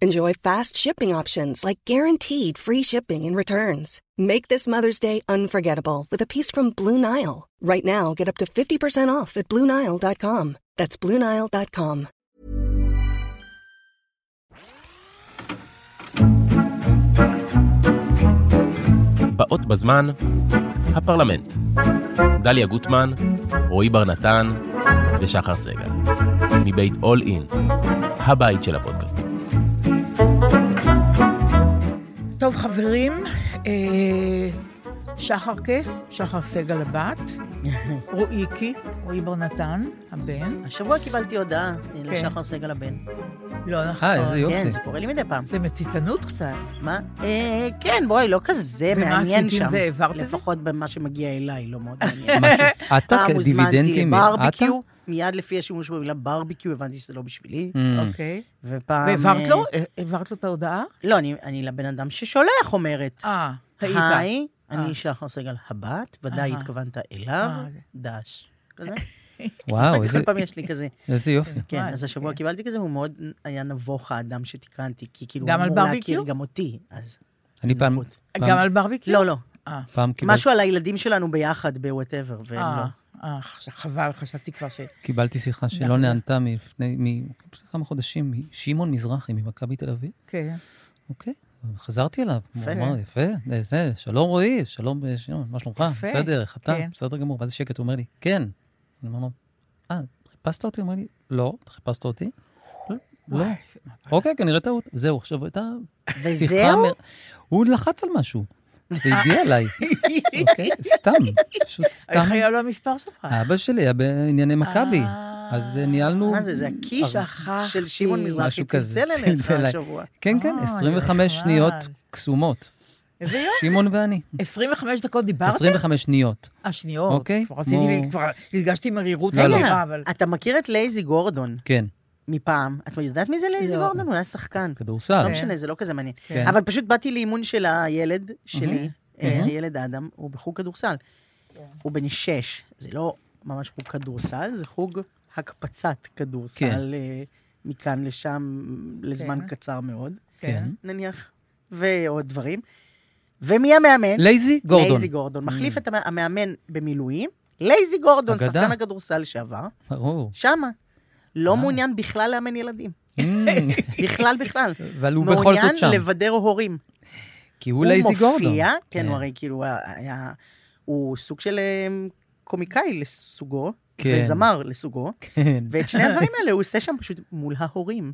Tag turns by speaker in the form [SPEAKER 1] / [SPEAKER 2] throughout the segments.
[SPEAKER 1] Enjoy fast shipping options like guaranteed free shipping and returns. Make this Mother's Day unforgettable with a piece from Blue Nile. Right now, get up to 50% off at BlueNile.com. That's BlueNile.com.
[SPEAKER 2] באות בזמן, הפרלמנט. דליה גוטמן, רועי בר נתן ושחר סגל. מבית All In, הבית של הפודקאסטים.
[SPEAKER 3] טוב, חברים, אה, שחרקה, שחר סגל הבת, רועיקי, רועי בר נתן, הבן.
[SPEAKER 4] השבוע קיבלתי הודעה
[SPEAKER 3] כן.
[SPEAKER 4] לשחר סגל הבן.
[SPEAKER 3] לא נכון.
[SPEAKER 5] אה, איזה יופי.
[SPEAKER 4] כן, זה קורה לי מדי פעם.
[SPEAKER 3] זה מציצנות קצת.
[SPEAKER 4] מה? אה, כן, בואי, לא כזה
[SPEAKER 3] ומה
[SPEAKER 4] מעניין
[SPEAKER 3] עשית
[SPEAKER 4] שם.
[SPEAKER 3] עם זה? העברת את זה?
[SPEAKER 4] לפחות במה שמגיע אליי, לא מאוד מעניין.
[SPEAKER 5] משהו. עטה
[SPEAKER 4] פעם הוזמנתי
[SPEAKER 5] דיבידנדים מעטה?
[SPEAKER 4] לברביקיו, מיד לפי השימוש במילה ברביקיו הבנתי שזה לא בשבילי,
[SPEAKER 5] Mm.
[SPEAKER 3] אוקיי.
[SPEAKER 4] ופעם...
[SPEAKER 3] והעברת
[SPEAKER 4] אה,
[SPEAKER 3] לו? אה, העברת לו את ההודעה?
[SPEAKER 4] לא, אני- אני לבן אדם ששולח אומרת.
[SPEAKER 3] אה, טעית.
[SPEAKER 4] היי,
[SPEAKER 3] אה.
[SPEAKER 4] אני שחר סגל הבת, ודאי
[SPEAKER 3] אהה.
[SPEAKER 4] התכוונת אליו,
[SPEAKER 3] אה, זה.
[SPEAKER 4] דש. כזה.
[SPEAKER 5] וואו,
[SPEAKER 4] רק
[SPEAKER 5] איזה-
[SPEAKER 4] כל פעם יש לי כזה.
[SPEAKER 5] איזה יופי.
[SPEAKER 4] כן,
[SPEAKER 3] וואי,
[SPEAKER 4] אז השבוע
[SPEAKER 3] כן.
[SPEAKER 4] קיבלתי כזה, הוא מאוד היה נבוך האדם שתיקנתי, כי כאילו
[SPEAKER 3] גם
[SPEAKER 4] הוא
[SPEAKER 3] על
[SPEAKER 4] אמור
[SPEAKER 3] ברביקיו?
[SPEAKER 4] להכיר גם אותי, אז...
[SPEAKER 5] אני פעם,
[SPEAKER 4] נחות.
[SPEAKER 5] פעם-
[SPEAKER 3] גם על ברביקיו?
[SPEAKER 4] לא, לא.
[SPEAKER 5] פעם קיבלתי-
[SPEAKER 4] משהו על הילדים שלנו ביחד בוואטאבר, והם לא.
[SPEAKER 3] אה, אה, ח- חבל, חשבתי כבר ש...
[SPEAKER 5] קיבלתי שיחה שלא נענתה מלפני, מ- לפני כמה חודשים, משמעון מזרחי ממכבי תל אביב.
[SPEAKER 3] כן.
[SPEAKER 5] אוקיי, חזרתי אליו. הוא
[SPEAKER 4] יפה.
[SPEAKER 5] אמר, יפה, אה, זה, שלום רועי, שלום אה, שמעון, מה שלומך?
[SPEAKER 3] יפה,
[SPEAKER 5] בסדר, איך אתה?
[SPEAKER 3] כן.
[SPEAKER 5] בסדר גמור. ואז שקט, הוא אומר לי, כן. אני אומר לו, אה, חיפשת אותי? הוא אומר לי, לא, חיפשת אותי? "לא, לא. אוקיי, כנראה טעות. זהו, עכשיו הייתה שיחה...
[SPEAKER 4] וזהו?
[SPEAKER 5] מ- הוא לחץ על משהו,
[SPEAKER 4] אה.
[SPEAKER 5] והגיע אליי. אוקיי, סתם, פשוט סתם.
[SPEAKER 3] איך היה לו המספר שלך?
[SPEAKER 5] אבא שלי היה בענייני מכבי,
[SPEAKER 3] אה.
[SPEAKER 5] אז אה, ניהלנו...
[SPEAKER 4] לא. מה זה, זה הקיש
[SPEAKER 3] שכחתי.
[SPEAKER 4] של שמעון מזרחי
[SPEAKER 5] משהו כזה,
[SPEAKER 4] צלצל אליך
[SPEAKER 5] צלצל אליי.
[SPEAKER 4] השבוע. אה,
[SPEAKER 5] כן, כן,
[SPEAKER 3] אוי,
[SPEAKER 5] 25
[SPEAKER 3] נחמד.
[SPEAKER 5] שניות קסומות.
[SPEAKER 3] איזה יופי.
[SPEAKER 5] שמעון ואני.
[SPEAKER 3] 25 דקות דיברת?
[SPEAKER 5] 25 שניות.
[SPEAKER 3] השניות.
[SPEAKER 5] אוקיי,
[SPEAKER 3] כבר רציתי, לי-
[SPEAKER 5] כמו-
[SPEAKER 3] כבר הרגשתי מרירות
[SPEAKER 5] לא, לא.
[SPEAKER 3] נורא,
[SPEAKER 4] רגע,
[SPEAKER 3] אה, אבל...
[SPEAKER 4] כן, אתה מכיר את לייזי גורדון
[SPEAKER 5] כן,
[SPEAKER 4] מפעם? את יודעת מי זה לייזי
[SPEAKER 3] לא.
[SPEAKER 4] גורדון? הוא היה שחקן.
[SPEAKER 5] כדורסל.
[SPEAKER 4] לא משנה, זה לא כזה מעניין.
[SPEAKER 5] כן.
[SPEAKER 4] אבל פשוט באתי לאימון של הילד שלי,
[SPEAKER 5] כן.
[SPEAKER 4] אה, הילד אדם, הוא בחוג כדורסל. הוא בן שש, זה לא ממש חוג כדורסל, זה חוג הקפצת
[SPEAKER 5] כן.
[SPEAKER 4] כדורסל אה, מכאן לשם לזמן
[SPEAKER 3] כן.
[SPEAKER 4] קצר מאוד,
[SPEAKER 5] כן.
[SPEAKER 4] נניח, ועוד דברים. ומי המאמן?
[SPEAKER 5] לייזי גורדון. Mm.
[SPEAKER 4] לייזי גורדון. מחליף את המ- המאמן במילואים, לייזי גורדון,
[SPEAKER 5] אגדה.
[SPEAKER 4] שחקן הכדורסל לשעבר,
[SPEAKER 5] ברור.
[SPEAKER 4] שמה.
[SPEAKER 5] אה.
[SPEAKER 4] לא מעוניין בכלל לאמן ילדים. בכלל, בכלל.
[SPEAKER 5] אבל הוא בכל זאת שם.
[SPEAKER 4] מעוניין לבדר הורים.
[SPEAKER 5] כי הוא לייזי גורדון.
[SPEAKER 4] הוא מופיע, כן,
[SPEAKER 5] כן.
[SPEAKER 4] הוא הרי כאילו היה... הוא סוג של אה, קומיקאי לסוגו,
[SPEAKER 5] כן.
[SPEAKER 4] וזמר לסוגו,
[SPEAKER 5] כן.
[SPEAKER 4] ואת שני הדברים האלה הוא עושה שם פשוט מול ההורים.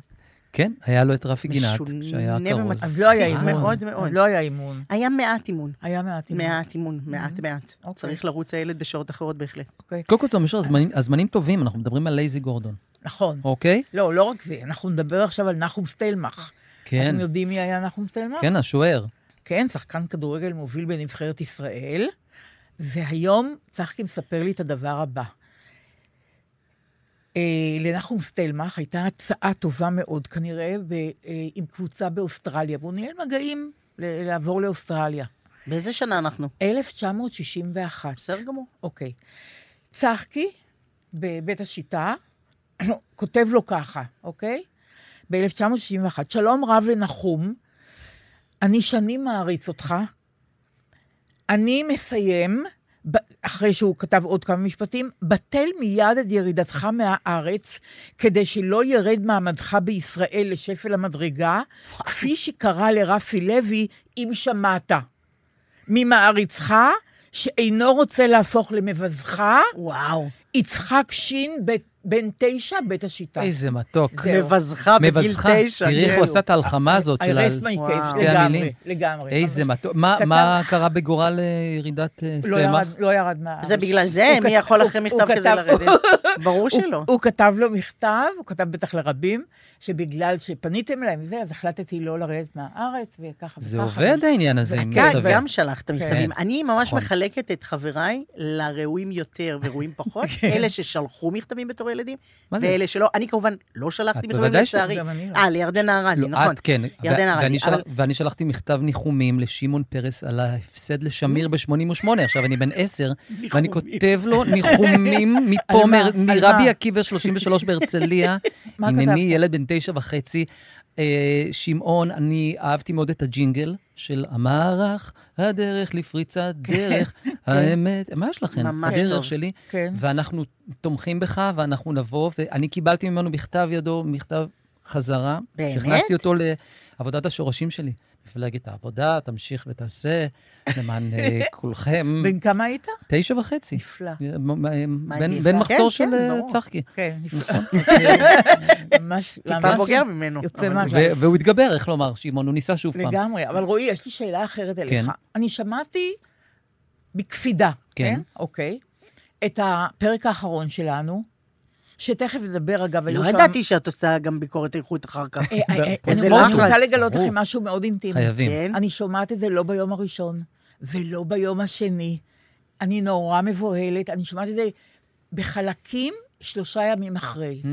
[SPEAKER 5] כן, היה לו את רפי גינת,
[SPEAKER 4] משונה
[SPEAKER 5] שהיה כרוז.
[SPEAKER 4] ומצחיק.
[SPEAKER 3] אז לא היה
[SPEAKER 4] מצחיק
[SPEAKER 3] אימון.
[SPEAKER 4] מאוד מאוד.
[SPEAKER 3] אז לא היה אימון.
[SPEAKER 4] היה מעט אימון.
[SPEAKER 3] היה מעט אימון.
[SPEAKER 4] מעט אימון,
[SPEAKER 5] Mm-hmm.
[SPEAKER 4] מעט מעט.
[SPEAKER 3] אוקיי.
[SPEAKER 4] צריך לרוץ הילד בשעות אחרות בהחלט.
[SPEAKER 3] אוקיי.
[SPEAKER 5] קודם כל, זה משהו, הזמנים- הזמנים טובים, אנחנו מדברים על לייזי גורדון,
[SPEAKER 3] נכון.
[SPEAKER 5] אוקיי?
[SPEAKER 3] לא, לא רק זה, אנחנו נדבר עכשיו על נחום סטיילמך.
[SPEAKER 5] כן,
[SPEAKER 3] אתם יודעים מי היה נחום סטיילמך?
[SPEAKER 5] כן, השוער.
[SPEAKER 3] כן, שחקן כדורגל מוביל בנבחרת ישראל, והיום צחקי מספר לי את הדבר הבא. אה, לנחום סטלמך הייתה הצעה טובה מאוד כנראה ב, אה, עם קבוצה באוסטרליה, והוא ניהל מגעים ל- לעבור לאוסטרליה.
[SPEAKER 4] באיזה שנה אנחנו?
[SPEAKER 3] 1961.
[SPEAKER 4] בסדר גמור.
[SPEAKER 3] אוקיי. צחקי בבית השיטה, כותב לו ככה, אוקיי? ב-1961, שלום רב לנחום, אני שנים מעריץ אותך, אני מסיים, ב- אחרי שהוא כתב עוד כמה משפטים, בטל מיד את ירידתך מהארץ, כדי שלא ירד מעמדך בישראל לשפל המדרגה, כפי שקרה לרפי לוי, אם שמעת. ממעריצך, שאינו רוצה להפוך למבזך,
[SPEAKER 4] וואו.
[SPEAKER 3] יצחק שין ב- בן תשע, בית השיטה.
[SPEAKER 5] איזה מתוק.
[SPEAKER 3] זהו.
[SPEAKER 4] מבזך בגיל
[SPEAKER 5] מבזך,
[SPEAKER 4] תשע.
[SPEAKER 5] תראי איך הוא
[SPEAKER 4] כאילו.
[SPEAKER 5] עשה את ההלחמה הזאת
[SPEAKER 3] I
[SPEAKER 5] של ה...
[SPEAKER 3] rest my case,
[SPEAKER 4] וואו.
[SPEAKER 5] שתי
[SPEAKER 3] לגמרי,
[SPEAKER 5] המילים.
[SPEAKER 3] לגמרי.
[SPEAKER 5] איזה
[SPEAKER 3] ממש.
[SPEAKER 5] מתוק. מה-
[SPEAKER 3] כתב-
[SPEAKER 5] מה קרה בגורל אה, ירידת אה,
[SPEAKER 3] לא
[SPEAKER 5] סלמה?
[SPEAKER 3] ירד, לא ירד מהארץ.
[SPEAKER 4] זה בגלל זה?
[SPEAKER 3] הוא
[SPEAKER 4] מי
[SPEAKER 3] כת-
[SPEAKER 4] יכול
[SPEAKER 3] הוא-
[SPEAKER 4] אחרי
[SPEAKER 3] הוא
[SPEAKER 4] מכתב כזה
[SPEAKER 3] כתב-
[SPEAKER 4] לרדת? ברור
[SPEAKER 3] הוא-
[SPEAKER 4] שלא.
[SPEAKER 3] הוא כתב לו מכתב, הוא כתב בטח לרבים, שבגלל שפניתם אליי וזה, אז החלטתי לא לרדת מהארץ, וככה וככה.
[SPEAKER 5] זה עובד העניין הזה. עם
[SPEAKER 3] אה, כן,
[SPEAKER 4] כן,
[SPEAKER 5] מכתבים.
[SPEAKER 4] גם שלחת מכתבים. אני ממש
[SPEAKER 5] נכון.
[SPEAKER 4] מחלקת את חבריי לראויים יותר וראויים פחות, אלה ששלחו מכתבים בתור ילדים,
[SPEAKER 5] כן. מה זה?
[SPEAKER 4] ואלה שלא. אני כמובן לא
[SPEAKER 5] את
[SPEAKER 4] שלחתי מכתבים
[SPEAKER 5] בוודאי ש-
[SPEAKER 4] לצערי.
[SPEAKER 3] גם אני לא.
[SPEAKER 4] אה, לירדנה ארזי,
[SPEAKER 5] לא,
[SPEAKER 4] נכון.
[SPEAKER 5] את כן. ו-
[SPEAKER 4] ירדן ארזי,
[SPEAKER 5] ואני
[SPEAKER 4] אבל-
[SPEAKER 5] שלח- ואני שלחתי מכתב ניחומים לשמעון פרס על ההפסד לשמיר ב-88, עכשיו אני בן 10, ואני כותב לו ניחומים מפה,
[SPEAKER 3] על מה?
[SPEAKER 5] מר-
[SPEAKER 3] על
[SPEAKER 5] מרבי
[SPEAKER 3] מה?
[SPEAKER 5] עקיבא 33 בהרצליה.
[SPEAKER 3] מה
[SPEAKER 5] הנני
[SPEAKER 3] כתבת?
[SPEAKER 5] ילד בן תשע וחצי. אה, שמעון, אני אהבתי מאוד את הג'ינגל של המערך, הדרך לפריצת דרך, האמת, מה יש לכם?
[SPEAKER 4] כן. ממש טוב.
[SPEAKER 5] הדרך שלי.
[SPEAKER 3] כן.
[SPEAKER 5] ואנחנו תומכים בך, ואנחנו נבוא, ואני קיבלתי ממנו בכתב ידו, מכתב חזרה.
[SPEAKER 4] באמת?
[SPEAKER 5] שהכנסתי אותו לעבודת השורשים שלי. מפלגת העבודה, תמשיך ותעשה, למען אה, כולכם.
[SPEAKER 3] בן כמה היית?
[SPEAKER 5] תשע וחצי.
[SPEAKER 3] נפלא.
[SPEAKER 5] מ- מ-
[SPEAKER 4] מה,
[SPEAKER 5] בן-
[SPEAKER 4] נפלא?
[SPEAKER 5] בן
[SPEAKER 4] כן,
[SPEAKER 5] מחזור של
[SPEAKER 4] כן,
[SPEAKER 5] אה,
[SPEAKER 4] ברור.
[SPEAKER 5] צחקי. נכון.
[SPEAKER 3] כן, נפלא. ממש,
[SPEAKER 4] טיפה
[SPEAKER 3] ממש
[SPEAKER 4] בוגר ממנו.
[SPEAKER 3] יוצא
[SPEAKER 4] אבל-
[SPEAKER 3] מהכלל.
[SPEAKER 5] ו- והוא התגבר, איך לומר, שמעון, הוא ניסה שוב פעם.
[SPEAKER 3] לגמרי. אבל רועי, יש לי שאלה אחרת אליך.
[SPEAKER 5] כן.
[SPEAKER 3] אני שמעתי בקפידה,
[SPEAKER 5] כן.
[SPEAKER 3] כן? אוקיי. את הפרק האחרון שלנו, שתכף נדבר, אגב,
[SPEAKER 4] לא
[SPEAKER 3] היו שם-
[SPEAKER 4] ידעתי שאת עושה גם ביקורת איכות אחר כך.
[SPEAKER 3] אה, אה, אה,
[SPEAKER 5] איזה
[SPEAKER 3] אני מאוד
[SPEAKER 5] לחץ.
[SPEAKER 3] רוצה לגלות
[SPEAKER 5] ברור.
[SPEAKER 3] לכם משהו מאוד אינטימי.
[SPEAKER 5] חייבים.
[SPEAKER 4] כן?
[SPEAKER 3] אני שומעת את זה לא ביום הראשון, ולא ביום השני. אני נורא מבוהלת, אני שומעת את זה בחלקים שלושה ימים אחרי.
[SPEAKER 5] Mm,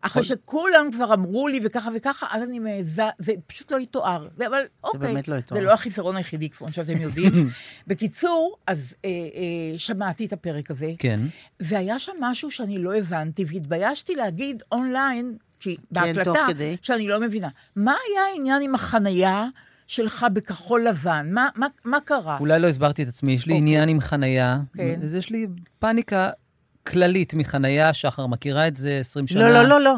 [SPEAKER 3] אחרי שכולם כבר אמרו לי וככה וככה, אז אני מעיזה, זה פשוט לא יתואר. זה- אבל אוקיי,
[SPEAKER 4] באמת לא יתואר.
[SPEAKER 3] זה לא החיסרון היחידי, כמו שאתם יודעים. בקיצור, אז אה, אה, שמעתי את הפרק הזה,
[SPEAKER 5] כן.
[SPEAKER 3] והיה שם משהו שאני לא הבנתי, והתביישתי להגיד אונליין, כי
[SPEAKER 4] תוך
[SPEAKER 3] בהקלטה,
[SPEAKER 4] כדי.
[SPEAKER 3] שאני לא מבינה. מה היה העניין עם החנייה שלך בכחול לבן? מה, מה, מה קרה?
[SPEAKER 5] אולי לא הסברתי את עצמי, יש לי
[SPEAKER 3] אוקיי.
[SPEAKER 5] עניין עם חנייה.
[SPEAKER 3] כן.
[SPEAKER 5] אז יש לי פאניקה כללית מחנייה, שחר מכירה את זה 20 שנה.
[SPEAKER 4] לא, לא, לא, לא.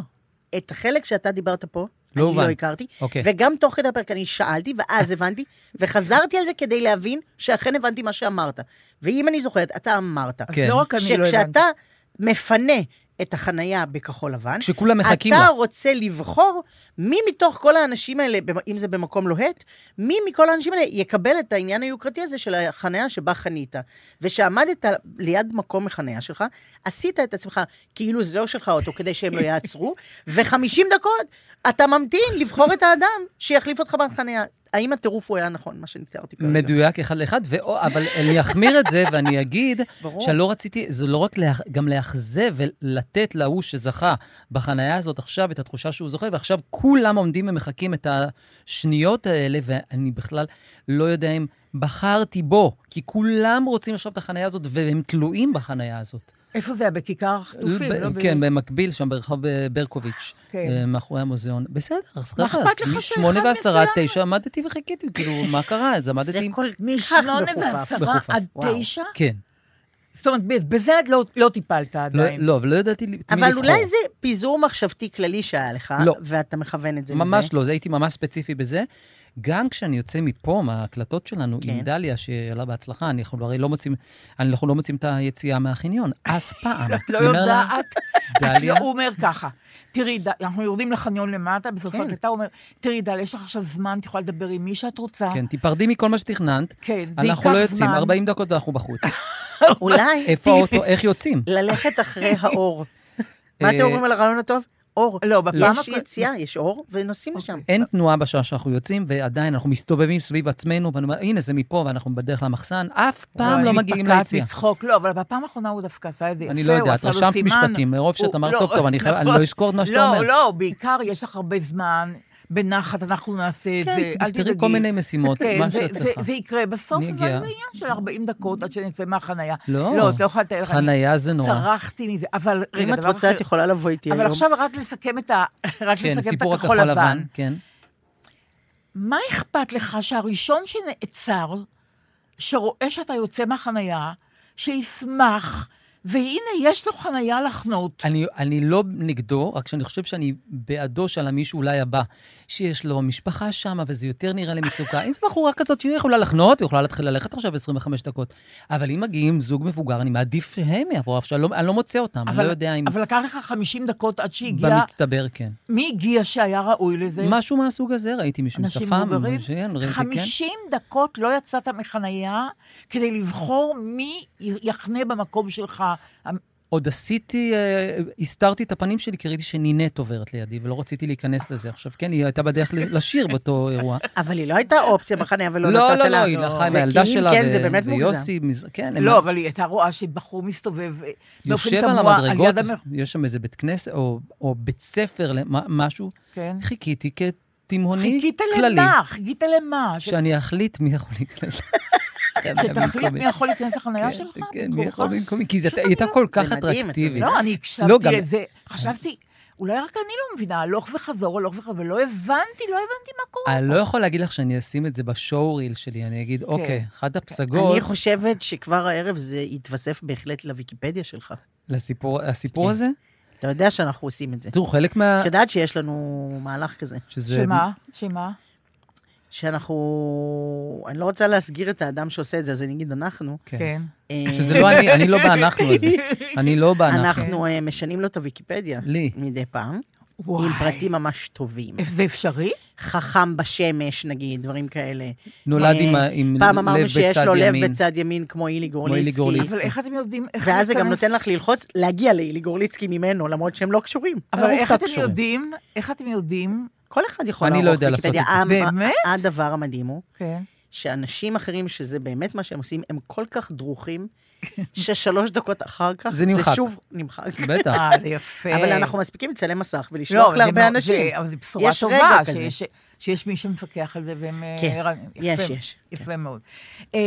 [SPEAKER 4] את החלק שאתה דיברת פה,
[SPEAKER 5] לא
[SPEAKER 4] אני לא
[SPEAKER 5] הובן.
[SPEAKER 4] הכרתי,
[SPEAKER 5] אוקיי.
[SPEAKER 4] וגם תוך כדי הפרק אני שאלתי, ואז הבנתי, וחזרתי על זה כדי להבין שאכן הבנתי מה שאמרת. ואם אני זוכרת, אתה אמרת,
[SPEAKER 5] כן.
[SPEAKER 3] לא רק אני לא הבנתי.
[SPEAKER 4] שכשאתה מפנה את החנייה בכחול לבן,
[SPEAKER 5] כשכולם מחכים
[SPEAKER 4] אתה
[SPEAKER 5] לה.
[SPEAKER 4] רוצה לבחור מי מתוך כל האנשים האלה, במ- אם זה במקום לוהט, מי מכל האנשים האלה יקבל את העניין היוקרתי הזה של החניה שבה חנית. ושעמדת ליד מקום החניה שלך, עשית את עצמך כאילו זה לא שלך אותו, כדי שהם לא יעצרו, ו-50 דקות אתה ממתין לבחור את האדם שיחליף אותך בחניה. האם הטירוף הוא היה נכון, מה שנתארתי כרגע?
[SPEAKER 5] מדויק אחד לאחד, ו- אבל אני אחמיר את זה ואני אגיד
[SPEAKER 4] ברור.
[SPEAKER 5] שלא רציתי, זה לא רק לה, גם לאכזב ולתת להוא שזכה בחנייה הזאת עכשיו את התחושה שהוא זוכה, ועכשיו כולם עומדים ומחכים את השניות האלה, ואני בכלל לא יודע אם בחרתי בו, כי כולם רוצים עכשיו את החנייה הזאת והם תלויים בחנייה הזאת.
[SPEAKER 3] איפה זה היה? בכיכר החטופים,
[SPEAKER 5] ב-
[SPEAKER 3] לא? ב-
[SPEAKER 5] כן, במקביל, שם ברחוב אה, ברקוביץ',
[SPEAKER 3] כן.
[SPEAKER 5] אה, מאחורי המוזיאון. בסדר, אז
[SPEAKER 3] מה
[SPEAKER 5] ככה,
[SPEAKER 3] אכפת לך
[SPEAKER 5] אז
[SPEAKER 3] שאחד
[SPEAKER 5] שמונה ועשרה,
[SPEAKER 3] מסוים-
[SPEAKER 5] תשע, עמדתי וחיכיתי, כאילו, מה קרה? אז
[SPEAKER 4] זה
[SPEAKER 5] עמדתי... עם-
[SPEAKER 4] כל כך
[SPEAKER 3] משמונה
[SPEAKER 4] מכופף.
[SPEAKER 3] ועשרה
[SPEAKER 5] מכופף.
[SPEAKER 3] עד
[SPEAKER 4] וואו.
[SPEAKER 3] תשע?
[SPEAKER 5] כן.
[SPEAKER 3] זאת אומרת, ב- בזה את לא, לא טיפלת
[SPEAKER 5] לא,
[SPEAKER 3] עדיין.
[SPEAKER 5] לא, אבל לא ידעתי לי- את מי לבחור.
[SPEAKER 4] אבל אולי זה פיזור מחשבתי כללי שהיה לך,
[SPEAKER 5] לא.
[SPEAKER 4] ואתה מכוון את זה לזה.
[SPEAKER 5] ממש לא, זה הייתי ממש ספציפי בזה. גם כשאני יוצא מפה, מההקלטות שלנו עם
[SPEAKER 4] כן.
[SPEAKER 5] דליה, שעלה בהצלחה, אנחנו הרי לא מוצאים, אנחנו לא מוצאים את היציאה מהחניון, אף פעם.
[SPEAKER 3] לא
[SPEAKER 5] אני אומר לה,
[SPEAKER 3] יודעת. את
[SPEAKER 5] דליה.
[SPEAKER 3] לא- הוא אומר ככה, תראי, ד- אנחנו יורדים לחניון למטה, בסוף
[SPEAKER 4] כן.
[SPEAKER 3] ההקלטה הוא אומר, תראי, דל, יש לך עכשיו זמן, את יכולה לדבר עם מי שאת רוצה.
[SPEAKER 5] כן, תיפרדי מכל מה שתכננת.
[SPEAKER 3] כן, זה ייקח
[SPEAKER 5] אנחנו לא יוצאים,
[SPEAKER 3] זמן.
[SPEAKER 5] 40 דקות ואנחנו בחוץ.
[SPEAKER 4] אולי...
[SPEAKER 5] לא. איפה האוטו, איך יוצאים?
[SPEAKER 4] ללכת אחרי האור. מה
[SPEAKER 5] אה,
[SPEAKER 4] אתם אומרים על הרעיון הטוב? אור. לא,
[SPEAKER 5] בפעם
[SPEAKER 4] יש
[SPEAKER 3] הקודמת- אוקיי.
[SPEAKER 4] יציאה, יש אור, ונוסעים לשם.
[SPEAKER 5] אין תנועה בשעה שאנחנו יוצאים, ועדיין אנחנו מסתובבים סביב עצמנו, ואני אומר, הנה, זה מפה, ואנחנו בדרך למחסן, אף פעם לא מגיעים
[SPEAKER 3] אני
[SPEAKER 5] ליציאה.
[SPEAKER 3] מתפקעת מצחוק, לא, אבל בפעם האחרונה הוא דווקא עשה את זה יפה,
[SPEAKER 5] אני לא יודעת,
[SPEAKER 3] הוא עשה לו
[SPEAKER 5] רשמת
[SPEAKER 3] סימן.
[SPEAKER 5] משפטים, מרוב שאת
[SPEAKER 3] הוא-
[SPEAKER 5] אמרת,
[SPEAKER 3] לא,
[SPEAKER 5] "טוב, טוב, אני חייב- אני לא אזכור את מה שאתה
[SPEAKER 3] נכון.
[SPEAKER 5] אומר."
[SPEAKER 3] לא, לא, בעיקר יש לך הרבה זמן. בנחת, אנחנו נעשה את
[SPEAKER 5] כן,
[SPEAKER 3] זה, אל
[SPEAKER 5] תפתרי
[SPEAKER 3] תדאגי.
[SPEAKER 5] כל מיני משימות,
[SPEAKER 3] כן,
[SPEAKER 5] מה
[SPEAKER 3] זה-
[SPEAKER 5] שאת
[SPEAKER 3] זה-
[SPEAKER 5] צריכה.
[SPEAKER 3] זה יקרה בסוף,
[SPEAKER 5] אני
[SPEAKER 3] אבל זה
[SPEAKER 5] אגיע.
[SPEAKER 3] עניין של 40 דקות עד שנצא מהחנייה.
[SPEAKER 5] לא.
[SPEAKER 3] לא, את לא יכולה לתאר לך. אני
[SPEAKER 5] חנייה זה נורא.
[SPEAKER 3] צרחתי מזה, אבל רגע,
[SPEAKER 4] אם את
[SPEAKER 3] דבר
[SPEAKER 4] רוצה,
[SPEAKER 3] אחר.
[SPEAKER 4] את יכולה לבוא איתי היום.
[SPEAKER 3] אבל עכשיו רק לסכם את ה- רק
[SPEAKER 5] כן,
[SPEAKER 3] לסכם את
[SPEAKER 5] סיפור
[SPEAKER 3] הכחול לבן.
[SPEAKER 5] כן.
[SPEAKER 3] מה אכפת לך שהראשון שנעצר, שרואה שאתה יוצא מהחנייה, שישמח, והנה יש לו חנייה לחנות.
[SPEAKER 5] אני, אני לא נגדו, רק שאני חושב שאני בעדו של המישהו אולי הבא, שיש לו משפחה שמה וזה יותר נראה למצוקה. אם זו בחורה כזאת שהיא יכולה לחנות, היא יכולה להתחיל ללכת עכשיו 25 דקות. אבל אם מגיעים זוג מבוגר, אני מעדיף שהם יעברו, אבל אני, לא, אני לא מוצא אותם, אני לא יודע אם...
[SPEAKER 3] אבל לקח לך 50 דקות עד שהגיע...
[SPEAKER 5] במצטבר, כן.
[SPEAKER 3] מי הגיע שהיה ראוי לזה?
[SPEAKER 5] משהו מהסוג הזה, ראיתי מישהו עם
[SPEAKER 3] אנשים
[SPEAKER 5] שפם.
[SPEAKER 3] מבוגרים?
[SPEAKER 5] כן, ראיתי, כן.
[SPEAKER 3] 50 דקות לא יצאת מחנייה כדי לבחור מי יחנה במקום שלך.
[SPEAKER 5] עוד עשיתי, אה, הסתרתי את הפנים שלי, כי ראיתי שנינט עוברת לידי, ולא רציתי להיכנס לזה. עכשיו, כן, היא הייתה בדרך ל- לשיר באותו אירוע.
[SPEAKER 4] אבל היא לא הייתה אופציה בחניה ולא נתת
[SPEAKER 5] לא, לא,
[SPEAKER 4] לה.
[SPEAKER 5] לא, היא נחה עם
[SPEAKER 4] זה
[SPEAKER 5] הילדה
[SPEAKER 4] כי אם
[SPEAKER 5] שלה,
[SPEAKER 4] כן,
[SPEAKER 5] ו-
[SPEAKER 4] זה באמת מוגזם.
[SPEAKER 5] ויוסי, מז- כן, הם-
[SPEAKER 3] לא, אבל היא הייתה רואה שבחור מסתובב אה, באופן
[SPEAKER 5] יושב על
[SPEAKER 3] תמוה על
[SPEAKER 5] המדרגות,
[SPEAKER 3] יד המר...
[SPEAKER 5] יש שם איזה בית כנסת, או, או בית ספר, למ- משהו.
[SPEAKER 3] כן.
[SPEAKER 5] חיכיתי כתימהוני
[SPEAKER 3] חיכית
[SPEAKER 5] כללי,
[SPEAKER 3] למה? חיכית למה? ש-
[SPEAKER 5] שאני אחליט מי יכול להיכנס.
[SPEAKER 3] שתחליט מי יכול להיכנס לחנייה שלך?
[SPEAKER 5] כן, מי
[SPEAKER 3] במקומך?
[SPEAKER 5] יכול במקומי, כי זה-
[SPEAKER 3] פשוט
[SPEAKER 5] היא
[SPEAKER 3] אני
[SPEAKER 5] הייתה
[SPEAKER 3] לא-
[SPEAKER 5] כל כך
[SPEAKER 4] מדהים, אתם-
[SPEAKER 5] אטרקטיבית.
[SPEAKER 3] לא, אני
[SPEAKER 5] לא, גם-
[SPEAKER 3] הקשבתי לזה, חשבתי, אולי רק אני לא מבינה, הלוך וחזור, הלוך וחזור, ולא הבנתי, לא הבנתי מה קורה.
[SPEAKER 5] אני לא יכול להגיד לך שאני אשים את זה בשואו-ריל שלי, אני אגיד, אוקיי, אחת הפסגות
[SPEAKER 4] אני חושבת שכבר הערב זה יתווסף בהחלט לוויקיפדיה שלך.
[SPEAKER 5] לסיפור הסיפור הזה.
[SPEAKER 4] אתה יודע שאנחנו עושים את זה.
[SPEAKER 5] תראו, חלק מה...
[SPEAKER 4] את יודעת שיש לנו מהלך כזה,
[SPEAKER 5] שזה-
[SPEAKER 3] שמה? שמה?
[SPEAKER 4] שאנחנו... אני לא רוצה להסגיר את האדם שעושה את זה, אז אני אגיד אנחנו.
[SPEAKER 5] כן.
[SPEAKER 3] כן.
[SPEAKER 4] אה,
[SPEAKER 5] שזה לא אני, אני לא באנחנו הזה. אני לא באנחנו.
[SPEAKER 4] אנחנו אה, משנים לו את הוויקיפדיה.
[SPEAKER 5] לי.
[SPEAKER 4] מדי פעם.
[SPEAKER 3] וואי.
[SPEAKER 4] עם פרטים ממש טובים.
[SPEAKER 3] זה אפשרי?
[SPEAKER 4] חכם בשמש, נגיד, דברים כאלה.
[SPEAKER 5] נולד עם ה-
[SPEAKER 4] אה,
[SPEAKER 5] עם לב
[SPEAKER 4] פעם אמרנו שיש
[SPEAKER 5] בצד
[SPEAKER 4] לו
[SPEAKER 5] ימין.
[SPEAKER 4] לב בצד ימין, כמו אילי
[SPEAKER 5] אילי גורליצקי.
[SPEAKER 4] גורליצקי.
[SPEAKER 3] אבל איך אתם יודעים... איך
[SPEAKER 4] ואז זה גם
[SPEAKER 3] להיכנס?
[SPEAKER 4] נותן לך ללחוץ, להגיע לאילי גורליצקי ממנו, למרות שהם לא קשורים.
[SPEAKER 3] אבל
[SPEAKER 4] אנחנו
[SPEAKER 3] איך
[SPEAKER 4] קצת
[SPEAKER 3] אתם
[SPEAKER 4] קשורים.
[SPEAKER 3] יודעים, איך אתם יודעים,
[SPEAKER 4] כל אחד יכול
[SPEAKER 5] אני לא
[SPEAKER 4] לערוך
[SPEAKER 5] יודע לעשות
[SPEAKER 4] ויקיפדיה.
[SPEAKER 5] את זה.
[SPEAKER 4] המ-
[SPEAKER 3] באמת?
[SPEAKER 4] הדבר המדהים הוא
[SPEAKER 3] כן.
[SPEAKER 4] שאנשים אחרים, שזה באמת מה שהם עושים, הם כל כך דרוכים, ששלוש דקות אחר כך,
[SPEAKER 5] זה נמחק.
[SPEAKER 4] שוב נמחק.
[SPEAKER 5] בטח.
[SPEAKER 3] אה, זה יפה.
[SPEAKER 4] אבל אנחנו מספיקים לצלם מסך
[SPEAKER 3] לא,
[SPEAKER 4] ולשלוח
[SPEAKER 3] אבל זה מאוד-
[SPEAKER 4] להרבה אנשים.
[SPEAKER 3] זה- אבל זו בשורה
[SPEAKER 4] יש רגע
[SPEAKER 3] טובה,
[SPEAKER 4] כזה.
[SPEAKER 3] שיש- שיש מי שמפקח על זה, והם... אה,
[SPEAKER 4] כן,
[SPEAKER 3] ערניים.
[SPEAKER 4] יש,
[SPEAKER 3] יפה,
[SPEAKER 4] יש,
[SPEAKER 3] יפה מאוד. אה,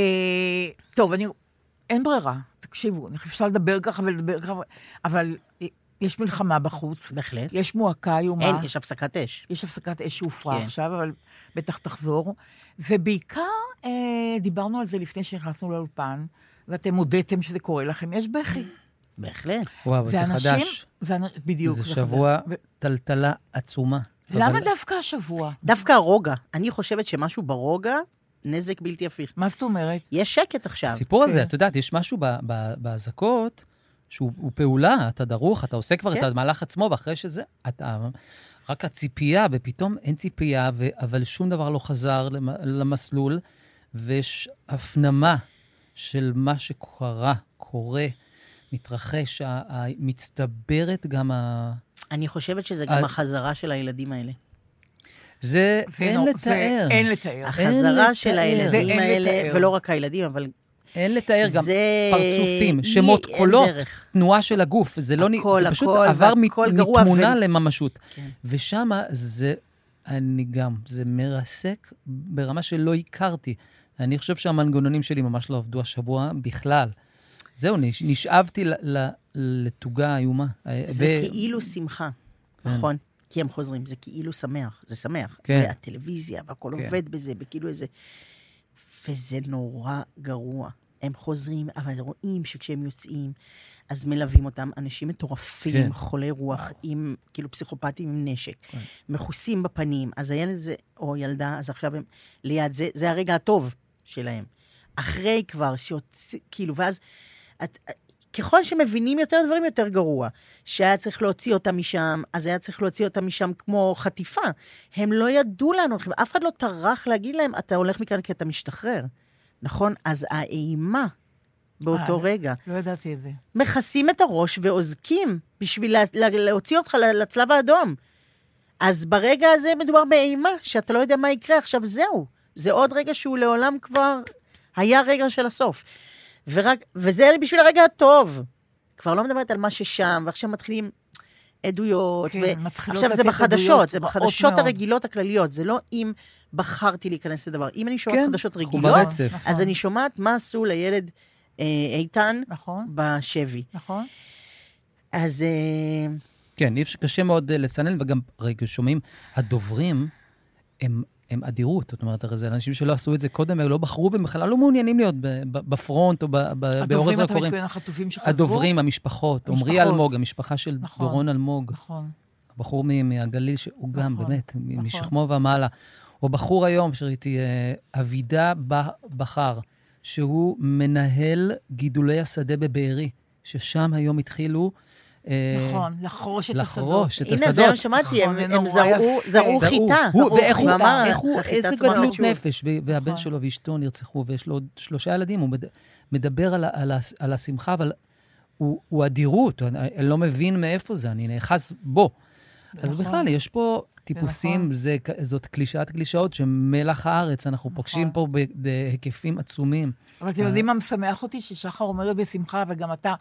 [SPEAKER 3] טוב, אני... אין ברירה, תקשיבו, אני חושבת שאפשר לדבר ככה ולדבר ככה, אבל אה, יש מלחמה בחוץ,
[SPEAKER 4] בהחלט.
[SPEAKER 3] יש מועקה איומה.
[SPEAKER 4] אין, יש הפסקת אש.
[SPEAKER 3] יש הפסקת אש שהופרה
[SPEAKER 4] כן.
[SPEAKER 3] עכשיו, אבל בטח תחזור. ובעיקר, אה, דיברנו על זה לפני שנכנסנו לאולפן, ואתם הודיתם שזה קורה לכם, יש בכי.
[SPEAKER 4] בהחלט.
[SPEAKER 5] וואו, זה חדש.
[SPEAKER 3] ואנ... בדיוק.
[SPEAKER 5] זה
[SPEAKER 3] חדש.
[SPEAKER 5] שבוע
[SPEAKER 3] ו-
[SPEAKER 5] טלטלה עצומה.
[SPEAKER 3] למה
[SPEAKER 5] אבל-
[SPEAKER 3] דווקא השבוע?
[SPEAKER 4] דווקא הרוגע, אני חושבת שמשהו ברוגע, נזק בלתי הפיך.
[SPEAKER 3] מה זאת אומרת?
[SPEAKER 4] יש שקט עכשיו.
[SPEAKER 5] הסיפור הזה,
[SPEAKER 3] כן.
[SPEAKER 5] את יודעת, יש משהו ב- ב- באזעקות שהוא הוא פעולה, אתה דרוך, אתה עושה כבר את
[SPEAKER 4] כן.
[SPEAKER 5] המהלך עצמו, ואחרי שזה, אתה... רק הציפייה, ופתאום אין ציפייה, ו... אבל שום דבר לא חזר למ... למסלול, ויש הפנמה של מה שקרה, קורה, מתרחש, ה- ה- מצטברת גם ה...
[SPEAKER 4] אני חושבת שזה
[SPEAKER 5] אה.
[SPEAKER 4] גם החזרה של הילדים האלה.
[SPEAKER 5] זה,
[SPEAKER 3] זה
[SPEAKER 5] אין
[SPEAKER 3] נו- זה
[SPEAKER 5] לתאר.
[SPEAKER 3] אין לתאר.
[SPEAKER 5] לתאר.
[SPEAKER 4] החזרה של
[SPEAKER 3] זה
[SPEAKER 4] הילדים
[SPEAKER 3] אין
[SPEAKER 4] האלה,
[SPEAKER 3] לתאר.
[SPEAKER 4] ולא רק הילדים, אבל
[SPEAKER 5] אין לתאר גם
[SPEAKER 4] זה-
[SPEAKER 5] פרצופים, שמות,
[SPEAKER 4] לי אין
[SPEAKER 5] קולות,
[SPEAKER 4] דרך.
[SPEAKER 5] תנועה של הגוף. זה לא... נ-
[SPEAKER 4] הכל,
[SPEAKER 5] זה פשוט
[SPEAKER 4] הכל,
[SPEAKER 5] עבר
[SPEAKER 4] והכל
[SPEAKER 5] מת-
[SPEAKER 4] גרוע,
[SPEAKER 5] מתמונה
[SPEAKER 4] ו- כן.
[SPEAKER 5] לממשות. ושם זה, אני גם, זה מרסק ברמה שלא הכרתי. אני חושב שהמנגנונים שלי ממש לא עבדו השבוע בכלל. זהו, נש- נשאבתי ל- ל- לתוגה איומה.
[SPEAKER 4] זה
[SPEAKER 5] ו-
[SPEAKER 4] כאילו שמחה, נכון? כי הם חוזרים, זה כאילו שמח, זה שמח.
[SPEAKER 5] כן.
[SPEAKER 4] והטלוויזיה, והכל עובד בזה, וכאילו איזה... וזה נורא גרוע. הם חוזרים, אבל רואים שכשהם יוצאים, אז מלווים אותם אנשים מטורפים,
[SPEAKER 5] כן.
[SPEAKER 4] חולי רוח, עם, כאילו פסיכופטים עם נשק, מכוסים בפנים, אז הילד הזה, או ילדה, אז עכשיו הם ליד זה, זה הרגע הטוב שלהם. אחרי כבר, שיוצא, כאילו, ואז את, ככל שמבינים יותר דברים, יותר גרוע. שהיה צריך להוציא אותם משם, אז היה צריך להוציא אותם משם כמו חטיפה. הם לא ידעו לנו, אף אחד לא טרח להגיד להם, אתה הולך מכאן כי אתה משתחרר. נכון? אז האימה באותו
[SPEAKER 3] אה.
[SPEAKER 4] רגע.
[SPEAKER 3] לא ידעתי את זה.
[SPEAKER 4] מכסים את הראש ואוזקים בשביל לה, לה, להוציא אותך ל- לצלב האדום. אז ברגע הזה מדובר באימה, שאתה לא יודע מה יקרה, עכשיו זהו. זה עוד רגע שהוא לעולם כבר היה רגע של הסוף. ורק, וזה בשביל הרגע הטוב. כבר לא מדברת על מה ששם, ועכשיו מתחילים עדויות.
[SPEAKER 3] כן, מתחילות
[SPEAKER 4] עכשיו, זה
[SPEAKER 3] לצאת
[SPEAKER 4] בחדשות,
[SPEAKER 3] עדויות
[SPEAKER 4] זה
[SPEAKER 3] רעות
[SPEAKER 4] בחדשות
[SPEAKER 3] מאוד.
[SPEAKER 4] הרגילות הכלליות, זה לא אם בחרתי להיכנס לדבר. אם אני שומעת
[SPEAKER 5] כן,
[SPEAKER 4] חדשות
[SPEAKER 5] אנחנו
[SPEAKER 4] רגילות,
[SPEAKER 5] ברצף.
[SPEAKER 4] אז אני שומעת מה עשו לילד אה, איתן
[SPEAKER 3] נכון,
[SPEAKER 4] בשבי.
[SPEAKER 3] נכון.
[SPEAKER 4] אז אה,
[SPEAKER 5] כן, אי אפשר, קשה מאוד אה, לסנן, וגם, רגע, שומעים, הדוברים הם, הם אדירות. זאת אומרת, הרי זה אנשים שלא עשו את זה קודם, הם לא בחרו והם בכלל לא מעוניינים להיות ב- ב- בפרונט או ב- ב- אה, באור
[SPEAKER 3] הדוברים, אתה
[SPEAKER 5] הזרקורים.
[SPEAKER 3] מתכוון לחטופים שחזרו?
[SPEAKER 5] הדוברים, המשפחות, עמרי
[SPEAKER 3] המשפחות.
[SPEAKER 5] אלמוג, המשפחה של
[SPEAKER 3] נכון.
[SPEAKER 5] דורון אלמוג,
[SPEAKER 3] נכון.
[SPEAKER 5] הבחור מ- מהגליל, שהוא גם,
[SPEAKER 3] נכון,
[SPEAKER 5] באמת, מ-
[SPEAKER 3] נכון.
[SPEAKER 5] משכמו ומעלה. או בחור היום, שראיתי, אה, אבידע ב- בכר, שהוא מנהל גידולי השדה בבארי, ששם היום התחילו... אה,
[SPEAKER 3] נכון, לחרוש את השדות.
[SPEAKER 5] לחרוש את
[SPEAKER 4] הנה, זה מה
[SPEAKER 5] השדות.
[SPEAKER 4] שמעתי,
[SPEAKER 3] נכון,
[SPEAKER 4] הם
[SPEAKER 3] זה
[SPEAKER 4] הם
[SPEAKER 3] נורא
[SPEAKER 4] זרעו
[SPEAKER 3] יפה.
[SPEAKER 4] זרעו
[SPEAKER 3] זרעו.
[SPEAKER 4] חיטה.
[SPEAKER 5] הוא,
[SPEAKER 4] זרעו
[SPEAKER 5] ואיך הוא, אה,
[SPEAKER 4] ואמר,
[SPEAKER 5] איך הוא,
[SPEAKER 4] "החיטה
[SPEAKER 5] איזה
[SPEAKER 4] צמחה
[SPEAKER 5] גדלות
[SPEAKER 4] שוב".
[SPEAKER 5] נפש, ו- והבן
[SPEAKER 3] נכון.
[SPEAKER 5] שלו ואשתו נרצחו, ויש לו עוד שלושה ילדים, הוא מד- מדבר על ה- על ה- על השמחה, אבל הוא הוא אדירות, אני אני לא מבין מאיפה זה, אני נאחז בו. אז
[SPEAKER 3] נכון.
[SPEAKER 5] בכלל, יש פה
[SPEAKER 3] נכון.
[SPEAKER 5] טיפוסים, זה כ- זאת קלישאת קלישאות, שמלח הארץ, אנחנו פוגשים פה ב- בהיקפים עצומים.
[SPEAKER 3] אבל אתם יודעים מה משמח אותי? ששחר אומרת בשמחה, וגם אתה,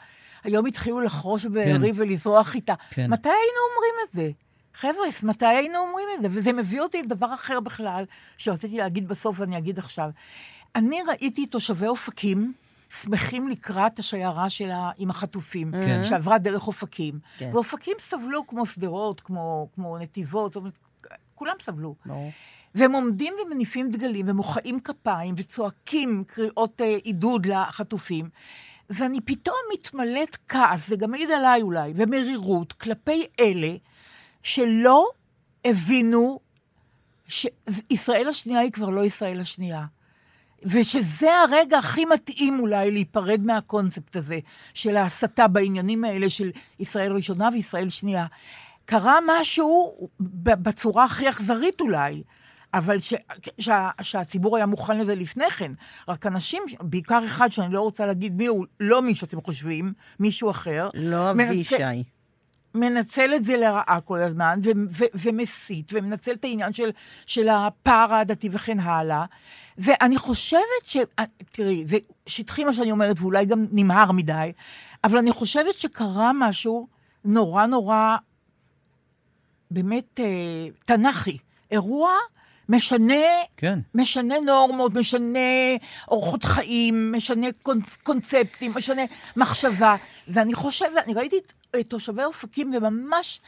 [SPEAKER 3] היום התחילו לחרוש בארי ולזרוע חיטה.
[SPEAKER 5] כן.
[SPEAKER 3] מתי היינו אומרים את זה? חבר'ס, מתי היינו אומרים את זה? וזה מביא אותי לדבר אחר בכלל, שרציתי להגיד בסוף ואני אגיד עכשיו. אני ראיתי תושבי אופקים שמחים לקראת השיירה שלה עם החטופים,
[SPEAKER 5] כן.
[SPEAKER 3] שעברה דרך אופקים.
[SPEAKER 4] כן.
[SPEAKER 3] ואופקים סבלו כמו שדרות, כמו, כמו נתיבות, זאת אומרת, כולם סבלו.
[SPEAKER 4] ברור.
[SPEAKER 3] והם עומדים ומניפים דגלים ומוחאים כפיים וצועקים קריאות אה, עידוד לחטופים. ואני פתאום מתמלאת כעס, זה גם מעיד עליי אולי, ומרירות כלפי אלה שלא הבינו שישראל השנייה היא כבר לא ישראל השנייה. ושזה הרגע הכי מתאים אולי להיפרד מהקונספט הזה של ההסתה בעניינים האלה של ישראל ראשונה וישראל שנייה. קרה משהו ב- בצורה הכי אכזרית אולי, אבל ש, שה, שהציבור היה מוכן לזה לפני כן. רק אנשים, בעיקר אחד שאני לא רוצה להגיד מי הוא, לא מי שאתם חושבים, מישהו אחר.
[SPEAKER 4] לא
[SPEAKER 3] מנצל-
[SPEAKER 4] אבישי.
[SPEAKER 3] מנצל את זה לרעה כל הזמן, ו- ו- ומסית, ומנצל את העניין של, של הפער העדתי וכן הלאה. ואני חושבת ש... אה, תראי, זה שטחי מה שאני אומרת, ואולי גם נמהר מדי, אבל אני חושבת שקרה משהו נורא נורא, באמת, אה, תנ"כי. אירוע משנה
[SPEAKER 5] כן.
[SPEAKER 3] משנה נורמות, משנה אורחות חיים, משנה קונצ- קונספטים, משנה מחשבה. ואני חושבת, אני ראיתי את- את תושבי אופקים, וממש,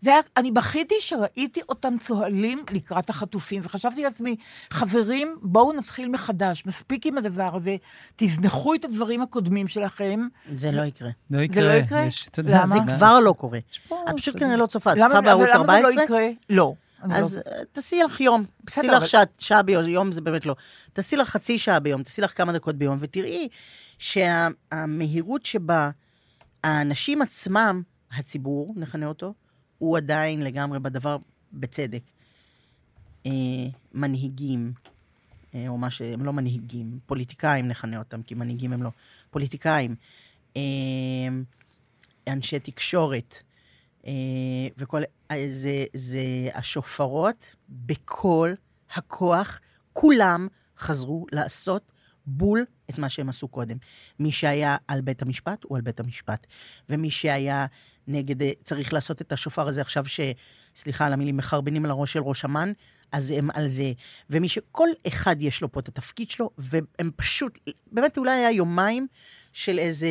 [SPEAKER 3] זה היה, אני בכיתי שראיתי אותם צוהלים לקראת החטופים, וחשבתי לעצמי, חברים, בואו נתחיל מחדש, מספיק עם הדבר הזה, תזנחו את הדברים הקודמים שלכם.
[SPEAKER 4] זה לא יקרה.
[SPEAKER 5] לא יקרה.
[SPEAKER 3] לא יקרה?
[SPEAKER 5] יש- אתה יודע,
[SPEAKER 3] למה?
[SPEAKER 4] זה
[SPEAKER 5] מה-
[SPEAKER 4] כבר לא קורה.
[SPEAKER 5] יש פה-
[SPEAKER 4] את פשוט
[SPEAKER 5] אתה יודע.
[SPEAKER 4] כנראה לא צופה, את
[SPEAKER 3] למה
[SPEAKER 4] צופה
[SPEAKER 3] אבל
[SPEAKER 4] בערוץ
[SPEAKER 3] למה זה
[SPEAKER 4] 14,
[SPEAKER 3] לא יקרה? לא. אני לא-
[SPEAKER 4] אז אה, תעשי לך יום. תעשי
[SPEAKER 3] בסדר,
[SPEAKER 4] לך
[SPEAKER 3] אבל-
[SPEAKER 4] שעה- שעה ביום, זה באמת לא. תעשי לך חצי שעה ביום, תעשי לך כמה דקות ביום, ותראי שהמהירות שבה האנשים עצמם, הציבור, נכנה אותו, הוא עדיין לגמרי בדבר, בצדק. אה, מנהיגים, אה, או מה שהם לא מנהיגים, פוליטיקאים נכנה אותם, כי מנהיגים הם לא. פוליטיקאים, אה, אנשי תקשורת, אה, וכל... אה, זה, זה השופרות בכל הכוח, כולם חזרו לעשות בול את מה שהם עשו קודם. מי שהיה על בית המשפט, הוא על בית המשפט. ומי שהיה נגד... אה, צריך לעשות את השופר הזה עכשיו ש... סליחה על המילים, מחרבנים על הראש של ראש אמ"ן, אז הם על זה. ומי שכל אחד יש לו פה את התפקיד שלו, והם פשוט... באמת, אולי היה יומיים של איזה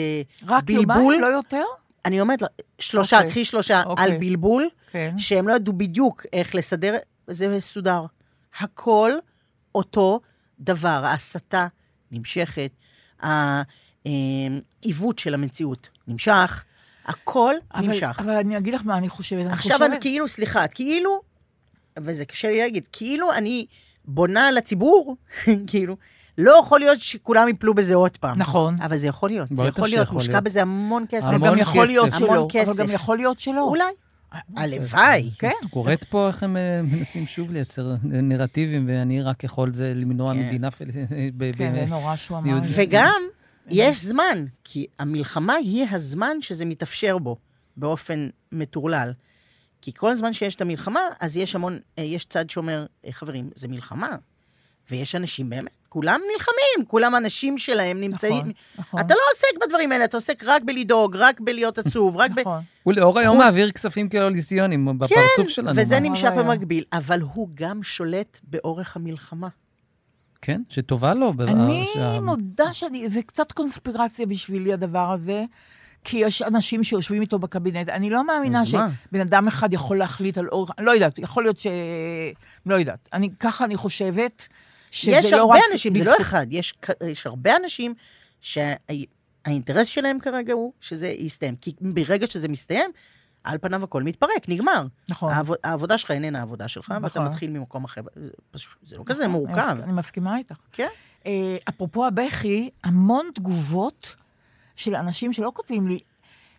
[SPEAKER 3] רק
[SPEAKER 4] בלבול.
[SPEAKER 3] יומיים, לא יותר?
[SPEAKER 4] אני אומרת, לה, שלושה,
[SPEAKER 3] אוקיי.
[SPEAKER 4] קחי שלושה
[SPEAKER 3] אוקיי.
[SPEAKER 4] על בלבול,
[SPEAKER 3] כן.
[SPEAKER 4] שהם לא ידעו בדיוק איך לסדר, זה סודר. הכל אותו דבר. ההסתה נמשכת, העיוות של המציאות נמשך, הכל
[SPEAKER 3] אבל-
[SPEAKER 4] נמשך.
[SPEAKER 3] אבל אני אגיד לך מה אני חושבת. אני
[SPEAKER 4] עכשיו
[SPEAKER 3] חושבת-
[SPEAKER 4] אני כאילו, סליחה, את כאילו, וזה קשה לי להגיד, כאילו אני בונה על הציבור, כאילו, לא יכול להיות שכולם יפלו בזה עוד פעם.
[SPEAKER 3] נכון.
[SPEAKER 4] אבל זה יכול להיות, זה
[SPEAKER 5] בטח
[SPEAKER 4] יכול להיות,
[SPEAKER 5] שיכול
[SPEAKER 4] מושקע
[SPEAKER 5] להיות.
[SPEAKER 4] בזה המון כסף.
[SPEAKER 3] זה גם
[SPEAKER 5] המון
[SPEAKER 3] יכול להיות
[SPEAKER 5] כסף.
[SPEAKER 3] שלא.
[SPEAKER 4] המון
[SPEAKER 3] אבל גם
[SPEAKER 4] כסף.
[SPEAKER 3] יכול להיות אה, שלא.
[SPEAKER 4] אולי. הלוואי.
[SPEAKER 3] כן.
[SPEAKER 5] קורית פה איך הם אה, מנסים שוב לייצר נרטיבים, ואני רק יכול זה למנוע
[SPEAKER 4] כן.
[SPEAKER 5] מדינה פל... אה, ב-
[SPEAKER 3] כן,
[SPEAKER 5] ב-
[SPEAKER 3] זה נורא שהוא אמר.
[SPEAKER 5] יהודי.
[SPEAKER 3] את זה.
[SPEAKER 4] וגם, יש זמן, כי המלחמה היא הזמן שזה מתאפשר בו, באופן מטורלל. כי כל זמן שיש את המלחמה, אז יש המון, אה, יש צד שאומר, "אה, חברים, זה מלחמה. ויש אנשים באמת כולם נלחמים, כולם אנשים שלהם נמצאים.
[SPEAKER 3] נכון, נכון.
[SPEAKER 4] אתה לא עוסק בדברים האלה, אתה עוסק רק בלדאוג, רק בלהיות עצוב, רק ב...
[SPEAKER 3] נכון.
[SPEAKER 5] ולאור היום מעביר כספים קואליציוניים בפרצוף שלנו.
[SPEAKER 4] וזה
[SPEAKER 5] מה?
[SPEAKER 4] נמשך
[SPEAKER 3] הרעיון?
[SPEAKER 4] במקביל, אבל הוא גם שולט באורך המלחמה.
[SPEAKER 5] כן, שטובה לו. ב- אה,
[SPEAKER 3] אני
[SPEAKER 5] שה-
[SPEAKER 3] מודה שאני, זה קצת קונספירציה בשבילי הדבר הזה, כי יש אנשים שיושבים איתו בקבינט. אני לא מאמינה
[SPEAKER 4] אז מה?
[SPEAKER 3] שבן אדם אחד יכול להחליט על אורך, לא יודעת, יכול להיות ש... לא יודעת. אני, ככה אני חושבת, שזה לא רק...
[SPEAKER 4] יש הרבה אנשים, זה לא
[SPEAKER 3] בזכות-
[SPEAKER 4] אחד, יש כ- יש הרבה אנשים שהאינטרס שלהם כרגע הוא שזה יסתיים. כי ברגע שזה מסתיים, על פניו הכל מתפרק, נגמר.
[SPEAKER 3] נכון.
[SPEAKER 4] העב- העבודה שלך איננה העבודה שלך, ואתה
[SPEAKER 3] נכון.
[SPEAKER 4] מתחיל ממקום אחר. זה פשוט- זה לא כזה
[SPEAKER 3] נכון, אני
[SPEAKER 4] מורכב.
[SPEAKER 3] מס- אני מסכימה איתך.
[SPEAKER 4] כן.
[SPEAKER 3] אה, אפרופו הבכי, המון תגובות של אנשים שלא כותבים לי,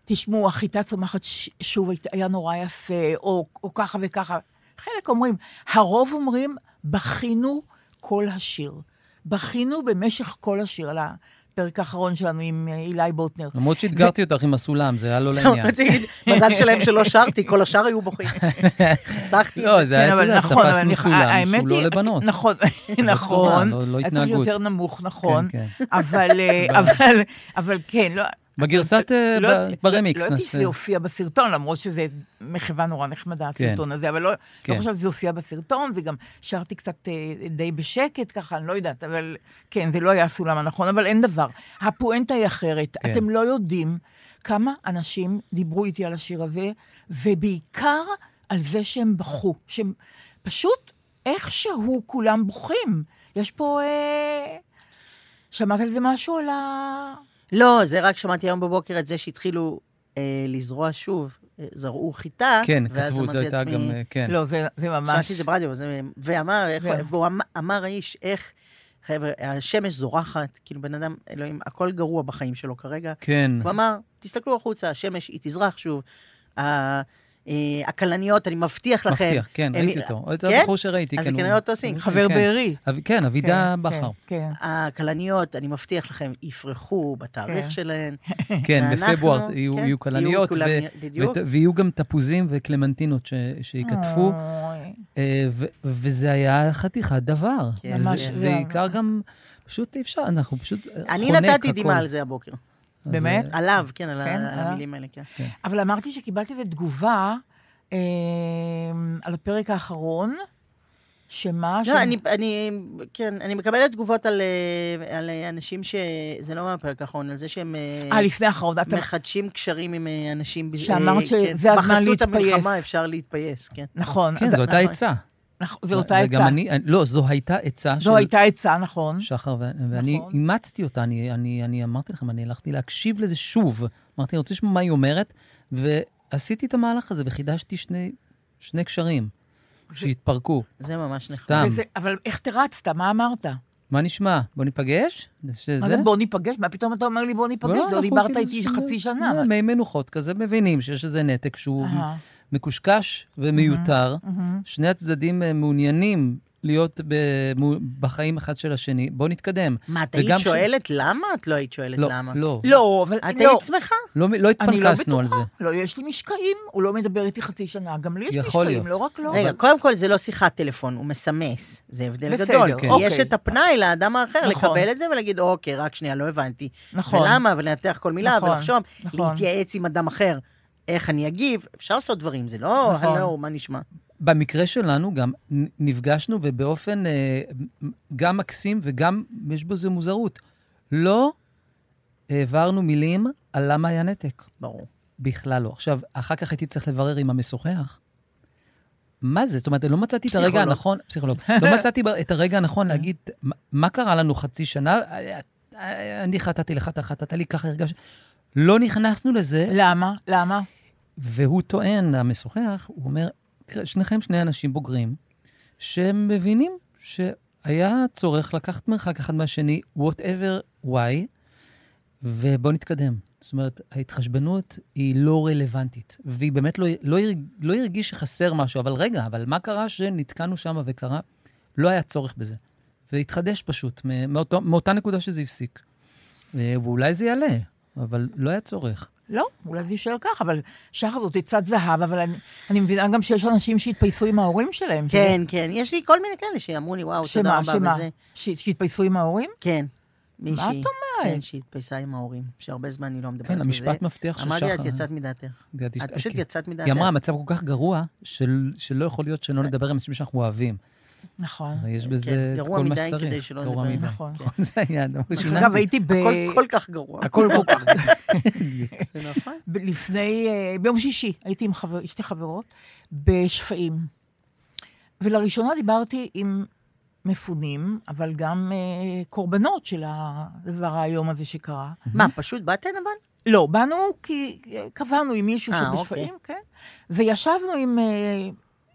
[SPEAKER 3] תשמעו, החיטה צומחת ש- שוב, היית- היה נורא יפה, או, או ככה וככה. חלק אומרים, הרוב אומרים, בכינו כל השיר. בכינו במשך כל השיר, על הפרק האחרון שלנו עם אה, אילי בוטנר.
[SPEAKER 5] למרות שאתגרתי אותך עם הסולם, זה היה לא לעניין.
[SPEAKER 4] רציתי להגיד, מזל שלהם שלא שרתי, כל השאר היו בוכים. חסכתי.
[SPEAKER 5] לא, זה היה,
[SPEAKER 3] כן,
[SPEAKER 5] אתה
[SPEAKER 3] אבל
[SPEAKER 5] יודע,
[SPEAKER 3] נכון, אבל
[SPEAKER 5] תפסנו
[SPEAKER 3] אני-
[SPEAKER 5] סולם
[SPEAKER 3] האמת
[SPEAKER 5] שהוא לא
[SPEAKER 3] היא-
[SPEAKER 5] לבנות.
[SPEAKER 3] נכון, נכון.
[SPEAKER 5] לא- לא
[SPEAKER 3] היה צריך
[SPEAKER 5] התנהגות.
[SPEAKER 3] יותר נמוך, נכון.
[SPEAKER 5] כן,
[SPEAKER 3] אבל, אה, אבל, אבל כן, לא...
[SPEAKER 5] בגרסת, אה,
[SPEAKER 3] לא
[SPEAKER 5] ב-
[SPEAKER 3] יודעת-
[SPEAKER 5] ברמיקס
[SPEAKER 3] לא יודעת
[SPEAKER 5] נעשה.
[SPEAKER 3] אם זה הופיע בסרטון, למרות שזה מחווה נורא נחמדה, הסרטון הזה, אבל לא
[SPEAKER 5] כן.
[SPEAKER 3] לא חושבת שזה הופיע בסרטון, וגם שרתי קצת אה, די בשקט ככה, אני לא יודעת, אבל כן, זה לא היה הסולם הנכון, אבל אין דבר. הפואנטה היא אחרת.
[SPEAKER 5] כן.
[SPEAKER 3] אתם לא יודעים כמה אנשים דיברו איתי על השיר הזה, ובעיקר על זה שהם בכו, שהם פשוט איכשהו כולם בוכים. יש פה... אה, שמעת על זה משהו? על ה...
[SPEAKER 4] לא, זה רק שמעתי היום בבוקר את זה שהתחילו אה, לזרוע שוב, אה, זרעו חיטה.
[SPEAKER 5] כן,
[SPEAKER 4] ואז
[SPEAKER 5] כתבו,
[SPEAKER 4] אמרתי
[SPEAKER 5] זו הייתה
[SPEAKER 4] לעצמי,
[SPEAKER 5] גם, אה, כן.
[SPEAKER 3] לא, זה זה ממש...
[SPEAKER 4] שמעתי את זה ברדיו, אז, אה, ואמר, איך-
[SPEAKER 3] זהו.
[SPEAKER 4] והוא אמר- אמר האיש, איך, חבר'ה, השמש זורחת, כאילו בן אדם, אלוהים, הכל גרוע בחיים שלו כרגע.
[SPEAKER 5] כן.
[SPEAKER 4] הוא אמר, תסתכלו החוצה, השמש, היא תזרח שוב. ה- אה, הכלניות, אני מבטיח לכם.
[SPEAKER 5] מבטיח, כן,
[SPEAKER 4] הם-
[SPEAKER 5] ראיתי
[SPEAKER 3] אה,
[SPEAKER 5] אותו. זה
[SPEAKER 4] כן?
[SPEAKER 5] הבחור שראיתי,
[SPEAKER 4] אז
[SPEAKER 5] כן.
[SPEAKER 4] זה
[SPEAKER 5] הוא-
[SPEAKER 4] כנראה אותו סינק.
[SPEAKER 3] חבר
[SPEAKER 5] כן.
[SPEAKER 3] בארי.
[SPEAKER 5] אב- כן, אבידה בכר.
[SPEAKER 3] כן.
[SPEAKER 4] הכלניות, אני מבטיח לכם, יפרחו בתאריך
[SPEAKER 3] כן.
[SPEAKER 4] שלהן.
[SPEAKER 5] כן,
[SPEAKER 4] ואנחנו-
[SPEAKER 5] בפברואר
[SPEAKER 4] כן,
[SPEAKER 5] יהיו
[SPEAKER 4] יהיו
[SPEAKER 5] יהיו כלניות, ו-
[SPEAKER 4] כלניות, בדיוק.
[SPEAKER 5] ות- ויהיו גם תפוזים וקלמנטינות ש- שייכתפו,
[SPEAKER 3] אוי.
[SPEAKER 5] אה, ו- וזה היה חתיכת דבר.
[SPEAKER 4] כן,
[SPEAKER 5] וזה-
[SPEAKER 3] ממש.
[SPEAKER 5] ובעיקר גם, פשוט אי אפשר, אנחנו פשוט אה, חונק
[SPEAKER 4] אני
[SPEAKER 5] הכול.
[SPEAKER 4] נתתי דמעה על זה הבוקר.
[SPEAKER 5] אז,
[SPEAKER 3] באמת?
[SPEAKER 5] אה,
[SPEAKER 4] עליו, כן, על ה-
[SPEAKER 3] כן,
[SPEAKER 4] על
[SPEAKER 3] עליו.
[SPEAKER 4] המילים האלה, כן.
[SPEAKER 3] אבל אמרתי שקיבלתי איזו תגובה אה, על הפרק האחרון, שמה? ש-
[SPEAKER 4] לא, אני, אני, כן, אני מקבלת תגובות על, אה, על אה, אנשים ש... זה לא מהפרק האחרון, על זה שהם אה,
[SPEAKER 3] אה, לפני האחרון. אתה-
[SPEAKER 4] מחדשים קשרים עם אה, אנשים... בז-
[SPEAKER 3] שאמרת
[SPEAKER 4] אה, כן,
[SPEAKER 3] שזה הזמן
[SPEAKER 4] בחסות
[SPEAKER 3] להתפייס.
[SPEAKER 4] המלחמה אפשר להתפייס, כן.
[SPEAKER 3] נכון.
[SPEAKER 5] כן,
[SPEAKER 3] אז-
[SPEAKER 5] זו הייתה
[SPEAKER 3] נכון,
[SPEAKER 5] עצה.
[SPEAKER 3] נכון, זו אותה
[SPEAKER 5] וגם
[SPEAKER 3] עצה.
[SPEAKER 5] אני- לא, זו הייתה עצה של
[SPEAKER 3] זו הייתה עצה, נכון.
[SPEAKER 5] שחר, ו- ואני
[SPEAKER 3] נכון.
[SPEAKER 5] אימצתי אותה, אני, אני, אני אמרתי לכם, אני הלכתי להקשיב לזה שוב. אמרתי, אני רוצה לשמוע מה היא אומרת, ועשיתי את המהלך הזה וחידשתי שני, שני קשרים שהתפרקו,
[SPEAKER 4] זה ממש נכון. נחמד.
[SPEAKER 5] סתם.
[SPEAKER 3] וזה- אבל איך תרצת? מה אמרת?
[SPEAKER 5] מה נשמע? בוא ניפגש? שזה?
[SPEAKER 3] מה זה בוא ניפגש? מה פתאום אתה אומר לי בוא ניפגש?
[SPEAKER 5] לא,
[SPEAKER 3] לא
[SPEAKER 5] אנחנו
[SPEAKER 3] דיברת
[SPEAKER 5] כאילו
[SPEAKER 3] איתי
[SPEAKER 5] שני-
[SPEAKER 3] חצי שנה.
[SPEAKER 5] לא, מי מנוחות כזה, מבינים שיש איזה נתק שהוא
[SPEAKER 3] אהה.
[SPEAKER 5] מקושקש ומיותר. שני הצדדים אה, מעוניינים להיות ב- מו- בחיים אחד של השני, בוא נתקדם.
[SPEAKER 4] מה, את היית
[SPEAKER 5] וגם ש-
[SPEAKER 4] שואלת למה? את לא היית שואלת
[SPEAKER 5] לא,
[SPEAKER 4] למה.
[SPEAKER 5] לא,
[SPEAKER 3] לא, אבל...
[SPEAKER 4] את
[SPEAKER 3] לא.
[SPEAKER 4] היית שמחה?
[SPEAKER 5] לא, לא
[SPEAKER 3] אני לא
[SPEAKER 5] התפנקסנו על זה.
[SPEAKER 3] בטוחה. לא, יש לי משקעים, הוא לא מדבר איתי חצי שנה, גם לי יש
[SPEAKER 5] יכול
[SPEAKER 3] משקעים,
[SPEAKER 5] להיות.
[SPEAKER 3] לא רק לו.
[SPEAKER 4] רגע, קודם כל זה לא שיחת טלפון, הוא מסמס. זה הבדל
[SPEAKER 3] בסדר,
[SPEAKER 4] גדול. כי
[SPEAKER 3] אוקיי.
[SPEAKER 4] יש את הפנאי לאדם האחר
[SPEAKER 3] נכון.
[SPEAKER 4] לקבל את זה ולהגיד, אוקיי, רק שנייה, לא הבנתי.
[SPEAKER 3] נכון.
[SPEAKER 4] ולמה, ולנתח כל מילה,
[SPEAKER 3] נכון,
[SPEAKER 4] ולחשוב,
[SPEAKER 3] נכון.
[SPEAKER 4] להתייעץ עם אדם אחר, איך אני אגיב, אפשר לעשות דברים, זה לא,
[SPEAKER 3] נכון.
[SPEAKER 4] הלו, מה נשמע?
[SPEAKER 5] במקרה שלנו גם נ- נפגשנו, ובאופן אה, מ- גם מקסים וגם, יש בזה מוזרות, לא העברנו מילים על למה היה נתק.
[SPEAKER 4] ברור.
[SPEAKER 5] בכלל לא. עכשיו, אחר כך הייתי צריך לברר עם המשוחח. מה זה? זאת אומרת, לא מצאתי את הרגע
[SPEAKER 4] פסיכולוג. כן.
[SPEAKER 5] הנכון, פסיכולוג, לא מצאתי ב- את הרגע הנכון להגיד, "מה- מה קרה לנו חצי שנה? אה, אה, אני חטאתי לך, אתה חטאת לי, ככה הרגשתי. לא נכנסנו לזה,
[SPEAKER 3] למה? למה?
[SPEAKER 5] והוא טוען, המשוחח, הוא אומר, תראה, שניכם שני אנשים בוגרים, שהם מבינים שהיה צורך לקחת מרחק אחד מהשני, whatever why, ובואו נתקדם. זאת אומרת, ההתחשבנות היא לא רלוונטית, והיא באמת לא, לא, הרג- לא הרגיש שחסר משהו, אבל רגע, אבל מה קרה שנתקענו שם וקרה? לא היה צורך בזה. והתחדש פשוט, מאותו, מאותה נקודה שזה הפסיק. אה, ואולי זה יעלה, אבל לא היה צורך.
[SPEAKER 3] לא, אולי זה יישאר ככה, אבל שחר זאת עצת זהב, אבל אני, אני מבינה גם שיש אנשים שהתפייסו עם ההורים שלהם.
[SPEAKER 4] כן, כן, יש לי כל מיני כאלה שאמרו לי, וואו, תודה
[SPEAKER 3] שמה,
[SPEAKER 4] רבה
[SPEAKER 3] שמה?
[SPEAKER 4] וזה.
[SPEAKER 3] ש- שהתפייסו עם ההורים?
[SPEAKER 4] כן.
[SPEAKER 3] מה
[SPEAKER 4] מישהי,
[SPEAKER 3] את אומרת?
[SPEAKER 4] כן, שהתפייסה עם ההורים, שהרבה זמן היא לא מדברת.
[SPEAKER 5] כן,
[SPEAKER 4] וזה.
[SPEAKER 5] המשפט מבטיח
[SPEAKER 4] אמרתי לה,
[SPEAKER 5] ששחר-
[SPEAKER 4] את יצאת מדעתך.
[SPEAKER 5] את
[SPEAKER 4] את פשוט יצאת מדעתך.
[SPEAKER 5] היא אמרה, המצב כל כך גרוע, של- שלא יכול להיות שלא נדבר עם אנשים שאנחנו אוהבים.
[SPEAKER 3] נכון.
[SPEAKER 5] הרי יש
[SPEAKER 4] כן,
[SPEAKER 5] בזה את
[SPEAKER 4] גרוע
[SPEAKER 5] כל מה
[SPEAKER 4] מדי
[SPEAKER 5] שצריך.
[SPEAKER 4] כדי שלא
[SPEAKER 5] גרוע
[SPEAKER 4] נדבר.
[SPEAKER 5] מדי.
[SPEAKER 3] נכון.
[SPEAKER 5] נכון, זה היה הדבר
[SPEAKER 3] אגב,
[SPEAKER 5] ששיננתי.
[SPEAKER 3] הייתי ב...
[SPEAKER 4] הכל כל כך גרוע.
[SPEAKER 5] הכל כל כך...
[SPEAKER 4] זה נכון.
[SPEAKER 3] ב- לפני, אה, ביום שישי, הייתי עם חבר, שתי חברות בשפיים. ולראשונה דיברתי עם מפונים, אבל גם אה, קורבנות של הדבר האיום הזה שקרה.
[SPEAKER 4] מה, פשוט באתן אבל?
[SPEAKER 3] לא, באנו כי אה, קבענו עם מישהו
[SPEAKER 4] אה,
[SPEAKER 3] שבשפיים, כן? וישבנו עם, אה,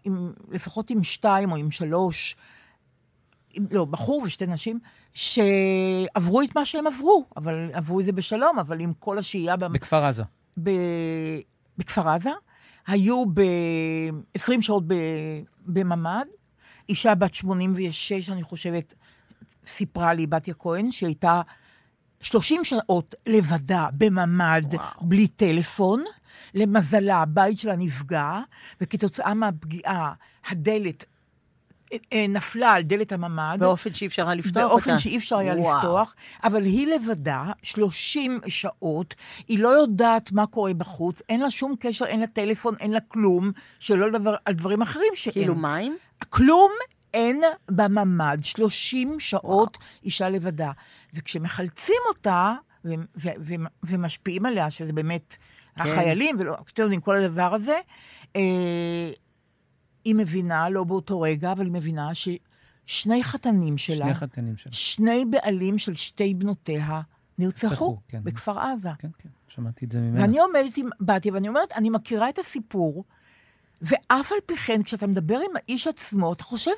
[SPEAKER 3] עם, לפחות עם שתיים או עם שלוש, עם, לא, בחור ושתי נשים, שעברו את מה שהם עברו, אבל עברו את זה בשלום, אבל עם כל השהייה במ-
[SPEAKER 5] בכפר עזה.
[SPEAKER 3] ב... בכפר עזה, היו ב-20 שעות ב... בממ"ד, אישה בת 86, אני חושבת, סיפרה לי בתיה כהן, שהייתה 30 שעות לבדה בממ"ד,
[SPEAKER 4] וואו.
[SPEAKER 3] בלי טלפון. למזלה, הבית שלה נפגע, וכתוצאה מהפגיעה, הדלת אה, אה, נפלה על דלת הממ"ד.
[SPEAKER 4] באופן שאי אפשר היה לפתוח אותה.
[SPEAKER 3] באופן שאי אפשר היה
[SPEAKER 4] וואו.
[SPEAKER 3] לפתוח, אבל היא לבדה, 30 שעות, היא לא יודעת מה קורה בחוץ, אין לה שום קשר, אין לה טלפון, אין לה כלום, שלא לדבר על דברים אחרים שאין.
[SPEAKER 4] כאילו מים?
[SPEAKER 3] כלום אין בממ"ד, 30 שעות וואו. אישה לבדה. וכשמחלצים אותה ו- ו- ו- ומשפיעים עליה, שזה באמת כן. החיילים, ולא, אתם יודעים, כל הדבר הזה, אה, היא מבינה, לא באותו רגע, אבל היא מבינה ששני חתנים שלה,
[SPEAKER 5] שני חתנים שלה.
[SPEAKER 3] שני בעלים של שתי בנותיה, נרצחו
[SPEAKER 5] נרצחו, כן.
[SPEAKER 3] בכפר עזה.
[SPEAKER 5] כן, כן, שמעתי את זה ממנה.
[SPEAKER 3] ואני עומדת עם בתיה, ואני אומרת, אני מכירה את הסיפור, ואף על פי כן, כשאתה מדבר עם האיש עצמו, אתה חושב,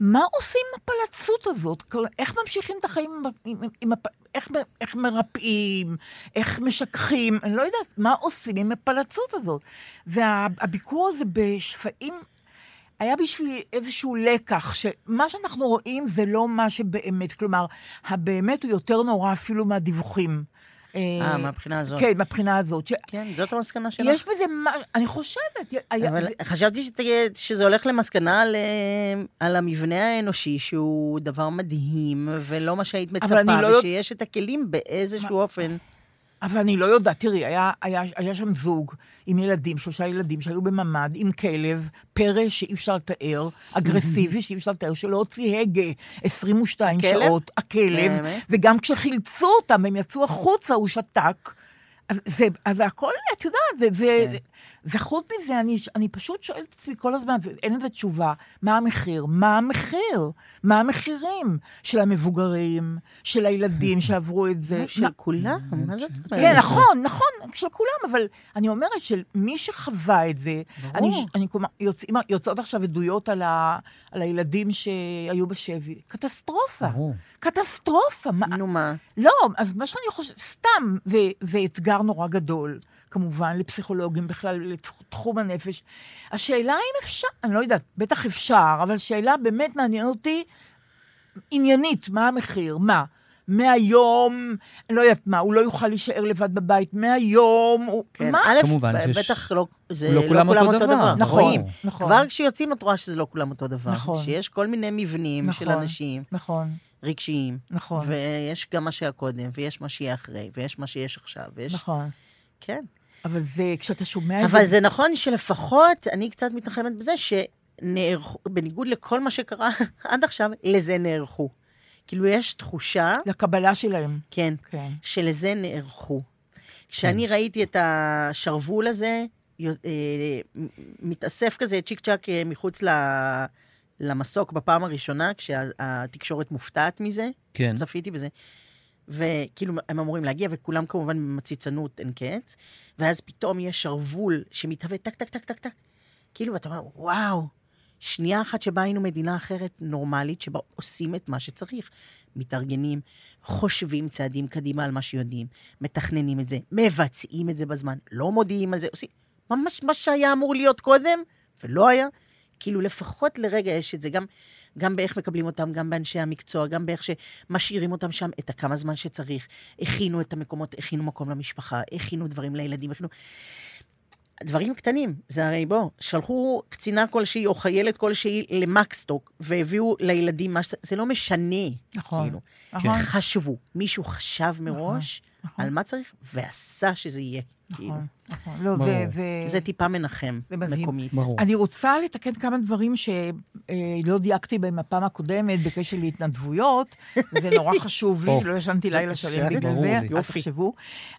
[SPEAKER 3] מה עושים עם הפלצות הזאת? כל- איך ממשיכים את החיים, עם, עם, עם, עם הפ- איך, מ- איך מרפאים, איך משככים, אני לא יודעת, מה עושים עם הפלצות הזאת? והביקור הזה בשפעים היה בשבילי איזשהו לקח, שמה שאנחנו רואים זה לא מה שבאמת, כלומר, הבאמת הוא יותר נורא אפילו מהדיווחים.
[SPEAKER 4] אה, מהבחינה הזאת.
[SPEAKER 3] כן, מהבחינה הזאת. ש...
[SPEAKER 4] כן, זאת המסקנה שלך.
[SPEAKER 3] יש בזה מה, אני חושבת, היה,
[SPEAKER 4] אבל
[SPEAKER 3] זה,
[SPEAKER 4] חשבתי שת- שזה הולך למסקנה על, אה, על המבנה האנושי, שהוא דבר מדהים, ולא מה שהיית מצפה,
[SPEAKER 3] אני לא יודע-
[SPEAKER 4] ושיש את הכלים באיזשהו אופן.
[SPEAKER 3] אבל אני לא יודעת, תראי, היה, היה, היה שם זוג עם ילדים, שלושה ילדים שהיו בממ"ד, עם כלב, פרא שאי אפשר לתאר, אגרסיבי שאי אפשר לתאר, שלא הוציא הגה 22
[SPEAKER 4] הכלב?
[SPEAKER 3] שעות, הכלב,
[SPEAKER 4] באמת?
[SPEAKER 3] וגם כשחילצו אותם, הם יצאו החוצה, הוא שתק. אז זה, אז הכל, את יודעת, זה, זה,
[SPEAKER 4] כן.
[SPEAKER 3] וחוץ מזה, אני, אני פשוט שואלת את עצמי כל הזמן, ואין לזה תשובה, מה המחיר? מה המחיר? מה המחירים של המבוגרים, של הילדים שעברו את זה?
[SPEAKER 4] זה של
[SPEAKER 3] מה-
[SPEAKER 4] כולם, מה זאת אומרת?
[SPEAKER 3] כן, נכון, נכון, של כולם, אבל אני אומרת של מי שחווה את זה, אני, אני כלומר, יוצאים, יוצאות עכשיו עדויות על, ה, על הילדים שהיו בשבי, קטסטרופה,
[SPEAKER 5] ברור.
[SPEAKER 3] קטסטרופה. מה,
[SPEAKER 4] נו מה,
[SPEAKER 3] לא, אז מה שאני חושבת, סתם, זה, זה אתגר נורא גדול, כמובן, לפסיכולוגים בכלל, לתחום הנפש. השאלה אם אפשר, אני לא יודעת, בטח אפשר, אבל שאלה באמת מעניין אותי, עניינית, מה המחיר? מה? מהיום, אני לא יודעת מה, הוא לא יוכל להישאר לבד בבית, מהיום, הוא...
[SPEAKER 4] כן,
[SPEAKER 3] מה?
[SPEAKER 4] א',
[SPEAKER 5] כמובן שיש-
[SPEAKER 4] בטח לא, זה
[SPEAKER 5] לא
[SPEAKER 4] לא
[SPEAKER 5] כולם
[SPEAKER 4] כולם
[SPEAKER 5] אותו
[SPEAKER 4] אותו
[SPEAKER 5] דבר,
[SPEAKER 4] דבר.
[SPEAKER 3] נכון,
[SPEAKER 4] רואים.
[SPEAKER 3] נכון.
[SPEAKER 4] כבר כשיוצאים את רואה שזה לא כולם אותו דבר.
[SPEAKER 3] נכון.
[SPEAKER 4] שיש כל מיני מבנים של
[SPEAKER 3] נכון.
[SPEAKER 4] אנשים
[SPEAKER 3] נכון,
[SPEAKER 4] רגשיים.
[SPEAKER 3] נכון,
[SPEAKER 4] ויש גם מה שהיה קודם, ויש מה שיהיה אחרי, ויש מה שיש עכשיו, ויש...
[SPEAKER 3] נכון.
[SPEAKER 4] כן.
[SPEAKER 3] אבל זה, כשאתה שומע את זה...
[SPEAKER 4] אבל זה נכון שלפחות, אני קצת מתנחמת בזה שנערכו, בניגוד לכל מה שקרה עד עכשיו, לזה נערכו. כאילו, יש תחושה,
[SPEAKER 3] לקבלה שלהם.
[SPEAKER 4] כן,
[SPEAKER 3] כן.
[SPEAKER 4] שלזה נערכו. כשאני ראיתי את השרוול הזה, יו- אה, מ- מתאסף כזה צ'יק צ'אק אה, מחוץ ל- למסוק בפעם הראשונה, כשהתקשורת מופתעת מזה,
[SPEAKER 5] כן.
[SPEAKER 4] צפיתי בזה. וכאילו, הם אמורים להגיע, וכולם כמובן במציצנות אין קץ, ואז פתאום יש שרוול שמתהווה טק, טק, טק, טק, טק. כאילו, ואתה אומר, וואו, שנייה אחת שבה היינו מדינה אחרת נורמלית, שבה עושים את מה שצריך. מתארגנים, חושבים צעדים קדימה על מה שיודעים, מתכננים את זה, מבצעים את זה בזמן, לא מודיעים על זה, עושים ממש מה שהיה אמור להיות קודם, ולא היה. כאילו לפחות לרגע יש את זה, גם, גם באיך מקבלים אותם, גם באנשי המקצוע, גם באיך שמשאירים אותם שם את הכמה זמן שצריך. הכינו את המקומות, הכינו מקום למשפחה, הכינו דברים לילדים, הכינו... דברים קטנים, זה הרי בוא, שלחו קצינה כלשהי או חיילת כלשהי למקסטוק והביאו לילדים מה ש... זה לא משנה,
[SPEAKER 3] נכון,
[SPEAKER 4] כאילו.
[SPEAKER 5] כן.
[SPEAKER 3] נכון.
[SPEAKER 4] חשבו, מישהו חשב מראש
[SPEAKER 3] נכון.
[SPEAKER 4] על מה צריך ועשה שזה יהיה, כאילו.
[SPEAKER 3] נכון, נכון. לא, זה,
[SPEAKER 5] ברור.
[SPEAKER 3] זה...
[SPEAKER 4] זה טיפה מנחם,
[SPEAKER 3] זה מדהים.
[SPEAKER 4] מקומית.
[SPEAKER 5] ברור.
[SPEAKER 3] אני רוצה לתקן כמה דברים שלא דייקתי בהם בפעם הקודמת בקשר להתנדבויות, זה נורא חשוב לי,
[SPEAKER 5] או,
[SPEAKER 3] לא ישנתי לילה
[SPEAKER 5] בבקשה,
[SPEAKER 3] שלם בגלל
[SPEAKER 5] ברור
[SPEAKER 3] זה,
[SPEAKER 5] לי.
[SPEAKER 3] אל תחשבו.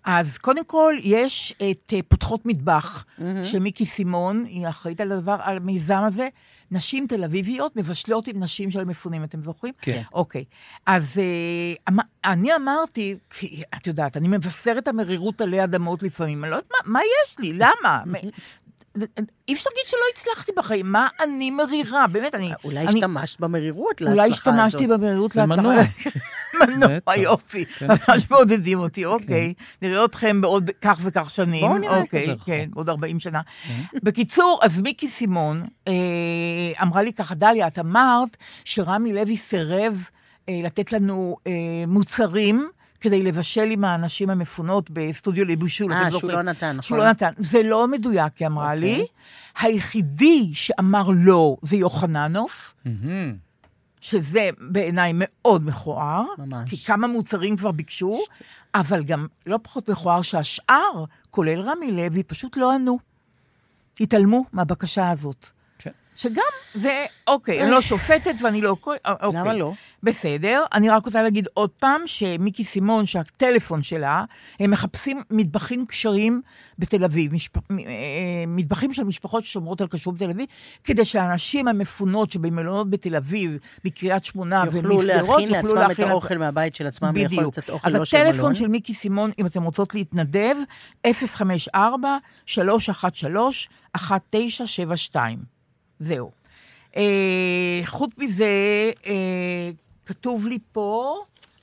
[SPEAKER 3] אז קודם כל, יש את אה, פותחות מטבח, שמיקי סימון, היא אחראית על הדבר, על המיזם הזה. נשים תל אביביות מבשלות עם נשים של מפונים, אתם זוכרים?
[SPEAKER 5] כן.
[SPEAKER 3] אוקיי. אז אה, אמ- אני אמרתי, כי את יודעת, אני מבשרת המרירות עלי אדמות לפעמים, אני לא יודעת מה, מה יש לי, למה? מ- אי אפשר להגיד שלא הצלחתי בחיים, מה אני מרירה? באמת, אני...
[SPEAKER 4] אולי
[SPEAKER 3] אני-
[SPEAKER 4] השתמשת במרירות להצלחה
[SPEAKER 3] אולי
[SPEAKER 4] הזאת.
[SPEAKER 3] השתמשתי במהירות
[SPEAKER 5] זה
[SPEAKER 3] להצלחה.
[SPEAKER 5] מנוע.
[SPEAKER 3] מנוע,
[SPEAKER 5] בטח.
[SPEAKER 3] יופי.
[SPEAKER 5] כן.
[SPEAKER 3] ממש מעודדים אותי, אוקיי. נראה אתכם בעוד כך וכך שנים.
[SPEAKER 5] בואו נראה
[SPEAKER 3] אוקיי,
[SPEAKER 5] כזה רחוק.
[SPEAKER 3] כן, עוד 40 שנה. בקיצור, אז מיקי סימון אה, אמרה לי ככה, דליה, את אמרת שרמי לוי סירב אה, לתת לנו אה, מוצרים. כדי לבשל עם האנשים המפונות בסטודיו לבישול.
[SPEAKER 4] אה,
[SPEAKER 3] אתם
[SPEAKER 4] שהוא
[SPEAKER 3] זוכרים?
[SPEAKER 4] לא נתן,
[SPEAKER 3] שהוא
[SPEAKER 4] נכון.
[SPEAKER 3] לא נתן. זה לא מדויק, היא אמרה לי. היחידי שאמר לא זה יוחננוף.
[SPEAKER 5] מהמם.
[SPEAKER 3] שזה בעיניי מאוד מכוער,
[SPEAKER 4] ממש.
[SPEAKER 3] כי כמה מוצרים כבר ביקשו, אבל גם לא פחות מכוער שהשאר, כולל רמי לוי, פשוט לא ענו. התעלמו מהבקשה הזאת.
[SPEAKER 5] כן.
[SPEAKER 3] שגם זה, אוקיי, אני לא שופטת ואני לא... אוקיי.
[SPEAKER 4] למה לא?
[SPEAKER 3] בסדר, אני רק רוצה להגיד עוד פעם שמיקי סימון, שהטלפון שלה, הם מחפשים מטבחים כשרים בתל אביב, משפ... מ- אה, מטבחים של משפחות ששומרות על כשרות בתל אביב, כדי שהנשים המפונות שבמלונות בתל אביב, בקריית שמונה
[SPEAKER 4] יוכלו
[SPEAKER 3] ומשדרות,
[SPEAKER 4] להכין לעצמם את האוכל מהבית של עצמם, ולאכול
[SPEAKER 3] בדיוק.
[SPEAKER 4] קצת אוכל
[SPEAKER 3] אז
[SPEAKER 4] לא של מלון.
[SPEAKER 3] הטלפון של מיקי סימון, אם אתם רוצות להתנדב, 054-313-1972. זהו. אה, חוץ מזה, אה, כתוב לי פה...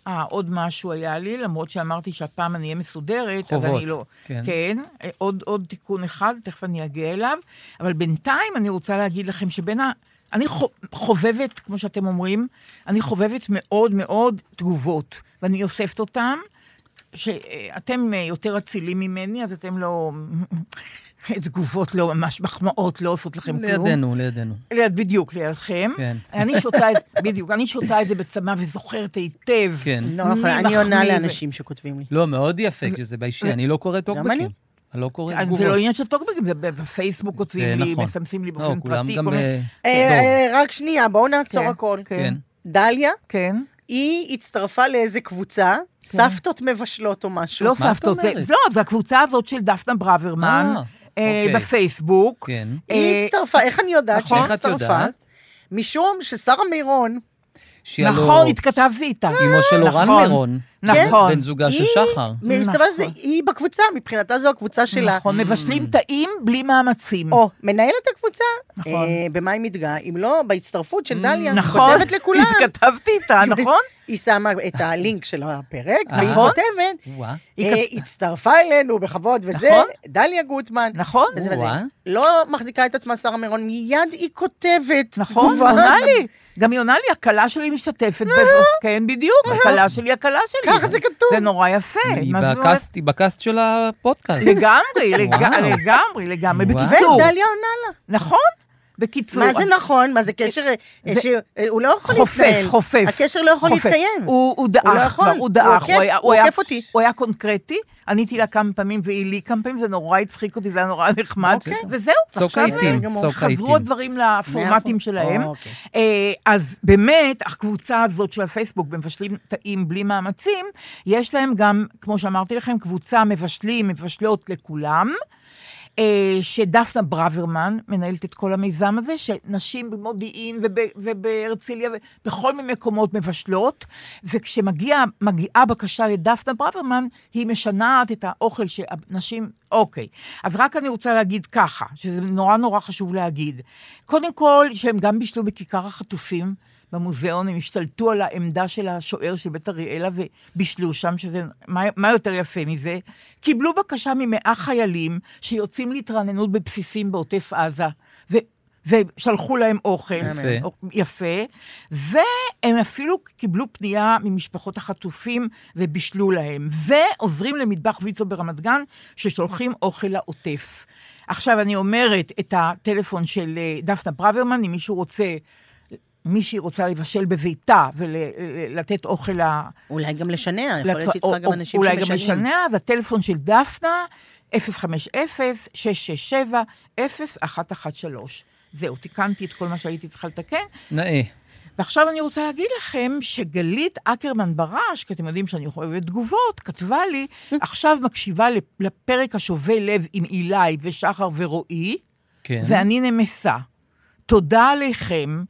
[SPEAKER 3] אה, עוד משהו היה לי, למרות שאמרתי שהפעם אני אהיה מסודרת, אז
[SPEAKER 5] חובות,
[SPEAKER 3] אני לא...
[SPEAKER 5] כן.
[SPEAKER 3] כן, אה, עוד, עוד תיקון אחד, תכף אני אגיע אליו, אבל בינתיים אני רוצה להגיד לכם שבין ה... אני חו- חובבת, כמו שאתם אומרים, אני חובבת מאוד מאוד תגובות, ואני אוספת אותן, שאתם אה, יותר אצילים ממני, אז אתם לא... תגובות לא ממש, מחמאות לא עושות לכם כלום.
[SPEAKER 5] לידינו, לידינו.
[SPEAKER 3] ליד, בדיוק, לידכם.
[SPEAKER 5] כן.
[SPEAKER 3] אני שותה את זה, בדיוק, אני שותה את זה בצמא וזוכרת היטב.
[SPEAKER 5] כן.
[SPEAKER 4] לא,
[SPEAKER 3] מי
[SPEAKER 4] נכון, אני
[SPEAKER 3] מחמיא
[SPEAKER 4] עונה
[SPEAKER 3] ו-
[SPEAKER 4] לאנשים שכותבים לי.
[SPEAKER 5] לא, מאוד יפה כשזה באישי, אני לא קורא טוקבקים.
[SPEAKER 4] אני.
[SPEAKER 5] אני לא קורא
[SPEAKER 3] אז
[SPEAKER 5] תגובות.
[SPEAKER 3] זה לא עניין של טוקבקים, זה בפייסבוק
[SPEAKER 5] זה
[SPEAKER 3] הוציאים לי,
[SPEAKER 5] נכון.
[SPEAKER 3] מסמסים לי
[SPEAKER 5] לא,
[SPEAKER 3] באופן
[SPEAKER 5] כולם
[SPEAKER 3] פרטי.
[SPEAKER 5] גם,
[SPEAKER 3] כל מיני-
[SPEAKER 5] אה,
[SPEAKER 4] אה,
[SPEAKER 5] לא,
[SPEAKER 4] אה, רק שנייה, בואו נעצור
[SPEAKER 3] כן,
[SPEAKER 4] הכל.
[SPEAKER 5] כן.
[SPEAKER 4] דליה,
[SPEAKER 3] כן.
[SPEAKER 4] היא הצטרפה לאיזה קבוצה, סבתות מבשלות או משהו.
[SPEAKER 3] לא
[SPEAKER 5] מה את
[SPEAKER 3] סבתות, זה-
[SPEAKER 5] אומרת?
[SPEAKER 3] לא, זה הקבוצה הזאת של דפנה ברוורמן,
[SPEAKER 5] אה,
[SPEAKER 3] אה,
[SPEAKER 5] אוקיי.
[SPEAKER 3] בפייסבוק.
[SPEAKER 5] כן.
[SPEAKER 4] היא
[SPEAKER 3] אה,
[SPEAKER 4] הצטרפה, איך אני יודעת
[SPEAKER 5] נכון.
[SPEAKER 4] שהיא
[SPEAKER 5] איך את
[SPEAKER 4] הצטרפה?
[SPEAKER 5] יודעת?
[SPEAKER 4] משום ששרה מירון,
[SPEAKER 5] שהיא הלא-
[SPEAKER 3] נכון, התכתבתי איתה.
[SPEAKER 5] אמו של אורן
[SPEAKER 3] נכון,
[SPEAKER 5] מירון.
[SPEAKER 3] נכון.
[SPEAKER 5] בן זוגה של
[SPEAKER 4] היא-
[SPEAKER 5] שחר.
[SPEAKER 4] מסתבר
[SPEAKER 3] נכון.
[SPEAKER 4] שהיא בקבוצה, מבחינתה זו הקבוצה שלה.
[SPEAKER 3] נכון,
[SPEAKER 5] Mm.
[SPEAKER 3] מבשלים טעים בלי מאמצים.
[SPEAKER 4] או, מנהלת הקבוצה,
[SPEAKER 3] נכון.
[SPEAKER 4] אה, במה היא מתגאה? אם לא, בהצטרפות של דליה, היא
[SPEAKER 3] נכון,
[SPEAKER 4] כותבת לכולם.
[SPEAKER 3] התכתבתי איתה, נכון?
[SPEAKER 4] היא שמה את הלינק של הפרק,
[SPEAKER 5] אה.
[SPEAKER 4] והיא כותבת,
[SPEAKER 5] וואה.
[SPEAKER 3] היא
[SPEAKER 4] אה, הצטרפה אלינו בכבוד וזה,
[SPEAKER 3] נכון.
[SPEAKER 4] דליה גוטמן.
[SPEAKER 3] נכון.
[SPEAKER 4] וזה וזה.
[SPEAKER 5] וואה.
[SPEAKER 4] לא מחזיקה את עצמה שרה מירון, מיד היא כותבת.
[SPEAKER 3] נכון,
[SPEAKER 4] תגובה.
[SPEAKER 3] עונה לי. גם היא עונה לי, הכלה שלי משתתפת ב... כן, בדיוק, הכלה שלי, הכלה שלי.
[SPEAKER 4] ככה זה כתוב.
[SPEAKER 3] זה נורא יפה.
[SPEAKER 5] היא
[SPEAKER 3] מה זה נורא
[SPEAKER 5] בקאסט- היא בקאסט של הפודקאסט.
[SPEAKER 3] לגמרי, לג-
[SPEAKER 5] וואו.
[SPEAKER 3] לגמרי, לגמרי.
[SPEAKER 5] וואו.
[SPEAKER 3] בקיצור,
[SPEAKER 4] ודליה עונה לה.
[SPEAKER 3] נכון? בקיצור.
[SPEAKER 4] מה זה נכון? מה זה קשר? אה,
[SPEAKER 3] זה-
[SPEAKER 4] שהוא- אה, הוא לא יכול
[SPEAKER 3] חופף,
[SPEAKER 4] להתנהל.
[SPEAKER 3] חופף.
[SPEAKER 4] הקשר לא יכול
[SPEAKER 3] חופף.
[SPEAKER 4] להתקיים.
[SPEAKER 3] הוא הוא
[SPEAKER 4] הוא לא
[SPEAKER 3] דעך
[SPEAKER 4] יכול.
[SPEAKER 3] כבר, הוא
[SPEAKER 4] הוא
[SPEAKER 3] דעך.
[SPEAKER 4] עוקף,
[SPEAKER 3] היה-
[SPEAKER 4] הוא
[SPEAKER 3] היה-
[SPEAKER 4] עוקף אותי.
[SPEAKER 3] הוא היה קונקרטי, עניתי לה כמה פעמים והיא לי כמה פעמים, זה נורא הצחיק אותי, זה היה נורא נחמד.
[SPEAKER 5] אוקיי.
[SPEAKER 3] וזהו,
[SPEAKER 5] צוק
[SPEAKER 3] עכשיו
[SPEAKER 5] העיתים,
[SPEAKER 4] גמור.
[SPEAKER 5] צוק
[SPEAKER 3] חזרו
[SPEAKER 5] העיתים.
[SPEAKER 3] הדברים לפורמטים
[SPEAKER 4] מאה
[SPEAKER 3] שלהם.
[SPEAKER 4] אוקיי.
[SPEAKER 3] אה, אז באמת, הקבוצה הזאת של הפייסבוק, מבשלים טעים בלי מאמצים, יש להם גם, כמו שאמרתי לכם, קבוצה מבשלים, מבשלות לכולם. אה, שדפנה ברוורמן מנהלת את כל המיזם הזה, שנשים במודיעין וב, ובהרצליה ובכל מיני מקומות מבשלות, וכשמגיעה בקשה לדפנה ברוורמן, היא משנעת את האוכל שהנשים... אוקיי. אז רק אני רוצה להגיד ככה, שזה נורא נורא חשוב להגיד. קודם כל, שהם גם בישלו בכיכר החטופים. במוזיאון, הם השתלטו על העמדה של השוער של בית אריאלה ובישלו שם, שזה, מה, מה יותר יפה מזה? קיבלו בקשה ממאה חיילים שיוצאים להתרעננות בבסיסים בעוטף עזה, ו, ושלחו להם אוכל. אוקיי.
[SPEAKER 5] יפה.
[SPEAKER 3] יפה. והם אפילו קיבלו פנייה ממשפחות החטופים ובישלו להם. ועוזרים למטבח ויצו ברמת גן, ששולחים אוכל לעוטף. עכשיו, אני אומרת את הטלפון של אה, דפנה ברוורמן, אם מישהו רוצה... מישהי רוצה לבשל בביתה ולתת אוכל ל-
[SPEAKER 4] אולי גם לשנע, יכול להיות
[SPEAKER 3] לצ-
[SPEAKER 4] שהיא
[SPEAKER 3] או-
[SPEAKER 4] צריכה גם
[SPEAKER 3] או-
[SPEAKER 4] אנשים
[SPEAKER 3] אולי גם
[SPEAKER 4] שמשנעים.
[SPEAKER 3] משנה, אז הטלפון של דפנה, 050-667-0113. זהו, תיקנתי את כל מה שהייתי צריכה לתקן.
[SPEAKER 5] נאה.
[SPEAKER 3] ועכשיו אני רוצה להגיד לכם שגלית אקרמן ברש, כי אתם יודעים שאני אוהבת תגובות, כתבה לי, עכשיו מקשיבה לפרק השובה לב עם אילי ושחר ורועי,
[SPEAKER 5] כן.
[SPEAKER 3] ואני נמסה. תודה עליכם,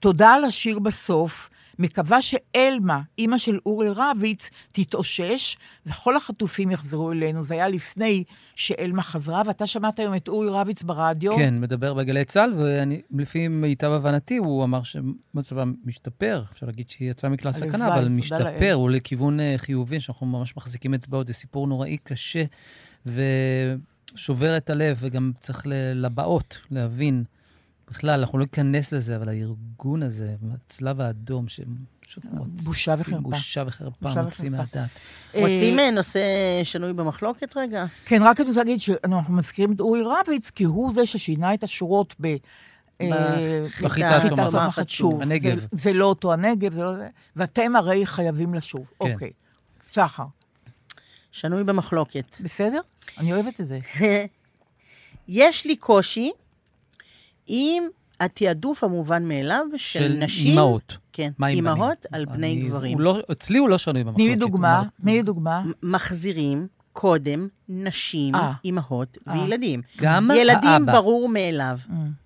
[SPEAKER 3] תודה על השיר בסוף. מקווה שאלמה, אימא של אורי רביץ, תתאושש, וכל החטופים יחזרו אלינו. זה היה לפני שאלמה חזרה, ואתה שמעת היום את אורי רביץ ברדיו.
[SPEAKER 5] כן, מדבר בגלי צה"ל, ולפי מיטב הבנתי, הוא אמר שמצבם משתפר. אפשר להגיד שהיא יצאה מכלל
[SPEAKER 3] הלוואי,
[SPEAKER 5] סכנה, אבל
[SPEAKER 3] תודה
[SPEAKER 5] משתפר,
[SPEAKER 3] לאל.
[SPEAKER 5] הוא לכיוון אה, חיובי, שאנחנו ממש מחזיקים אצבעות. זה סיפור נוראי, קשה, ושובר את הלב, וגם צריך ל- לבאות, להבין. בכלל, אנחנו לא ניכנס לזה, אבל הארגון הזה, הצלב האדום, שפשוט מוציא...
[SPEAKER 3] בושה וחרפה.
[SPEAKER 5] בושה וחרפה,
[SPEAKER 3] בושה
[SPEAKER 5] מוציא
[SPEAKER 3] וחרפה.
[SPEAKER 5] מהדעת.
[SPEAKER 4] רוצים אה, נושא שנוי במחלוקת רגע?
[SPEAKER 3] כן, רק אני רוצה להגיד שאנחנו מזכירים את אורי רביץ, כי הוא זה ששינה את השורות ב... אה,
[SPEAKER 5] בחיטה
[SPEAKER 3] בחיטה
[SPEAKER 5] הצומחת.
[SPEAKER 3] הצומחת שוב.
[SPEAKER 5] הנגב.
[SPEAKER 3] זה- זה לא אותו הנגב, זה לא זה. ואתם הרי חייבים לשוב.
[SPEAKER 5] כן.
[SPEAKER 3] אוקיי. שחר,
[SPEAKER 4] שנוי במחלוקת.
[SPEAKER 3] בסדר? אני אוהבת את זה.
[SPEAKER 4] יש לי קושי עם התעדוף המובן מאליו של,
[SPEAKER 5] של
[SPEAKER 4] נשים...
[SPEAKER 5] אימהות.
[SPEAKER 4] כן,
[SPEAKER 5] מה עם
[SPEAKER 4] אימהות
[SPEAKER 5] בנים?
[SPEAKER 4] על פני
[SPEAKER 5] אני-
[SPEAKER 4] גברים.
[SPEAKER 5] הוא לא- אצלי הוא לא שנוי במחלוקת.
[SPEAKER 3] תני לי דוגמה,
[SPEAKER 5] כלומר,
[SPEAKER 3] תני לי דוגמה.
[SPEAKER 4] מחזירים קודם נשים,
[SPEAKER 3] אה.
[SPEAKER 4] אימהות
[SPEAKER 3] אה.
[SPEAKER 4] וילדים.
[SPEAKER 5] גם
[SPEAKER 4] ילדים
[SPEAKER 5] האבא. אה.
[SPEAKER 4] ברור מאליו.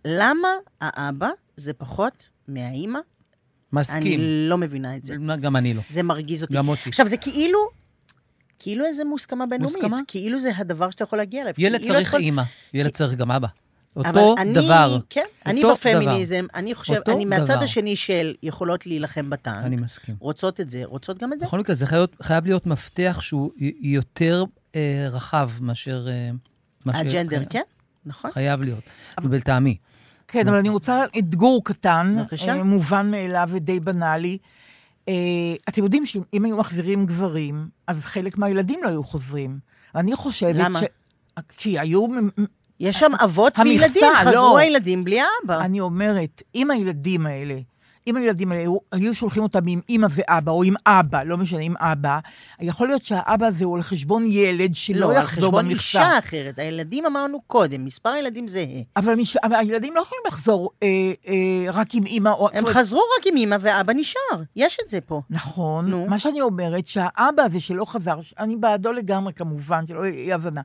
[SPEAKER 4] למה האבא זה פחות מהאימא? אני
[SPEAKER 5] מסכים.
[SPEAKER 4] לא מבינה את זה.
[SPEAKER 5] גם אני לא.
[SPEAKER 4] זה מרגיז אותי.
[SPEAKER 5] גם אותי.
[SPEAKER 4] עכשיו, זה כאילו, כאילו איזה מוסכמה בינלאומית.
[SPEAKER 5] מוסכמה?
[SPEAKER 4] כאילו זה הדבר שאתה יכול להגיע אליו.
[SPEAKER 5] ילד
[SPEAKER 4] כאילו
[SPEAKER 5] צריך
[SPEAKER 4] אתה-
[SPEAKER 5] אימא, ילד
[SPEAKER 4] כי-
[SPEAKER 5] צריך גם אבא.
[SPEAKER 4] אבל
[SPEAKER 5] אותו
[SPEAKER 4] אני-
[SPEAKER 5] דבר.
[SPEAKER 4] כן, אני
[SPEAKER 5] אותו
[SPEAKER 4] בפמיניזם, אני חושב,
[SPEAKER 5] אותו
[SPEAKER 4] אני מהצד
[SPEAKER 5] דבר.
[SPEAKER 4] השני של יכולות להילחם בטנק.
[SPEAKER 5] דבר. אני נכון, מסכים.
[SPEAKER 4] רוצות את זה, רוצות גם את זה.
[SPEAKER 5] בכל מקרה, זה חייב להיות- חייב להיות מפתח שהוא י- יותר אה, רחב מאשר... אה, מה ש-
[SPEAKER 4] הג'נדר,
[SPEAKER 5] חי-
[SPEAKER 4] כן, נכון.
[SPEAKER 5] חייב להיות, לטעמי.
[SPEAKER 3] כן, אבל אני רוצה אתגור קטן,
[SPEAKER 4] בבקשה.
[SPEAKER 3] אה, מובן מאליו ודי בנאלי. אה, אתם יודעים שאם היו מחזירים גברים, אז חלק מהילדים לא היו חוזרים. אני חושבת
[SPEAKER 4] למה?
[SPEAKER 3] ש... כי היו מ-
[SPEAKER 4] יש שם אבות
[SPEAKER 3] המכסה,
[SPEAKER 4] וילדים, חזרו
[SPEAKER 3] לא.
[SPEAKER 4] הילדים בלי האבא.
[SPEAKER 3] אני אומרת, אם הילדים האלה, אם הילדים האלה היו, היו שולחים אותם עם אימא ואבא, או עם אבא, לא משנה, עם אבא, יכול להיות שהאבא הזה הוא על חשבון ילד
[SPEAKER 5] כאילו
[SPEAKER 3] שלא
[SPEAKER 4] לא, על
[SPEAKER 3] יחזור
[SPEAKER 4] חשבון
[SPEAKER 3] במכסה.
[SPEAKER 4] אישה אחרת. הילדים אמרנו קודם, מספר הילדים זהה.
[SPEAKER 3] אבל, המש... אבל הילדים לא יכולים לחזור אה, אה, רק עם אימא או...
[SPEAKER 4] הם חזרו רק עם אמא ואבא נשאר. יש את זה פה.
[SPEAKER 3] נכון.
[SPEAKER 4] נו.
[SPEAKER 3] נו. מה שאני אומרת, שהאבא הזה שלא חזר, ש- אני בעדו לגמרי כמובן, שלא יהיה אי הבנה.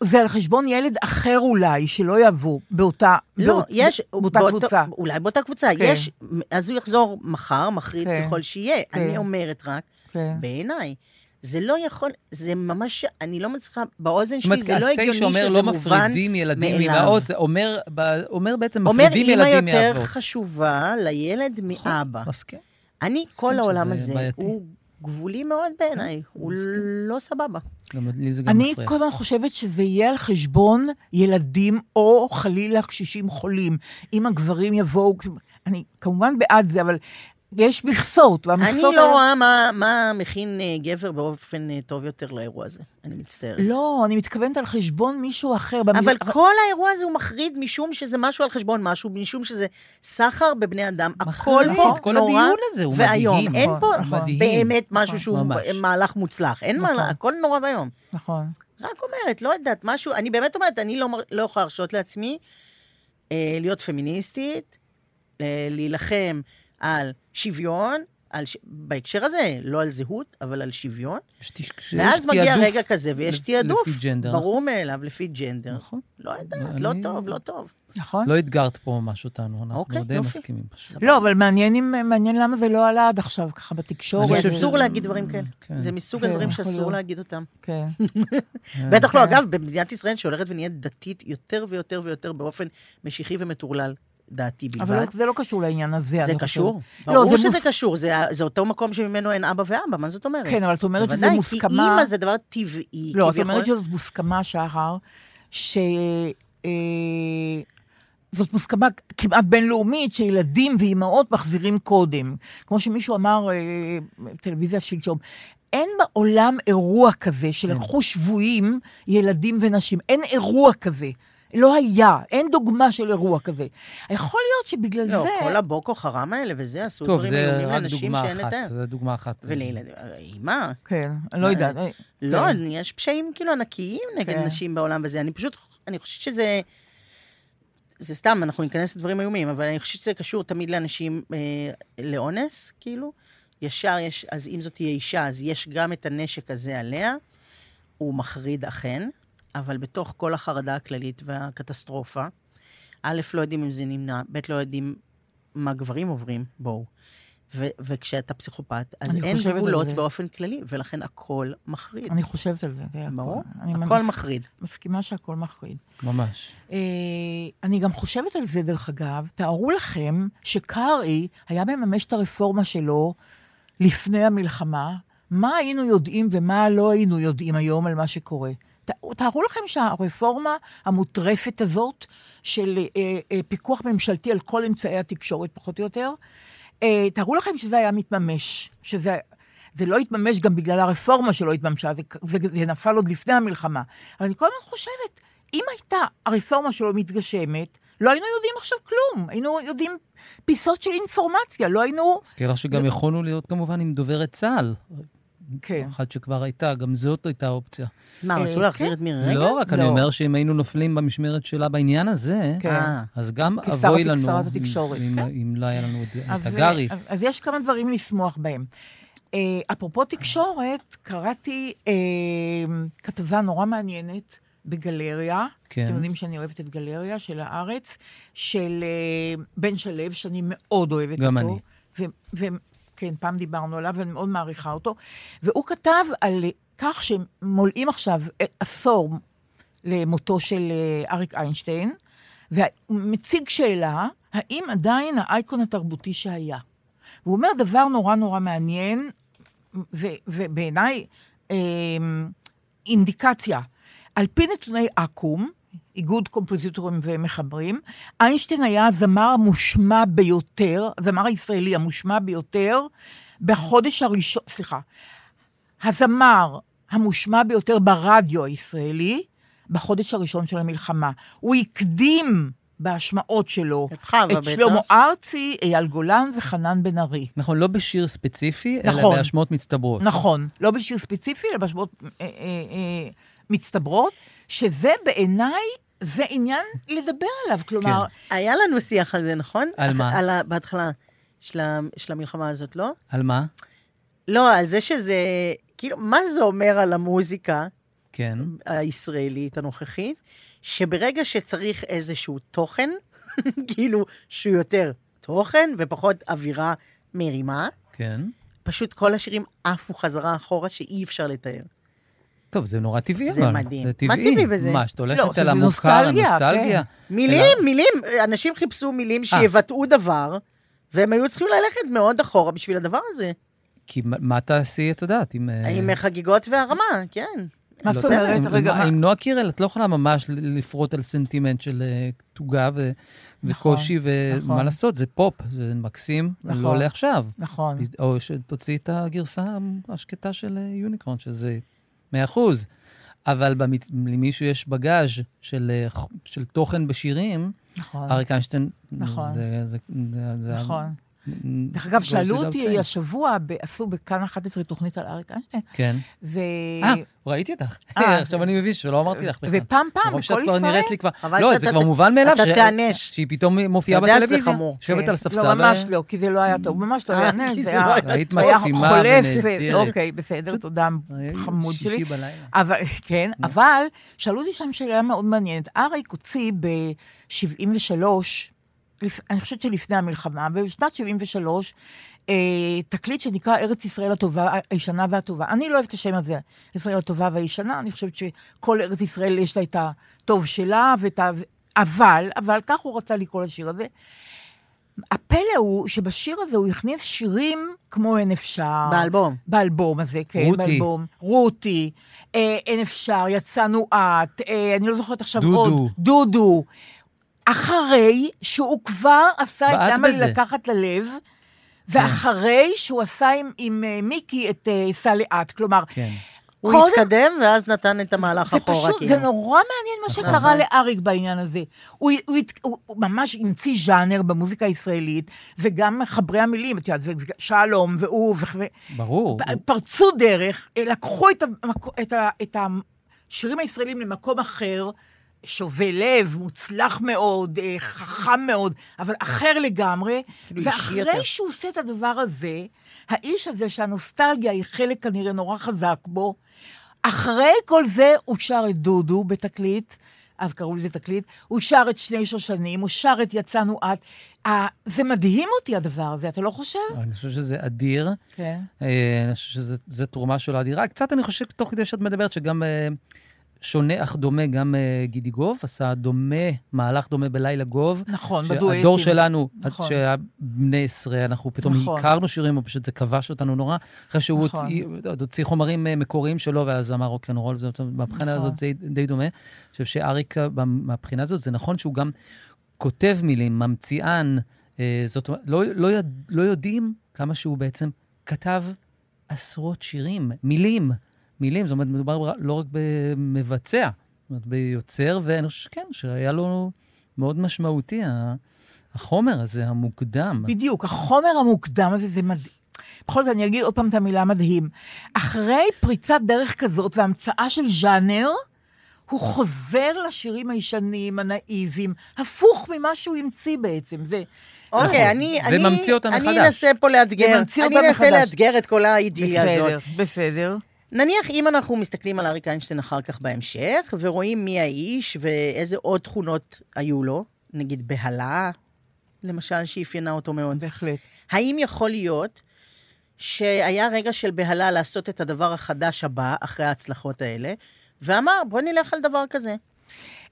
[SPEAKER 3] זה על חשבון ילד אחר אולי, שלא יבוא באותה...
[SPEAKER 4] לא,
[SPEAKER 3] באות-
[SPEAKER 4] יש,
[SPEAKER 3] באותה
[SPEAKER 4] באותו-
[SPEAKER 3] קבוצה.
[SPEAKER 4] אולי באותה קבוצה.
[SPEAKER 3] כן.
[SPEAKER 4] יש, אז הוא יחזור מחר, מחריד
[SPEAKER 3] כן.
[SPEAKER 4] ככל שיהיה.
[SPEAKER 3] כן.
[SPEAKER 4] אני אומרת רק,
[SPEAKER 3] כן.
[SPEAKER 4] בעיניי, זה לא יכול, זה ממש, אני לא מצליחה, באוזן
[SPEAKER 5] זאת אומרת,
[SPEAKER 4] שלי זה לא
[SPEAKER 5] הסייג
[SPEAKER 4] הגיוני
[SPEAKER 5] שאומר
[SPEAKER 4] שזה
[SPEAKER 5] לא
[SPEAKER 4] מובן
[SPEAKER 5] מפרידים ילדים
[SPEAKER 4] מאליו.
[SPEAKER 5] מאמהות, זה אומר ב- אומר בעצם
[SPEAKER 4] אומר,
[SPEAKER 5] מפרידים
[SPEAKER 4] אמא
[SPEAKER 5] ילדים
[SPEAKER 4] יותר
[SPEAKER 5] מאבות. נכון.
[SPEAKER 4] חשובה לילד מאבא.
[SPEAKER 5] מסכים.
[SPEAKER 4] אני,
[SPEAKER 5] מסכים
[SPEAKER 4] כל העולם
[SPEAKER 5] שזה
[SPEAKER 4] הזה,
[SPEAKER 5] בעייתי. כן,
[SPEAKER 4] הוא גבולי מאוד בעיניי, הוא לא סבבה.
[SPEAKER 5] גם לי
[SPEAKER 4] לא
[SPEAKER 5] זה גם
[SPEAKER 3] אני
[SPEAKER 5] מפריע.
[SPEAKER 3] כל הזמן חושבת שזה יהיה על חשבון ילדים או חלילה קשישים חולים. אם הגברים יבואו, אני כמובן בעד זה, אבל יש מכסות,
[SPEAKER 4] אני
[SPEAKER 3] והמכסות...
[SPEAKER 4] לא
[SPEAKER 3] האלה-
[SPEAKER 4] רואה מה- מה מכין אה, גבר באופן אה, טוב יותר לאירוע הזה. אני מצטערת.
[SPEAKER 3] לא, אני מתכוונת על חשבון מישהו אחר.
[SPEAKER 4] אבל
[SPEAKER 3] במ-
[SPEAKER 4] כל האירוע הזה הוא מחריד משום שזה משהו על חשבון משהו, משום שזה סחר בבני אדם. הכל
[SPEAKER 5] מחריד,
[SPEAKER 4] פה
[SPEAKER 5] כל
[SPEAKER 4] נכון, נורא
[SPEAKER 5] הדיון הזה הוא מדהים.
[SPEAKER 4] ואיום. אין פה
[SPEAKER 5] נכון, מדהים.
[SPEAKER 4] באמת משהו שהוא
[SPEAKER 5] ממש.
[SPEAKER 4] מהלך מוצלח. אין
[SPEAKER 3] נכון.
[SPEAKER 4] מהלך, הכל נורא ואיום.
[SPEAKER 3] נכון.
[SPEAKER 4] רק אומרת, לא יודעת, משהו, אני באמת אומרת, אני לא, מר- לא יכולה להרשות לעצמי אה, להיות פמיניסטית, אה, להילחם על שוויון, על ש... בהקשר הזה, לא על זהות, אבל על שוויון.
[SPEAKER 5] יש תיש- כשיש
[SPEAKER 4] ואז מגיע
[SPEAKER 5] תעדוף
[SPEAKER 4] רגע כזה, ויש
[SPEAKER 5] לפ-
[SPEAKER 4] תעדוף.
[SPEAKER 5] לפי ג'נדר.
[SPEAKER 4] ברור מאליו, לפי ג'נדר.
[SPEAKER 5] נכון.
[SPEAKER 4] לא יודעת, לא
[SPEAKER 5] אני-
[SPEAKER 4] טוב, לא טוב.
[SPEAKER 3] נכון.
[SPEAKER 5] לא אתגרת פה ממש אותנו, אנחנו
[SPEAKER 4] אוקיי,
[SPEAKER 5] די
[SPEAKER 4] יופי.
[SPEAKER 5] מסכימים פשוט.
[SPEAKER 3] לא, אבל מעניין אם- מעניין למה זה לא עלה עד עכשיו, ככה בתקשורת.
[SPEAKER 5] אני
[SPEAKER 4] כי
[SPEAKER 5] חושב
[SPEAKER 4] אסור
[SPEAKER 5] שזה-
[SPEAKER 4] להגיד דברים כאלה.
[SPEAKER 5] כן.
[SPEAKER 4] זה מסוג
[SPEAKER 3] כן,
[SPEAKER 4] הדברים
[SPEAKER 3] יכול
[SPEAKER 4] שאסור
[SPEAKER 3] להיות.
[SPEAKER 4] להגיד אותם.
[SPEAKER 3] כן.
[SPEAKER 5] כן.
[SPEAKER 4] בטח לא, אגב, במדינת ישראל שהולכת ונהיית דתית יותר ויותר ויותר באופן משיחי ומטורלל, דעתי
[SPEAKER 3] אבל
[SPEAKER 4] בלבד.
[SPEAKER 3] לא- זה לא קשור לעניין הזה.
[SPEAKER 4] זה
[SPEAKER 3] אני חושבת.
[SPEAKER 4] קשור.
[SPEAKER 3] לא,
[SPEAKER 4] ברור
[SPEAKER 3] זה
[SPEAKER 4] שזה
[SPEAKER 3] מוס-
[SPEAKER 4] קשור, זה- זה אותו מקום שממנו אין אבא ואבא, מה זאת אומרת?
[SPEAKER 3] כן, אבל את אומרת שזה
[SPEAKER 4] בוודאי,
[SPEAKER 3] מוסכמה...
[SPEAKER 4] כי אימא זה דבר טבעי.
[SPEAKER 3] לא, את
[SPEAKER 4] כביכול.
[SPEAKER 3] אומרת שזאת מוסכמה, שחר, ש... אה, זאת מוסכמה כמעט בינלאומית שילדים ואימהות מחזירים קודם. כמו שמישהו אמר, אה, טלוויזיה שלשום, אין בעולם אירוע כזה
[SPEAKER 4] כן.
[SPEAKER 3] שלקחו שבויים ילדים ונשים. אין אירוע כזה. לא היה, אין דוגמה של אירוע כזה. יכול להיות שבגלל
[SPEAKER 4] לא,
[SPEAKER 3] זה...
[SPEAKER 4] כל הבוקו חרם האלה וזה, עשו
[SPEAKER 5] טוב,
[SPEAKER 4] דברים
[SPEAKER 5] זה
[SPEAKER 4] איומים
[SPEAKER 5] רק
[SPEAKER 4] לאנשים
[SPEAKER 5] דוגמה
[SPEAKER 4] שאין
[SPEAKER 5] אחת,
[SPEAKER 4] לתאר.
[SPEAKER 5] זו דוגמה אחת.
[SPEAKER 4] ולילדים, אימה.
[SPEAKER 3] כן, אני לא יודעת. אה,
[SPEAKER 4] לא,
[SPEAKER 3] כן.
[SPEAKER 4] יש פשעים כאילו ענקיים נגד
[SPEAKER 3] כן.
[SPEAKER 4] נשים בעולם וזה. אני פשוט, אני חושבת שזה... זה סתם, אנחנו ניכנס לדברים איומים, אבל אני חושבת שזה קשור תמיד לאנשים, אה, לאונס, כאילו. ישר יש, אז אם זאת תהיה אישה, אז יש גם את הנשק הזה עליה. הוא מחריד אכן, אבל בתוך כל החרדה הכללית והקטסטרופה, א', לא יודעים אם זה נמנע, ב', לא יודעים מה גברים עוברים, בואו. ו- וכשאתה פסיכופת, אז
[SPEAKER 3] אני
[SPEAKER 4] אין
[SPEAKER 3] חושבת על
[SPEAKER 4] גבולות
[SPEAKER 3] זה.
[SPEAKER 4] באופן כללי, ולכן הכל מחריד.
[SPEAKER 3] אני חושבת על זה, זה הכל.
[SPEAKER 4] ברור,
[SPEAKER 3] אני
[SPEAKER 4] הכל
[SPEAKER 3] מס-
[SPEAKER 4] מחריד.
[SPEAKER 3] מסכימה שהכל מחריד.
[SPEAKER 5] ממש.
[SPEAKER 3] אה, אני גם חושבת על זה, דרך אגב. תארו לכם שקרעי היה מממש את הרפורמה שלו לפני המלחמה, מה היינו יודעים ומה לא היינו יודעים היום על מה שקורה. ת- תארו לכם שהרפורמה המוטרפת הזאת של אה, אה, פיקוח ממשלתי על כל אמצעי התקשורת, פחות או יותר, אה, תארו לכם שזה היה מתממש, שזה... זה לא התממש גם בגלל הרפורמה שלא התממשה, זה, זה, זה נפל עוד לפני המלחמה. אבל אני כל הזמן חושבת, אם הייתה הרפורמה שלו מתגשמת, לא היינו יודעים עכשיו כלום. היינו יודעים פיסות של אינפורמציה, לא היינו...
[SPEAKER 5] אזכיר לך שגם יכולנו להיות כמובן עם דוברת צה"ל,
[SPEAKER 3] כן.
[SPEAKER 5] אחת שכבר הייתה, גם זאת הייתה אופציה.
[SPEAKER 4] מה,
[SPEAKER 3] אה,
[SPEAKER 4] רצו
[SPEAKER 3] כן.
[SPEAKER 4] להחזיר את מירי רגב?
[SPEAKER 5] לא רק, אני
[SPEAKER 3] לא.
[SPEAKER 5] אומר שאם היינו נופלים במשמרת שלה בעניין הזה,
[SPEAKER 3] כן.
[SPEAKER 4] אה,
[SPEAKER 5] אז גם
[SPEAKER 3] כשרת-
[SPEAKER 5] אבוי לנו,
[SPEAKER 3] כשרת התקשורת,
[SPEAKER 5] אם-
[SPEAKER 3] כן.
[SPEAKER 5] אם לא היה לנו עוד את
[SPEAKER 3] אז, אה,
[SPEAKER 5] הגרי.
[SPEAKER 3] אז, אז יש כמה דברים לשמוח בהם. אה, אפרופו תקשורת, קראתי אה, כתבה נורא מעניינת בגלריה,
[SPEAKER 5] כן.
[SPEAKER 3] אתם יודעים שאני אוהבת את גלריה של הארץ, של אה, בן שלו, שאני מאוד אוהבת
[SPEAKER 5] גם
[SPEAKER 3] אותו.
[SPEAKER 5] אני.
[SPEAKER 3] ו- ו- כן, פעם דיברנו עליו, ואני מאוד מעריכה אותו. והוא כתב על כך שמולאים עכשיו אה, עשור למותו של אה, אריק איינשטיין, והוא מציג שאלה, האם עדיין האייקון התרבותי שהיה? והוא אומר דבר נורא נורא מעניין, ו- ובעיניי אה, אינדיקציה. על פי נתוני אקו"ם, איגוד קומפוזיטורים ומחברים, איינשטיין היה הזמר המושמע ביותר, הזמר הישראלי המושמע ביותר, בחודש הראשון, סליחה, הזמר המושמע ביותר ברדיו הישראלי בחודש הראשון של המלחמה. הוא הקדים בהשמעות שלו
[SPEAKER 4] את חווה
[SPEAKER 3] את
[SPEAKER 4] בטח.
[SPEAKER 3] שלמה ארצי, אייל גולן וחנן בן ארי.
[SPEAKER 5] נכון, לא בשיר ספציפי, אלא
[SPEAKER 3] נכון.
[SPEAKER 5] בהשמעות מצטברות.
[SPEAKER 3] נכון, לא בשיר ספציפי, אלא בהשמעות אה, אה, אה, מצטברות, שזה בעיניי, זה עניין לדבר עליו. כלומר,
[SPEAKER 5] כן.
[SPEAKER 4] היה לנו שיח על זה, נכון?
[SPEAKER 5] על מה?
[SPEAKER 4] אח- על ה- בהתחלה של ה- של המלחמה הזאת, לא?
[SPEAKER 5] על מה?
[SPEAKER 4] לא, על זה שזה, כאילו, מה זה אומר על המוזיקה
[SPEAKER 5] כן.
[SPEAKER 4] הישראלית הנוכחית? שברגע שצריך איזשהו תוכן, כאילו, שהוא יותר תוכן ופחות אווירה מרימה,
[SPEAKER 5] כן.
[SPEAKER 4] פשוט כל השירים עפו חזרה אחורה שאי אפשר לתאר.
[SPEAKER 5] טוב, זה נורא טבעי,
[SPEAKER 4] זה
[SPEAKER 5] אבל.
[SPEAKER 4] מדהים.
[SPEAKER 5] זה
[SPEAKER 4] מה
[SPEAKER 5] טבעי.
[SPEAKER 4] טבעי בזה?
[SPEAKER 5] מה, שאת הולכת
[SPEAKER 3] לא,
[SPEAKER 5] על
[SPEAKER 3] שזה
[SPEAKER 5] המוכר,
[SPEAKER 3] נוסטלגיה, כן.
[SPEAKER 5] הנוסטלגיה?
[SPEAKER 4] מילים, מילים, אנשים חיפשו
[SPEAKER 3] אה.
[SPEAKER 4] מילים שיבטאו דבר, והם היו צריכים ללכת מאוד אחורה בשביל הדבר הזה.
[SPEAKER 5] כי מה- מה תעשי, את יודעת, אם... אה,
[SPEAKER 4] עם חגיגות והרמה, כן.
[SPEAKER 3] מה
[SPEAKER 5] לא
[SPEAKER 3] זאת אומרת?
[SPEAKER 5] תעשי,
[SPEAKER 3] רגע,
[SPEAKER 5] עם-
[SPEAKER 3] מה-
[SPEAKER 5] עם נועה קירל, את לא יכולה ממש ל- לפרוט על סנטימנט של אה, תוגה ו- וקושי, ומה
[SPEAKER 3] נכון.
[SPEAKER 5] לעשות, זה פופ, זה מקסים, זה לא
[SPEAKER 3] נכון.
[SPEAKER 5] לעכשיו.
[SPEAKER 3] נכון.
[SPEAKER 5] או שתוציא את הגרסה השקטה של אה, יוניקורן, שזה 100%. אבל במצ- למישהו יש בגאז' של, אה, ח- של תוכן בשירים,
[SPEAKER 3] נכון.
[SPEAKER 5] אריק איינשטיין,
[SPEAKER 3] נכון.
[SPEAKER 5] זה, זה, זה, זה,
[SPEAKER 3] נכון.
[SPEAKER 5] נ-
[SPEAKER 3] דרך אגב,
[SPEAKER 5] goes
[SPEAKER 3] שאלו
[SPEAKER 5] without
[SPEAKER 3] אותי
[SPEAKER 5] saying.
[SPEAKER 3] השבוע, ב- עשו בכאן 11 תוכנית על אריק איינשטיין,
[SPEAKER 5] כן.
[SPEAKER 3] ו...
[SPEAKER 5] אה, ראיתי אותך.
[SPEAKER 3] אה.
[SPEAKER 5] עכשיו אני מבין שלא אמרתי לך בכלל.
[SPEAKER 3] ופעם פעם,
[SPEAKER 5] מרוב שאת
[SPEAKER 3] בכל
[SPEAKER 5] כבר
[SPEAKER 3] ישראל...
[SPEAKER 5] נראית לי כבר...
[SPEAKER 4] חבל
[SPEAKER 5] לא,
[SPEAKER 4] שאתה
[SPEAKER 5] זה כבר
[SPEAKER 4] ת-
[SPEAKER 5] מובן מאליו
[SPEAKER 4] אתה
[SPEAKER 5] ש-
[SPEAKER 4] תענש.
[SPEAKER 5] שהיא פתאום מופיעה
[SPEAKER 4] אתה יודע שזה
[SPEAKER 5] בטלוויזיה.
[SPEAKER 4] חמור.
[SPEAKER 5] יושבת
[SPEAKER 3] כן.
[SPEAKER 5] על ספסל.
[SPEAKER 3] לא, ממש
[SPEAKER 5] ו-
[SPEAKER 3] לא, כי זה לא היה טוב, ממש לא
[SPEAKER 4] אה,
[SPEAKER 3] היה
[SPEAKER 4] כי
[SPEAKER 3] נס,
[SPEAKER 4] זה
[SPEAKER 3] זה היה
[SPEAKER 4] לא היה
[SPEAKER 5] היית
[SPEAKER 3] זה היה
[SPEAKER 5] מקסימה
[SPEAKER 3] חולף,
[SPEAKER 5] ונהדרת.
[SPEAKER 3] ו- אוקיי, בסדר, תודה, חמוד שלי.
[SPEAKER 5] שישי בלילה.
[SPEAKER 3] אבל, כן, אבל שאלו אותי שם שאלה מאוד מעניינת. אריק הוציא ב-73, אני חושבת שלפני המלחמה, בשנת 73, אה, תקליט שנקרא ארץ ישראל הטובה, הישנה והטובה. אני לא אוהבת את השם הזה, ישראל הטובה והישנה, אני חושבת שכל ארץ ישראל יש לה את הטוב שלה ואת ה... אבל, אבל כך הוא רצה לקרוא לשיר הזה. הפלא הוא שבשיר הזה הוא הכניס שירים כמו אין אפשר.
[SPEAKER 4] באלבום.
[SPEAKER 3] באלבום הזה, כן,
[SPEAKER 5] רותי.
[SPEAKER 3] באלבום. רותי. אה, אין אפשר, יצאנו את, אה, אני לא זוכרת עכשיו
[SPEAKER 5] דודו.
[SPEAKER 3] עוד. דודו. אחרי שהוא כבר עשה את
[SPEAKER 5] בעט
[SPEAKER 3] למה לי
[SPEAKER 5] בזה. כן.
[SPEAKER 3] לקחת ללב, ואחרי שהוא עשה עם, עם אה, מיקי את אה, סלי את, כלומר,
[SPEAKER 5] כן.
[SPEAKER 4] הוא
[SPEAKER 3] קודם-
[SPEAKER 4] התקדם, ואז נתן את המהלך
[SPEAKER 3] זה
[SPEAKER 4] אחורה.
[SPEAKER 3] פשוט,
[SPEAKER 4] כאילו.
[SPEAKER 3] זה נורא מעניין מה שקרה לאריק בעניין הזה. הוא, הוא, הת- הוא, הוא ממש המציא ז'אנר במוזיקה הישראלית, וגם מחברי המילים, את יודעת, ושלום, והוא, וכו...
[SPEAKER 5] ברור.
[SPEAKER 3] פרצו דרך, אה, לקחו את, המקו, את, ה, את השירים הישראלים למקום אחר, שובה לב, מוצלח מאוד, אה, חכם מאוד, אבל אחר לגמרי.
[SPEAKER 4] כאילו אישי יותר.
[SPEAKER 3] ואחרי שהוא עושה את הדבר הזה, האיש הזה, שהנוסטלגיה היא חלק כנראה נורא חזק בו, אחרי כל זה הוא שר את דודו בתקליט, אז קראו לזה תקליט, הוא שר את שני שושנים, הוא שר את יצאנו את. אה, זה מדהים אותי הדבר הזה, אתה לא חושב?
[SPEAKER 5] אני חושב שזה אדיר.
[SPEAKER 3] כן.
[SPEAKER 5] אה, אני חושב שזו תרומה שלו אדירה. קצת אני חושב, תוך כדי שאת מדברת, שגם אה, שונה אך דומה, גם אה, גידי גוב עשה דומה, מהלך דומה בלילה גוב.
[SPEAKER 3] נכון, בדואטים.
[SPEAKER 5] שהדור שלנו,
[SPEAKER 3] נכון.
[SPEAKER 5] נכון. שהיה בני עשרה, אנחנו פתאום
[SPEAKER 3] נכון.
[SPEAKER 5] נכון. הכרנו שירים, הוא פשוט זה כבש אותנו נורא, אחרי שהוא
[SPEAKER 3] נכון.
[SPEAKER 5] נכון. הוציא, עוד הוציא חומרים אה, מקוריים שלו, ואז אמר רוקנרול, זאת אומרת, מהבחינה
[SPEAKER 3] נכון.
[SPEAKER 5] הזאת זה די דומה. אני חושב שאריק, אה, מהבחינה הזאת, זה נכון שהוא גם כותב מילים, ממציאן, אה, זאת אומרת, לא, לא, יד, לא יודעים כמה שהוא בעצם כתב עשרות שירים, מילים, מילים, זאת אומרת, מדובר בר- לא רק במבצע, זאת אומרת, ביוצר, ואני חושב שכן, שהיה לו מאוד משמעותי ה- החומר הזה, המוקדם.
[SPEAKER 3] בדיוק, החומר המוקדם הזה זה מדהים. בכל זאת, אני אגיד עוד פעם את המילה מדהים. אחרי פריצת דרך כזאת והמצאה של ז'אנר, הוא חוזר לשירים הישנים, הנאיביים, הפוך ממה שהוא המציא בעצם. זה...
[SPEAKER 4] אוקיי,
[SPEAKER 5] נכון.
[SPEAKER 4] אני...
[SPEAKER 5] וממציא
[SPEAKER 4] אני-
[SPEAKER 5] אותה
[SPEAKER 4] אני
[SPEAKER 5] מחדש.
[SPEAKER 4] אנסה פה לאתגר.
[SPEAKER 3] וממציא
[SPEAKER 4] אני
[SPEAKER 3] אותה
[SPEAKER 4] אנסה
[SPEAKER 3] מחדש.
[SPEAKER 4] לאתגר את כל האידיליה הזאת.
[SPEAKER 3] בסדר, בסדר.
[SPEAKER 4] נניח אם אנחנו מסתכלים על אריק איינשטיין אחר כך בהמשך, ורואים מי האיש ואיזה עוד תכונות היו לו, נגיד בהלה, למשל, שאפיינה אותו מאוד.
[SPEAKER 3] בהחלט.
[SPEAKER 4] האם יכול להיות שהיה רגע של בהלה לעשות את הדבר החדש הבא, אחרי ההצלחות האלה, ואמר, בוא נלך על דבר כזה.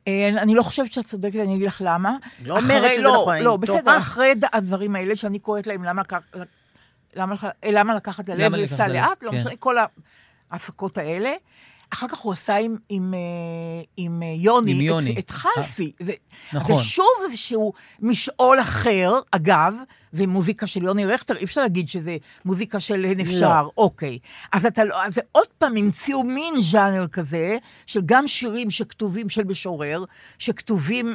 [SPEAKER 3] אה, אני לא חושבת שאת צודקת, אני אגיד לך למה.
[SPEAKER 4] לא אומרת שזה
[SPEAKER 3] לא,
[SPEAKER 4] נכון, אני
[SPEAKER 3] לא,
[SPEAKER 4] טועה.
[SPEAKER 3] בסדר, אחרי ד- הדברים האלה שאני קוראת להם למה לקח- למה לח- אה, למה לקחת ללב
[SPEAKER 5] למה לקחת
[SPEAKER 3] ולסע
[SPEAKER 5] ללב,
[SPEAKER 3] לאט, לא
[SPEAKER 5] כן.
[SPEAKER 3] משנה, כל ההפקות האלה. אחר כך הוא עשה עם, עם, אה, עם אה, יוני,
[SPEAKER 5] עם
[SPEAKER 3] את-
[SPEAKER 5] יוני.
[SPEAKER 3] את חלפי. זה,
[SPEAKER 5] נכון.
[SPEAKER 3] זה שוב איזשהו משעול אחר, אגב, זה מוזיקה של יוני רכטר, אי אפשר להגיד שזה מוזיקה של הן אפשר, אוקיי. אז אתה לא, אז עוד פעם המציאו מין ז'אנר כזה, של גם שירים שכתובים של משורר, שכתובים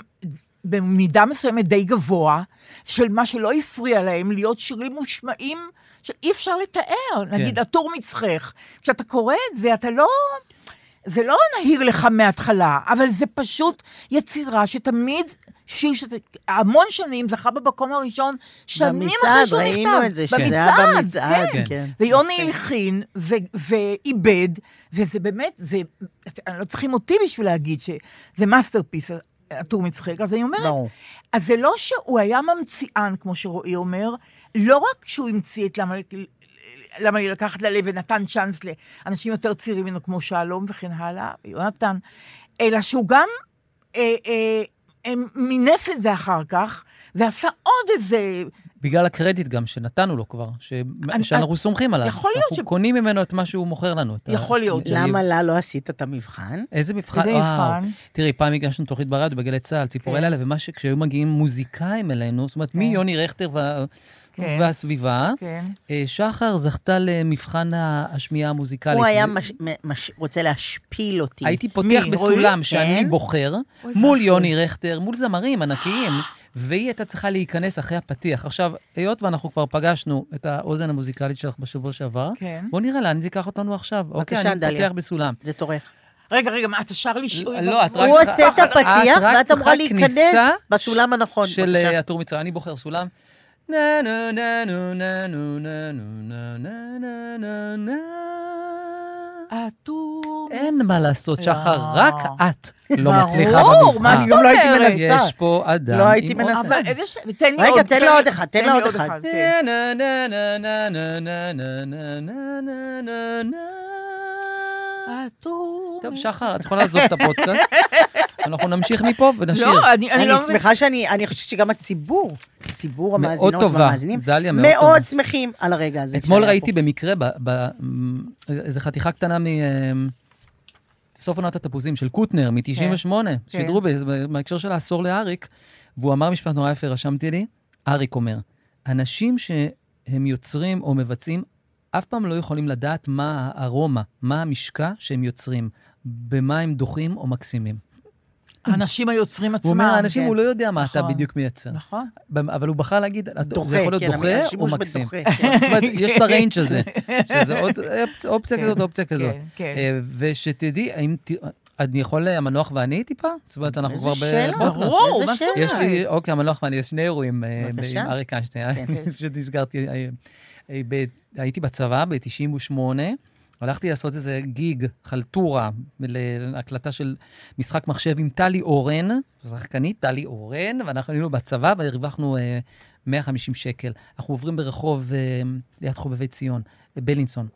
[SPEAKER 3] במידה מסוימת די גבוה, של מה שלא הפריע להם להיות שירים מושמעים שאי אפשר לתאר. נגיד, עטור מצחך. כשאתה קורא את זה, אתה לא... זה לא נהיר לך מההתחלה, אבל זה פשוט יצירה שתמיד, שיר שהמון שנים זכה במקום הראשון, שנים אחרי
[SPEAKER 4] במצעד,
[SPEAKER 3] שהוא נכתב.
[SPEAKER 4] ראינו את זה, שזה היה במצעד, כן.
[SPEAKER 3] ויוני הלחין ו- ואיבד, וזה באמת, זה, את- לא צריכים אותי בשביל להגיד שזה מאסטרפיס, הטור מצחיק, אז אני אומרת,
[SPEAKER 4] ברור.
[SPEAKER 3] אז זה לא שהוא היה ממציאן, כמו שרועי אומר, לא רק שהוא המציא את למה... למה לי לקחת ללב ונתן צ'אנס לאנשים יותר צעירים ממנו, כמו שלום וכן הלאה, יונתן, אלא שהוא גם אה, אה, אה, מינף את זה אחר כך, ועשה עוד איזה
[SPEAKER 5] בגלל הקרדיט גם שנתנו לו כבר, ש...
[SPEAKER 3] אני-
[SPEAKER 5] שאנחנו סומכים עליו.
[SPEAKER 3] יכול להיות
[SPEAKER 5] אנחנו
[SPEAKER 3] ש-
[SPEAKER 5] קונים ממנו את מה שהוא מוכר לנו. את ה-
[SPEAKER 3] יכול להיות.
[SPEAKER 5] אני-
[SPEAKER 4] למה לה לא עשית את המבחן?
[SPEAKER 5] איזה מבחן,
[SPEAKER 3] איזה
[SPEAKER 5] וואו.
[SPEAKER 3] מבחן?
[SPEAKER 5] תראי, פעם הגשנו תוכנית ברדיו בגלי צה"ל, ציפורי
[SPEAKER 3] כן.
[SPEAKER 5] לילה, ומה שכשהיו מגיעים מוזיקאים אלינו, זאת אומרת, מיוני רכטר וה-
[SPEAKER 3] כן.
[SPEAKER 5] והסביבה,
[SPEAKER 3] כן.
[SPEAKER 5] אה, שחר זכתה למבחן ה- השמיעה המוזיקלית.
[SPEAKER 4] הוא היה
[SPEAKER 5] ו-
[SPEAKER 4] מש- מ- מש- רוצה להשפיל אותי.
[SPEAKER 5] הייתי פותח
[SPEAKER 3] מי?
[SPEAKER 5] בסולם
[SPEAKER 3] רועי?
[SPEAKER 5] שאני
[SPEAKER 4] כן.
[SPEAKER 5] בוחר,
[SPEAKER 3] אוי
[SPEAKER 5] מול
[SPEAKER 3] ואבוי.
[SPEAKER 5] יוני רכטר, מול זמרים ענקיים, והיא הייתה צריכה להיכנס אחרי הפתיח. עכשיו, היות ואנחנו כבר פגשנו את האוזן המוזיקלית שלך בשבוע שעבר,
[SPEAKER 3] כן.
[SPEAKER 5] בוא נראה לאן זה ייקח אותנו עכשיו.
[SPEAKER 4] בבקשה,
[SPEAKER 5] אוקיי, אני
[SPEAKER 4] דליה.
[SPEAKER 5] פותח בסולם.
[SPEAKER 4] זה טורח.
[SPEAKER 3] רגע, רגע, מה, אתה שר לי שיר?
[SPEAKER 5] לא, את רק-
[SPEAKER 4] הוא עושה את הפתיח,
[SPEAKER 5] את רק
[SPEAKER 4] ואת אמורה
[SPEAKER 5] צריכה
[SPEAKER 4] להיכנס
[SPEAKER 5] כניסה
[SPEAKER 4] בסולם הנכון.
[SPEAKER 5] של
[SPEAKER 4] בבקשה.
[SPEAKER 5] אה, הטור מצרים. אני בוחר סולם. נה נה נה נה נה נה נה נה נה נה נה נה
[SPEAKER 3] הטור.
[SPEAKER 5] אין מה לעשות, שחר,
[SPEAKER 3] לא.
[SPEAKER 5] רק את לא מצליחה
[SPEAKER 3] ברור,
[SPEAKER 5] במבחן.
[SPEAKER 3] מה זאת
[SPEAKER 4] גם לא הייתי
[SPEAKER 3] אומרת?
[SPEAKER 4] מנסה.
[SPEAKER 5] יש פה אדם
[SPEAKER 4] לא הייתי
[SPEAKER 5] עם
[SPEAKER 4] מנסה.
[SPEAKER 5] אוזן.
[SPEAKER 3] אבל איזה ש... תן לי
[SPEAKER 4] רגע,
[SPEAKER 3] עוד.
[SPEAKER 4] תן לו
[SPEAKER 3] לי-
[SPEAKER 4] עוד אחד, תן לו עוד אחד.
[SPEAKER 3] כן.
[SPEAKER 5] נה נה נה נה נה נה נה נה נה נה נה נה
[SPEAKER 3] הטור.
[SPEAKER 5] טוב, שחר, את יכולה לעזוב את הפודקאסט. אנחנו נמשיך מפה ונשאיר.
[SPEAKER 3] לא, אני אני
[SPEAKER 4] אני
[SPEAKER 3] לא...
[SPEAKER 4] שמחה שאני, אני חושבת שגם הציבור, ציבור
[SPEAKER 5] מאוד
[SPEAKER 4] המאזינות
[SPEAKER 5] טובה,
[SPEAKER 4] והמאזינים,
[SPEAKER 5] דליה, מאוד
[SPEAKER 4] מאוד
[SPEAKER 5] טובה.
[SPEAKER 4] שמחים על הרגע הזה. כן,
[SPEAKER 5] אתמול
[SPEAKER 4] שהיה
[SPEAKER 5] ראיתי
[SPEAKER 4] פה.
[SPEAKER 5] במקרה, ב- ב- מ- איזה חתיכה קטנה מ... אה,
[SPEAKER 4] כן.
[SPEAKER 5] סוף עונת התפוזים של קוטנר, מ-98, שידרו ב- בהקשר של העשור לאריק, והוא אמר משפט נורא יפה, רשמתי לי, אריק אומר, אנשים שהם יוצרים או מבצעים, אף פעם לא יכולים לדעת מה הארומה, מה המשקע שהם יוצרים, במה הם דוחים או מקסימים.
[SPEAKER 3] האנשים היוצרים עצמם.
[SPEAKER 5] הוא אומר, האנשים,
[SPEAKER 3] כן.
[SPEAKER 5] הוא לא יודע מה אתה
[SPEAKER 3] נכון.
[SPEAKER 5] בדיוק מייצר.
[SPEAKER 3] נכון.
[SPEAKER 5] אבל הוא בחר להגיד,
[SPEAKER 4] דוחה,
[SPEAKER 5] זה יכול להיות
[SPEAKER 4] כן, המילה-
[SPEAKER 5] דוחה או
[SPEAKER 4] השימוש
[SPEAKER 5] מקסים.
[SPEAKER 4] בדוחה, כן.
[SPEAKER 5] זאת אומרת, יש את הריינג' הזה, שזה עוד אופצ- אופציה
[SPEAKER 3] כן,
[SPEAKER 5] כזאת, אופציה כזאת.
[SPEAKER 3] כן.
[SPEAKER 5] אה, ושתדעי, האם ת... אני יכול, אה, המנוח ואני טיפה? זאת אומרת, אנחנו כבר
[SPEAKER 4] שאלה?
[SPEAKER 5] בפודקאסט.
[SPEAKER 3] ברור,
[SPEAKER 4] איזה
[SPEAKER 3] מה זאת
[SPEAKER 4] שאלה?
[SPEAKER 5] יש לי, אוקיי, המנוח ואני, יש שני אירועים אה, ב-
[SPEAKER 4] כן. בבקשה.
[SPEAKER 5] עם אריק איינשטיין. אני פשוט נזכרתי, אה, אה, ב- הייתי בצבא ב-98, הלכתי לעשות איזה גיג, חלטורה, להקלטה של משחק מחשב עם טלי אורן, שחקנית טלי אורן, ואנחנו היינו בצבא והרווחנו אה, 150 שקל. אנחנו עוברים ברחוב אה, ליד חובבי ציון, אה, בלינסון,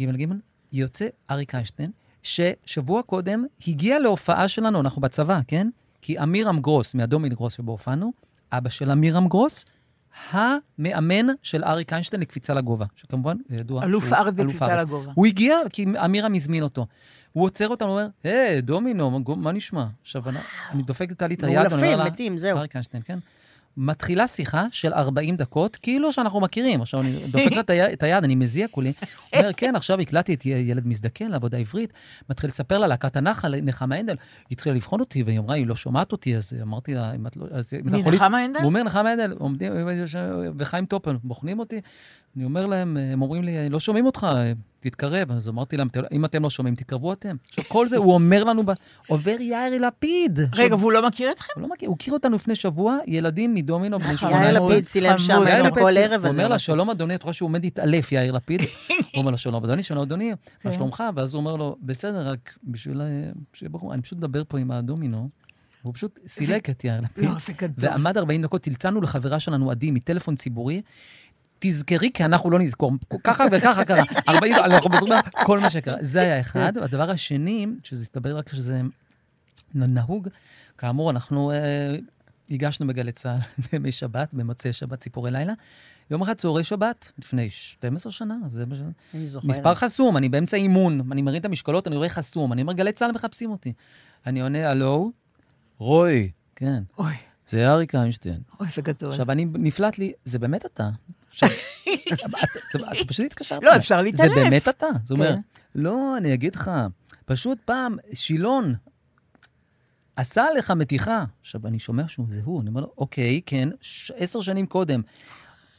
[SPEAKER 5] ג' ג', יוצא אריק איינשטיין, ששבוע קודם הגיע להופעה שלנו, אנחנו בצבא, כן? כי אמירם גרוס, מהדומיל גרוס שבו הופענו, אבא של אמירם גרוס, המאמן של אריק איינשטיין לקפיצה לגובה, שכמובן, זה ידוע.
[SPEAKER 3] אלוף
[SPEAKER 5] הוא
[SPEAKER 3] הארץ בקפיצה לגובה.
[SPEAKER 5] הוא הגיע, כי אמירם הזמין אותו. הוא עוצר אותנו, אומר, היי, דומינו, מה- מה נשמע? עכשיו, אני- אני דופק את טלי את היד, אני
[SPEAKER 4] מאולפים,
[SPEAKER 5] אומר לה,
[SPEAKER 4] מתים, זהו.
[SPEAKER 5] אריק איינשטיין, כן? מתחילה שיחה של 40 דקות, כאילו שאנחנו מכירים. עכשיו, אני דופק לה את היד- את היד, אני מזיע כולי. אומר, כן, עכשיו הקלטתי את י- ילד מזדקן לעבודה עברית. מתחיל לספר לה, להקת הנחל, נחמה הנדל. היא התחילה לבחון אותי, והיא אמרה, היא לא שומעת אותי, אז אמרתי לה, אם את לא... אז אם אתה יכול... לי-"
[SPEAKER 3] מנחמה הנדל?
[SPEAKER 5] הוא אומר, נחמה הנדל, עומדים, וחיים טופן, בוחנים אותי. אני אומר להם, הם אומרים לי, לא שומעים אותך, תתקרב. אז אמרתי להם, "אתם- אם אתם לא שומעים, תתקרבו אתם. עכשיו, כל זה, הוא אומר לנו, ב- עובר יאיר לפיד.
[SPEAKER 3] רגע, והוא לא מכיר אתכם?
[SPEAKER 5] הוא לא מכיר, הוא הכיר אותנו לפני שבוע, ילדים מדומינו בני
[SPEAKER 3] נכון.
[SPEAKER 5] 18.
[SPEAKER 4] יאיר לפיד צילם
[SPEAKER 3] חמוד.
[SPEAKER 4] שם
[SPEAKER 3] יאיר
[SPEAKER 4] היום
[SPEAKER 3] לפיד
[SPEAKER 4] כל
[SPEAKER 3] צילם.
[SPEAKER 4] ערב.
[SPEAKER 5] הוא
[SPEAKER 4] אז
[SPEAKER 5] אומר
[SPEAKER 4] זה
[SPEAKER 5] לה, שלום אדוני, את רואה שהוא עומד להתעלף, יאיר לפיד. הוא אומר לו, שלום אדוני, שלום אדוני,
[SPEAKER 4] כן.
[SPEAKER 5] מה שלומך? ואז הוא אומר לו, בסדר, רק בשביל... אה, שיהיה ברור, אני פשוט מדבר פה עם הדומינו. הוא פשוט סילק את יאיר לפיד.
[SPEAKER 3] לא, זה גדול.
[SPEAKER 5] ועמד 40 דקות, צלצלנו לחברה שלנו, עדי, מטלפון ציבורי. תזכרי, כי אנחנו לא נזכור. ככה וככה קרה. 40, אנחנו בזמן, כל מה שקרה. זה היה אחד. והדבר השני, שזה הסתבר רק שזה נהוג, כאמור, אנחנו אה, הגשנו בגלי צה"ל בימי שבת, במוצאי שבת, ציפורי לילה. יום אחד צהרי שבת, לפני 12 שנה, זה מה ש...
[SPEAKER 4] אני זוכרת.
[SPEAKER 5] מספר חסום, אני באמצע אימון, אני מרים את המשקולות, אני רואה חסום, אני אומר, גלי צה"ל מחפשים אותי. אני עונה, הלו? רועי. כן.
[SPEAKER 3] אוי,
[SPEAKER 5] זה אריק איינשטיין.
[SPEAKER 3] אוי, זה גדול.
[SPEAKER 5] עכשיו, אני, נפלט לי, זה באמת אתה. עכשיו, את- את- את פשוט התקשרת.
[SPEAKER 3] לא, אפשר להתעלף.
[SPEAKER 5] זה באמת אתה. זה אומר,
[SPEAKER 3] כן.
[SPEAKER 5] לא, אני אגיד לך, פשוט פעם, שילון עשה עליך מתיחה. עכשיו, אני שומע שהוא, זה הוא, אני אומר לו, אוקיי, כן, ש- עשר שנים קודם.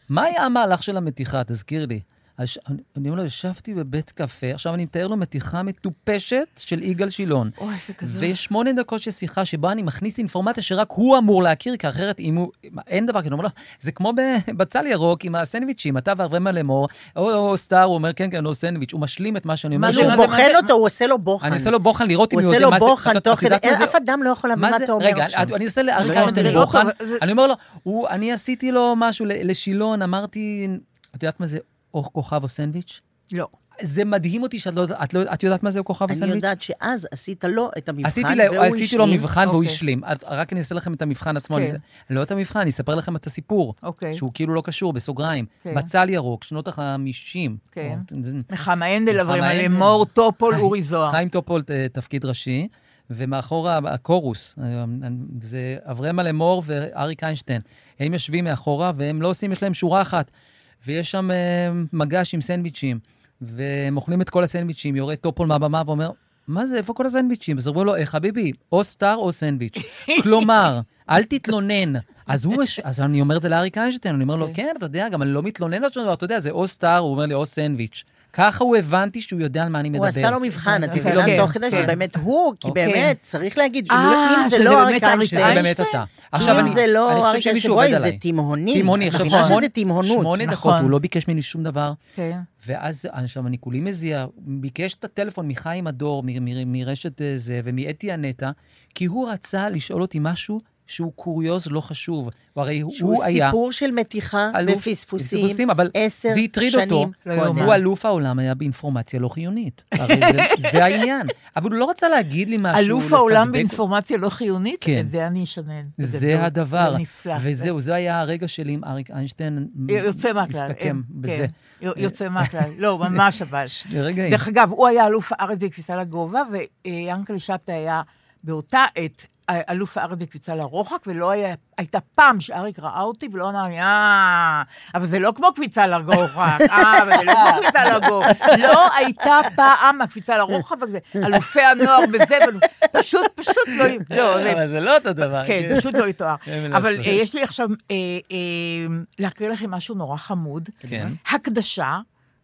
[SPEAKER 5] מה היה המהלך של המתיחה? תזכיר לי. אז ש- אני- אני אומר לו, ישבתי בבית קפה, עכשיו אני מתאר לו מתיחה מטופשת של יגאל שילון.
[SPEAKER 3] אוי, זה גדול.
[SPEAKER 5] ויש שמונה דקות של שיחה שבה אני מכניס אינפורמציה שרק הוא אמור להכיר, כי אחרת אם הוא... אין דבר כזה, הוא אומר לו, זה כמו ב- בצל ירוק עם הסנדוויצ'ים, אתה ואברמה לאמור, או, או סטאר, הוא אומר, כן, כן, נו, סנדוויץ', הוא משלים את מה שאני אומר.
[SPEAKER 3] מה
[SPEAKER 5] שהוא-
[SPEAKER 3] זה
[SPEAKER 4] הוא
[SPEAKER 3] מה זה-
[SPEAKER 4] בוחן אותו, הוא עושה לו לא, בוחן.
[SPEAKER 5] אני עושה לו בוחן לראות אם
[SPEAKER 4] הוא
[SPEAKER 5] הוא
[SPEAKER 4] עושה
[SPEAKER 5] יודע
[SPEAKER 4] לו
[SPEAKER 5] מה זה...
[SPEAKER 4] בוחן
[SPEAKER 5] את- את
[SPEAKER 4] תוך כדי,
[SPEAKER 5] יודעת מה זה-
[SPEAKER 4] אף אדם לא יכול להבין מה אתה אומר
[SPEAKER 5] רגע,
[SPEAKER 4] עכשיו.
[SPEAKER 5] אני- אני עושה לאריק
[SPEAKER 3] לא, זה
[SPEAKER 5] איינשטיין
[SPEAKER 3] לא
[SPEAKER 5] בוחן,
[SPEAKER 3] טוב, זה-
[SPEAKER 5] אני אומר לו, "הוא- אני עשיתי לו משהו ל- לשילון, אמרתי, את יודעת מה זה אור כוכב או סנדוויץ'?
[SPEAKER 3] לא.
[SPEAKER 5] זה מדהים אותי שאת לא, את לא, את יודעת מה זה אור כוכב או
[SPEAKER 4] אני
[SPEAKER 5] סנדוויץ'?
[SPEAKER 4] יודעת שאז עשית לו את המבחן,
[SPEAKER 5] עשיתי, לה,
[SPEAKER 4] והוא
[SPEAKER 5] עשיתי לו
[SPEAKER 4] השלים.
[SPEAKER 5] מבחן והוא
[SPEAKER 3] אוקיי.
[SPEAKER 5] השלים. את- רק אני אעשה לכם את המבחן עצמו. אני
[SPEAKER 3] כן.
[SPEAKER 5] זה- לא את המבחן, אני אספר לכם את הסיפור.
[SPEAKER 3] אוקיי.
[SPEAKER 5] שהוא כאילו לא קשור, בסוגריים.
[SPEAKER 3] כן.
[SPEAKER 5] בצל ירוק, שנות ה-50.
[SPEAKER 3] כן. נחמה הנדל,
[SPEAKER 5] נחמה
[SPEAKER 3] אברהם
[SPEAKER 5] הנדל.
[SPEAKER 3] לימור, טופול, אורי זוהר.
[SPEAKER 5] חיים טופול, ת- תפקיד ראשי, ומאחורה הקורוס, אה, זה אברמה לאמור ואריק איינשטיין. הם יושבים מאחורה, והם לא עושים, יש להם שורה אחת. ויש שם אה, מגש עם סנדוויצ'ים, והם אוכלים את כל הסנדוויצ'ים, יורד טופול מהבמה ואומר, מה זה, איפה כל הסנדוויצ'ים? אז אמרו לו, "אה, חביבי, או סטאר או סנדוויץ'. כלומר, אל תתלונן. אז, הוא מש... אז אני אומר את זה לאריק איינשטיין, אני אומר לו, כן, אתה יודע, גם אני לא מתלונן על שום דבר, אתה יודע, זה או סטאר, הוא אומר לי, או סנדוויץ'. ככה הוא הבנתי שהוא יודע על מה אני מדבר.
[SPEAKER 4] הוא עשה לו מבחן, אז היא
[SPEAKER 3] כן,
[SPEAKER 4] מבינה
[SPEAKER 3] כן,
[SPEAKER 4] תוך כדי שזה
[SPEAKER 3] כן.
[SPEAKER 4] באמת הוא, כי
[SPEAKER 5] אוקיי.
[SPEAKER 4] באמת, צריך להגיד, שאם
[SPEAKER 3] אה,
[SPEAKER 4] אם זה
[SPEAKER 3] שזה
[SPEAKER 4] לא
[SPEAKER 3] באמת
[SPEAKER 4] אריק
[SPEAKER 3] אריק
[SPEAKER 5] שזה
[SPEAKER 4] איינשטיין,
[SPEAKER 5] באמת
[SPEAKER 3] איינשטיין?
[SPEAKER 5] אתה.
[SPEAKER 4] אם
[SPEAKER 5] אני-
[SPEAKER 4] זה
[SPEAKER 5] אני
[SPEAKER 4] לא
[SPEAKER 5] חושב
[SPEAKER 4] אריק
[SPEAKER 5] שמישהו
[SPEAKER 4] איינשטיין,
[SPEAKER 5] עובד
[SPEAKER 4] בואי, זה
[SPEAKER 5] עליי.
[SPEAKER 4] תימהונים.
[SPEAKER 5] תימהוני,
[SPEAKER 4] אני
[SPEAKER 5] עכשיו
[SPEAKER 4] מבינה
[SPEAKER 5] שמונה-
[SPEAKER 4] שזה תימהונות.
[SPEAKER 5] שמונה דקות,
[SPEAKER 3] נכון.
[SPEAKER 5] הוא לא ביקש ממני שום דבר.
[SPEAKER 3] כן.
[SPEAKER 5] ואז, עכשיו, אני כולי מזיע, ביקש את הטלפון מחיים הדור, מ- מ- מרשת אה, זה, ומאתי הנטע, כי הוא רצה לשאול אותי משהו שהוא קוריוז לא חשוב. הרי
[SPEAKER 4] שהוא
[SPEAKER 5] הוא היה...
[SPEAKER 4] סיפור של מתיחה
[SPEAKER 5] אלוף-
[SPEAKER 4] בפספוסים,
[SPEAKER 5] פספוסים, אבל
[SPEAKER 4] עשר
[SPEAKER 5] זה הטריד אותו.
[SPEAKER 4] שנים
[SPEAKER 3] לא
[SPEAKER 4] קודם.
[SPEAKER 3] יאומן.
[SPEAKER 5] הוא אלוף העולם היה באינפורמציה לא חיונית. הרי זה- זה העניין. אבל הוא לא רצה להגיד לי משהו.
[SPEAKER 3] אלוף העולם
[SPEAKER 5] לפנדק-
[SPEAKER 3] באינפורמציה לא חיונית?
[SPEAKER 5] כן.
[SPEAKER 3] את זה אני אשנן. גדול,
[SPEAKER 5] זה הדבר.
[SPEAKER 3] זה נפלא.
[SPEAKER 5] וזהו, זה היה הרגע שלי עם אריק איינשטיין.
[SPEAKER 3] יוצא מהכלל.
[SPEAKER 5] מסתכם
[SPEAKER 3] אין,
[SPEAKER 5] בזה.
[SPEAKER 3] כן, י- יוצא מהכלל. לא, ממש אבל.
[SPEAKER 5] רגעים.
[SPEAKER 3] דרך אגב, הוא היה אלוף הארץ בקפיצה לגובה, ויאנקל'ה שבתאי היה באותה עת ה- אלוף הארץ בקפיצה לרוחק, ולא היה, הייתה פעם שאריק ראה אותי ולא אמר לי, אה, אבל זה לא כמו קפיצה לרוחק, אה, אבל זה לא כמו קפיצה לרוחק. לא הייתה פעם הקפיצה לרוחק, וזה אלופי הנוער בזה, ואלופ- פשוט, פשוט לא, לא, זה
[SPEAKER 5] אבל זה לא אותו דבר.
[SPEAKER 3] כן, פשוט לא יתואר.
[SPEAKER 5] אין מה
[SPEAKER 3] אבל
[SPEAKER 5] לעשות.
[SPEAKER 3] אה, יש לי עכשיו אה, אה, להקריא לכם משהו נורא חמוד.
[SPEAKER 5] כן.
[SPEAKER 3] הקדשה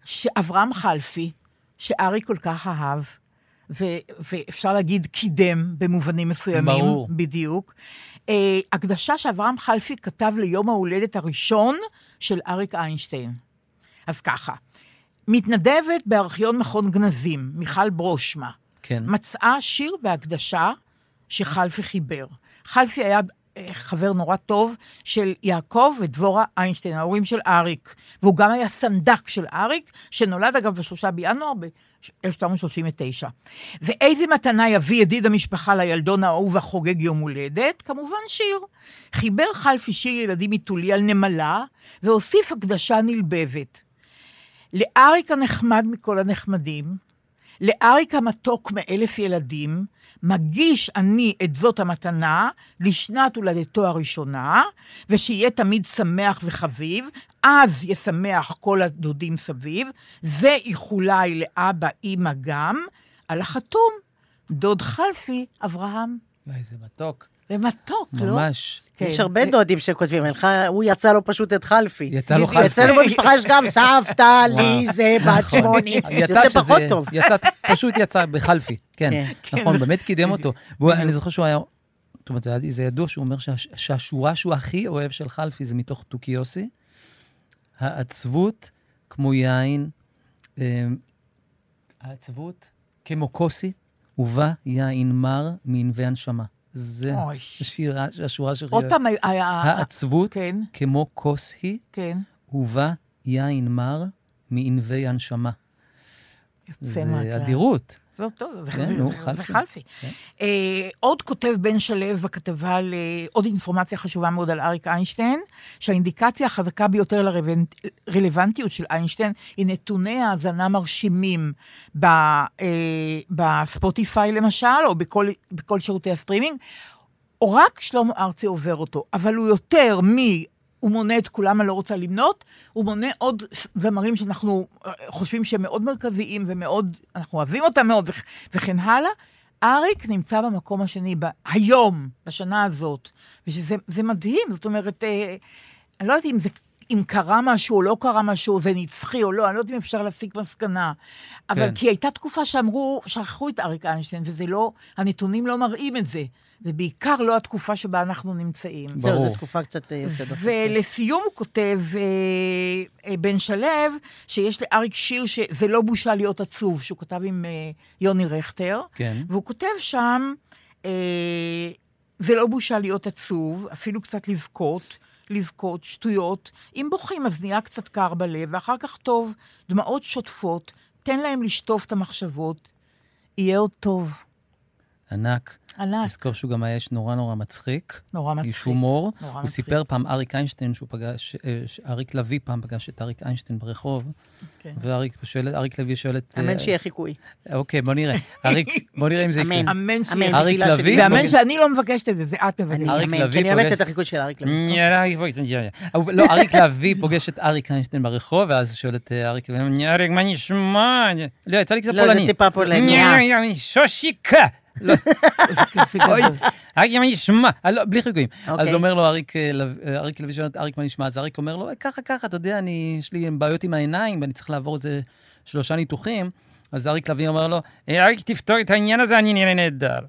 [SPEAKER 3] שאברהם חלפי, שארי כל כך אהב, ו- ואפשר להגיד קידם במובנים מסוימים.
[SPEAKER 5] ברור.
[SPEAKER 3] בדיוק. אה, הקדשה שאברהם חלפי כתב ליום ההולדת הראשון של אריק איינשטיין. אז ככה, מתנדבת בארכיון מכון גנזים, מיכל ברושמה.
[SPEAKER 5] כן.
[SPEAKER 3] מצאה שיר בהקדשה שחלפי חיבר. חלפי היה אה, חבר נורא טוב של יעקב ודבורה איינשטיין, ההורים של אריק. והוא גם היה סנדק של אריק, שנולד אגב בשלושה בינואר ב-1939. ואיזה מתנה יביא ידיד המשפחה לילדון האהוב החוגג יום הולדת? כמובן שיר. חיבר חלפי שיר ילדים מטולי על נמלה, והוסיף הקדשה נלבבת. לאריק הנחמד מכל הנחמדים, לאריק המתוק מאלף ילדים, מגיש אני את זאת המתנה לשנת הולדתו הראשונה, ושיהיה תמיד שמח וחביב, אז ישמח כל הדודים סביב, זה איחולי לאבא, אימא גם, על החתום, דוד חלפי, אברהם.
[SPEAKER 5] וואי, זה מתוק.
[SPEAKER 3] זה מתוק, לא?
[SPEAKER 5] ממש.
[SPEAKER 3] כן.
[SPEAKER 4] יש הרבה דודים שכותבים לך, הוא יצא לו פשוט את חלפי.
[SPEAKER 5] יצא לו
[SPEAKER 3] בדיוק.
[SPEAKER 5] חלפי.
[SPEAKER 4] אצלנו במשפחה יש גם סבתא, לי זה בת
[SPEAKER 5] נכון.
[SPEAKER 4] שמונים.
[SPEAKER 5] יצא
[SPEAKER 4] זה יוצא
[SPEAKER 5] שזה-
[SPEAKER 4] פחות טוב.
[SPEAKER 5] יצא, פשוט יצא בחלפי, כן.
[SPEAKER 4] כן.
[SPEAKER 5] נכון, באמת קידם אותו. והוא- אני זוכר שהוא היה... זאת אומרת, זה היה- זה ידוע שהוא אומר שהש- שהשורה שהוא הכי אוהב של חלפי זה מתוך טוקיוסי. העצבות כמו יין, אמ, העצבות כמו כוסי, ובה יין מר מענבי הנשמה. זה
[SPEAKER 3] אוי.
[SPEAKER 5] השירה, השורה שלך.
[SPEAKER 3] עוד פעם היה...
[SPEAKER 4] אה,
[SPEAKER 5] העצבות
[SPEAKER 3] כן,
[SPEAKER 5] כמו כוס היא,
[SPEAKER 3] כן.
[SPEAKER 5] ובה יין מר מענבי הנשמה.
[SPEAKER 3] יוצא
[SPEAKER 5] זה
[SPEAKER 3] מהכלל.
[SPEAKER 5] אדירות.
[SPEAKER 3] זה טוב,
[SPEAKER 5] כן,
[SPEAKER 3] זה-
[SPEAKER 5] נו,
[SPEAKER 3] זה-
[SPEAKER 5] חלפי.
[SPEAKER 3] זה חלפי.
[SPEAKER 5] כן.
[SPEAKER 3] אה, עוד כותב בן שלו בכתבה, ל- עוד אינפורמציה חשובה מאוד על אריק איינשטיין, שהאינדיקציה החזקה ביותר לרלוונטיות של איינשטיין היא נתוני האזנה מרשימים ב- אה, בספוטיפיי למשל, או בכל, בכל שירותי הסטרימינג, או רק שלמה ארצי עובר אותו, אבל הוא יותר מ... הוא מונה את כולם, אני לא רוצה למנות, הוא מונה עוד זמרים שאנחנו אה, חושבים שהם מאוד מרכזיים ומאוד, אנחנו אוהבים אותם מאוד וכ- וכן הלאה. אריק נמצא במקום השני ב- היום, בשנה הזאת, ושזה זה מדהים, זאת אומרת, אה, אני לא יודעת אם זה... אם קרה משהו או לא קרה משהו, זה נצחי או לא, אני לא יודעת אם אפשר להסיק מסקנה. אבל
[SPEAKER 5] כן.
[SPEAKER 3] כי הייתה תקופה שאמרו, שכחו את אריק איינשטיין, וזה לא, הנתונים לא מראים את זה. זה בעיקר לא התקופה שבה אנחנו נמצאים.
[SPEAKER 4] זהו, זו
[SPEAKER 5] ברור.
[SPEAKER 4] תקופה קצת אה, יוצאת דופן.
[SPEAKER 3] ולסיום הוא כותב אה, אה, בן שלו, שיש לאריק שיר שזה לא בושה להיות עצוב, שהוא כתב עם אה, יוני רכטר.
[SPEAKER 5] כן.
[SPEAKER 3] והוא כותב שם, אה, זה לא בושה להיות עצוב, אפילו קצת לבכות, לבכות, שטויות. אם בוכים אז נהיה קצת קר בלב, ואחר כך טוב, דמעות שוטפות, תן להם לשטוף את המחשבות, יהיה עוד טוב.
[SPEAKER 5] ענק.
[SPEAKER 3] ענק,
[SPEAKER 5] לזכור שהוא גם היה איש נורא נורא מצחיק.
[SPEAKER 3] אה. נורא מצחיק.
[SPEAKER 5] איש הומור.
[SPEAKER 3] נורא
[SPEAKER 5] הוא
[SPEAKER 3] מצחיק.
[SPEAKER 5] סיפר פעם אריק איינשטיין, שהוא פגש, אה, שאריק לביא פעם פגש את אריק איינשטיין ברחוב,
[SPEAKER 3] כן.
[SPEAKER 5] ואריק שואל, אריק לביא שואל את... אה,
[SPEAKER 4] אמן שיהיה חיקוי.
[SPEAKER 5] אוקיי, בוא נראה. אריק, בוא נראה אם זה יקרה.
[SPEAKER 4] אמן.
[SPEAKER 3] אמן שיהיה.
[SPEAKER 4] אמן.
[SPEAKER 5] אריק
[SPEAKER 4] תפילה שלי.
[SPEAKER 5] לביא? אוקיי.
[SPEAKER 3] ואמן שאני לא מבקשת את זה, זה את מבקשת.
[SPEAKER 5] אריק
[SPEAKER 4] אמן,
[SPEAKER 5] לביא
[SPEAKER 4] כי אני אוהבת
[SPEAKER 5] פוגש-
[SPEAKER 4] את החיקוי של אריק לביא.
[SPEAKER 5] הוא- לא, אריק לביא פוגש את אריק איינשטיין ברחוב, ואז הוא שואל את אה, אריק לביא, אריק, מה נשמע? לא, יצא לי קצת
[SPEAKER 4] לא, זה
[SPEAKER 5] פולני.
[SPEAKER 4] טיפה פולני.
[SPEAKER 5] "יא, יא, שושיקה. לא, אוי, אריק, מה נשמע? אה, לא, בלי חיקויים.
[SPEAKER 4] אוקיי.
[SPEAKER 5] אז אומר לו אריק אה, לב- אה, אריק לביא, שואל את אריק, מה נשמע? אז אריק אומר לו, "אה, ככה, ככה, אתה יודע, אני, יש לי בעיות עם העיניים, ואני צריך לעבור איזה שלושה ניתוחים. אז אריק לביא אומר לו, "אה, אריק, תפתור את העניין הזה, אני נראה נהדר.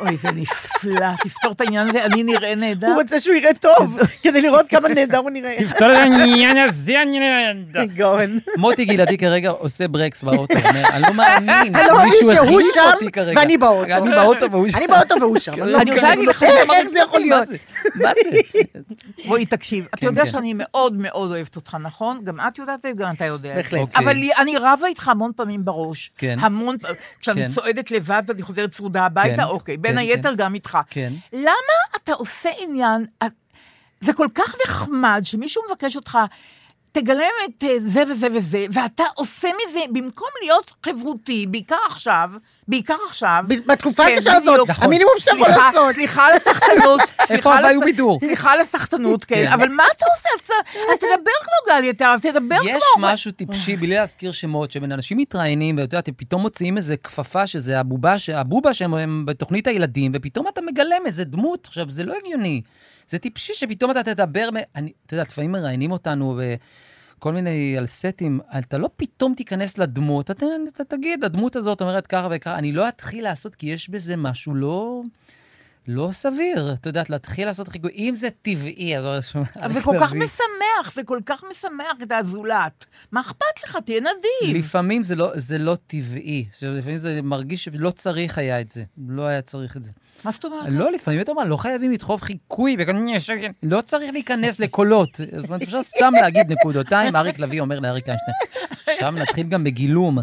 [SPEAKER 3] אוי, זה נפלא, תפתור את העניין הזה, אני נראה נהדר.
[SPEAKER 4] הוא רוצה שהוא יראה טוב, כדי לראות כמה נהדר הוא נראה.
[SPEAKER 5] תפתור את העניין הזה, אני נראה נהדר.
[SPEAKER 4] גאון.
[SPEAKER 5] מוטי גילתי כרגע עושה ברקס באוטו, אומר, אני לא מאמין,
[SPEAKER 4] אני לא מאמין
[SPEAKER 5] מישהו
[SPEAKER 4] שהוא
[SPEAKER 5] החליף
[SPEAKER 4] שם
[SPEAKER 5] אותי כרגע.
[SPEAKER 4] ואני באוטו.
[SPEAKER 5] אני באוטו והוא שם.
[SPEAKER 4] אני באוטו והוא שם.
[SPEAKER 5] לא,
[SPEAKER 3] אני רוצה להגיד לך,
[SPEAKER 5] לא,
[SPEAKER 4] איך- איך זה יכול
[SPEAKER 5] מה
[SPEAKER 4] להיות?
[SPEAKER 5] זה? מה זה?
[SPEAKER 3] רועי, תקשיב, אתה
[SPEAKER 5] כן,
[SPEAKER 3] יודע
[SPEAKER 5] כן.
[SPEAKER 3] שאני מאוד מאוד אוהבת אותך, נכון? גם את יודעת את זה, גם אתה יודע.
[SPEAKER 4] בהחלט.
[SPEAKER 5] אוקיי.
[SPEAKER 3] אבל לי- אני רבה איתך המון פעמים בראש.
[SPEAKER 5] כן.
[SPEAKER 3] המון פעמים. כשאני
[SPEAKER 5] כן.
[SPEAKER 3] צועדת לבד ואני חוזרת צרודה הביתה, אוקיי. בין
[SPEAKER 5] כן,
[SPEAKER 3] היתר
[SPEAKER 5] כן.
[SPEAKER 3] גם איתך.
[SPEAKER 5] כן.
[SPEAKER 3] למה אה, אתה עושה עניין... זה כל כך נחמד שמישהו מבקש אותך... תגלם את אה, זה וזה וזה, ואתה עושה מזה, במקום להיות חברותי, בעיקר עכשיו, בעיקר עכשיו...
[SPEAKER 4] ב- בתקופה
[SPEAKER 3] כן,
[SPEAKER 4] הקשה הזאת,
[SPEAKER 3] בדיוק.
[SPEAKER 5] נכון.
[SPEAKER 4] המינימום שאתה יכול
[SPEAKER 3] סליחה,
[SPEAKER 4] לעשות.
[SPEAKER 3] סליחה על הסחטנות. סליחה על
[SPEAKER 5] אז היו
[SPEAKER 3] הס-
[SPEAKER 5] בידור?
[SPEAKER 3] סליחה על הסחטנות, כן.
[SPEAKER 5] כן.
[SPEAKER 3] אבל מה אתה עושה? אז צ- אז תדבר כמו גל יתר, אז תדבר כמו...
[SPEAKER 5] יש משהו טיפשי, בלי להזכיר שמות, שאנשים מתראיינים, ואתה יודע, אתם פתאום מוציאים איזה כפפה, שזה הבובה, ש- הבובה שהם הם בתוכנית הילדים, ופתאום אתה מגלם איזה דמות. עכשיו, זה לא הגיוני. זה טיפשי שפתאום אתה תדבר, מ- אני, אתה יודע, לפעמים מראיינים אותנו בכל מיני, על סטים, אתה לא פתאום תיכנס לדמות, אתה, אתה תגיד, הדמות הזאת אומרת ככה וככה, אני לא אתחיל לעשות, כי יש בזה משהו לא... לא סביר, את יודעת, להתחיל לעשות חיקוי, אם זה טבעי, אז... לא
[SPEAKER 3] זה כל כך משמח, זה כל כך משמח את הזולת. מה אכפת לך? תהיה נדיב.
[SPEAKER 5] לפעמים זה לא, זה לא טבעי, לפעמים זה מרגיש שלא צריך היה את זה, לא היה צריך את זה.
[SPEAKER 3] מה זאת אומרת?
[SPEAKER 5] לא, לפעמים אתה אומר, לא חייבים לדחוף חיקוי, וכאן יש- לא צריך להיכנס לקולות. זאת אומרת, אפשר סתם להגיד נקודותיים, אריק לביא אומר לאריק איינשטיין. שם נתחיל גם בגילום.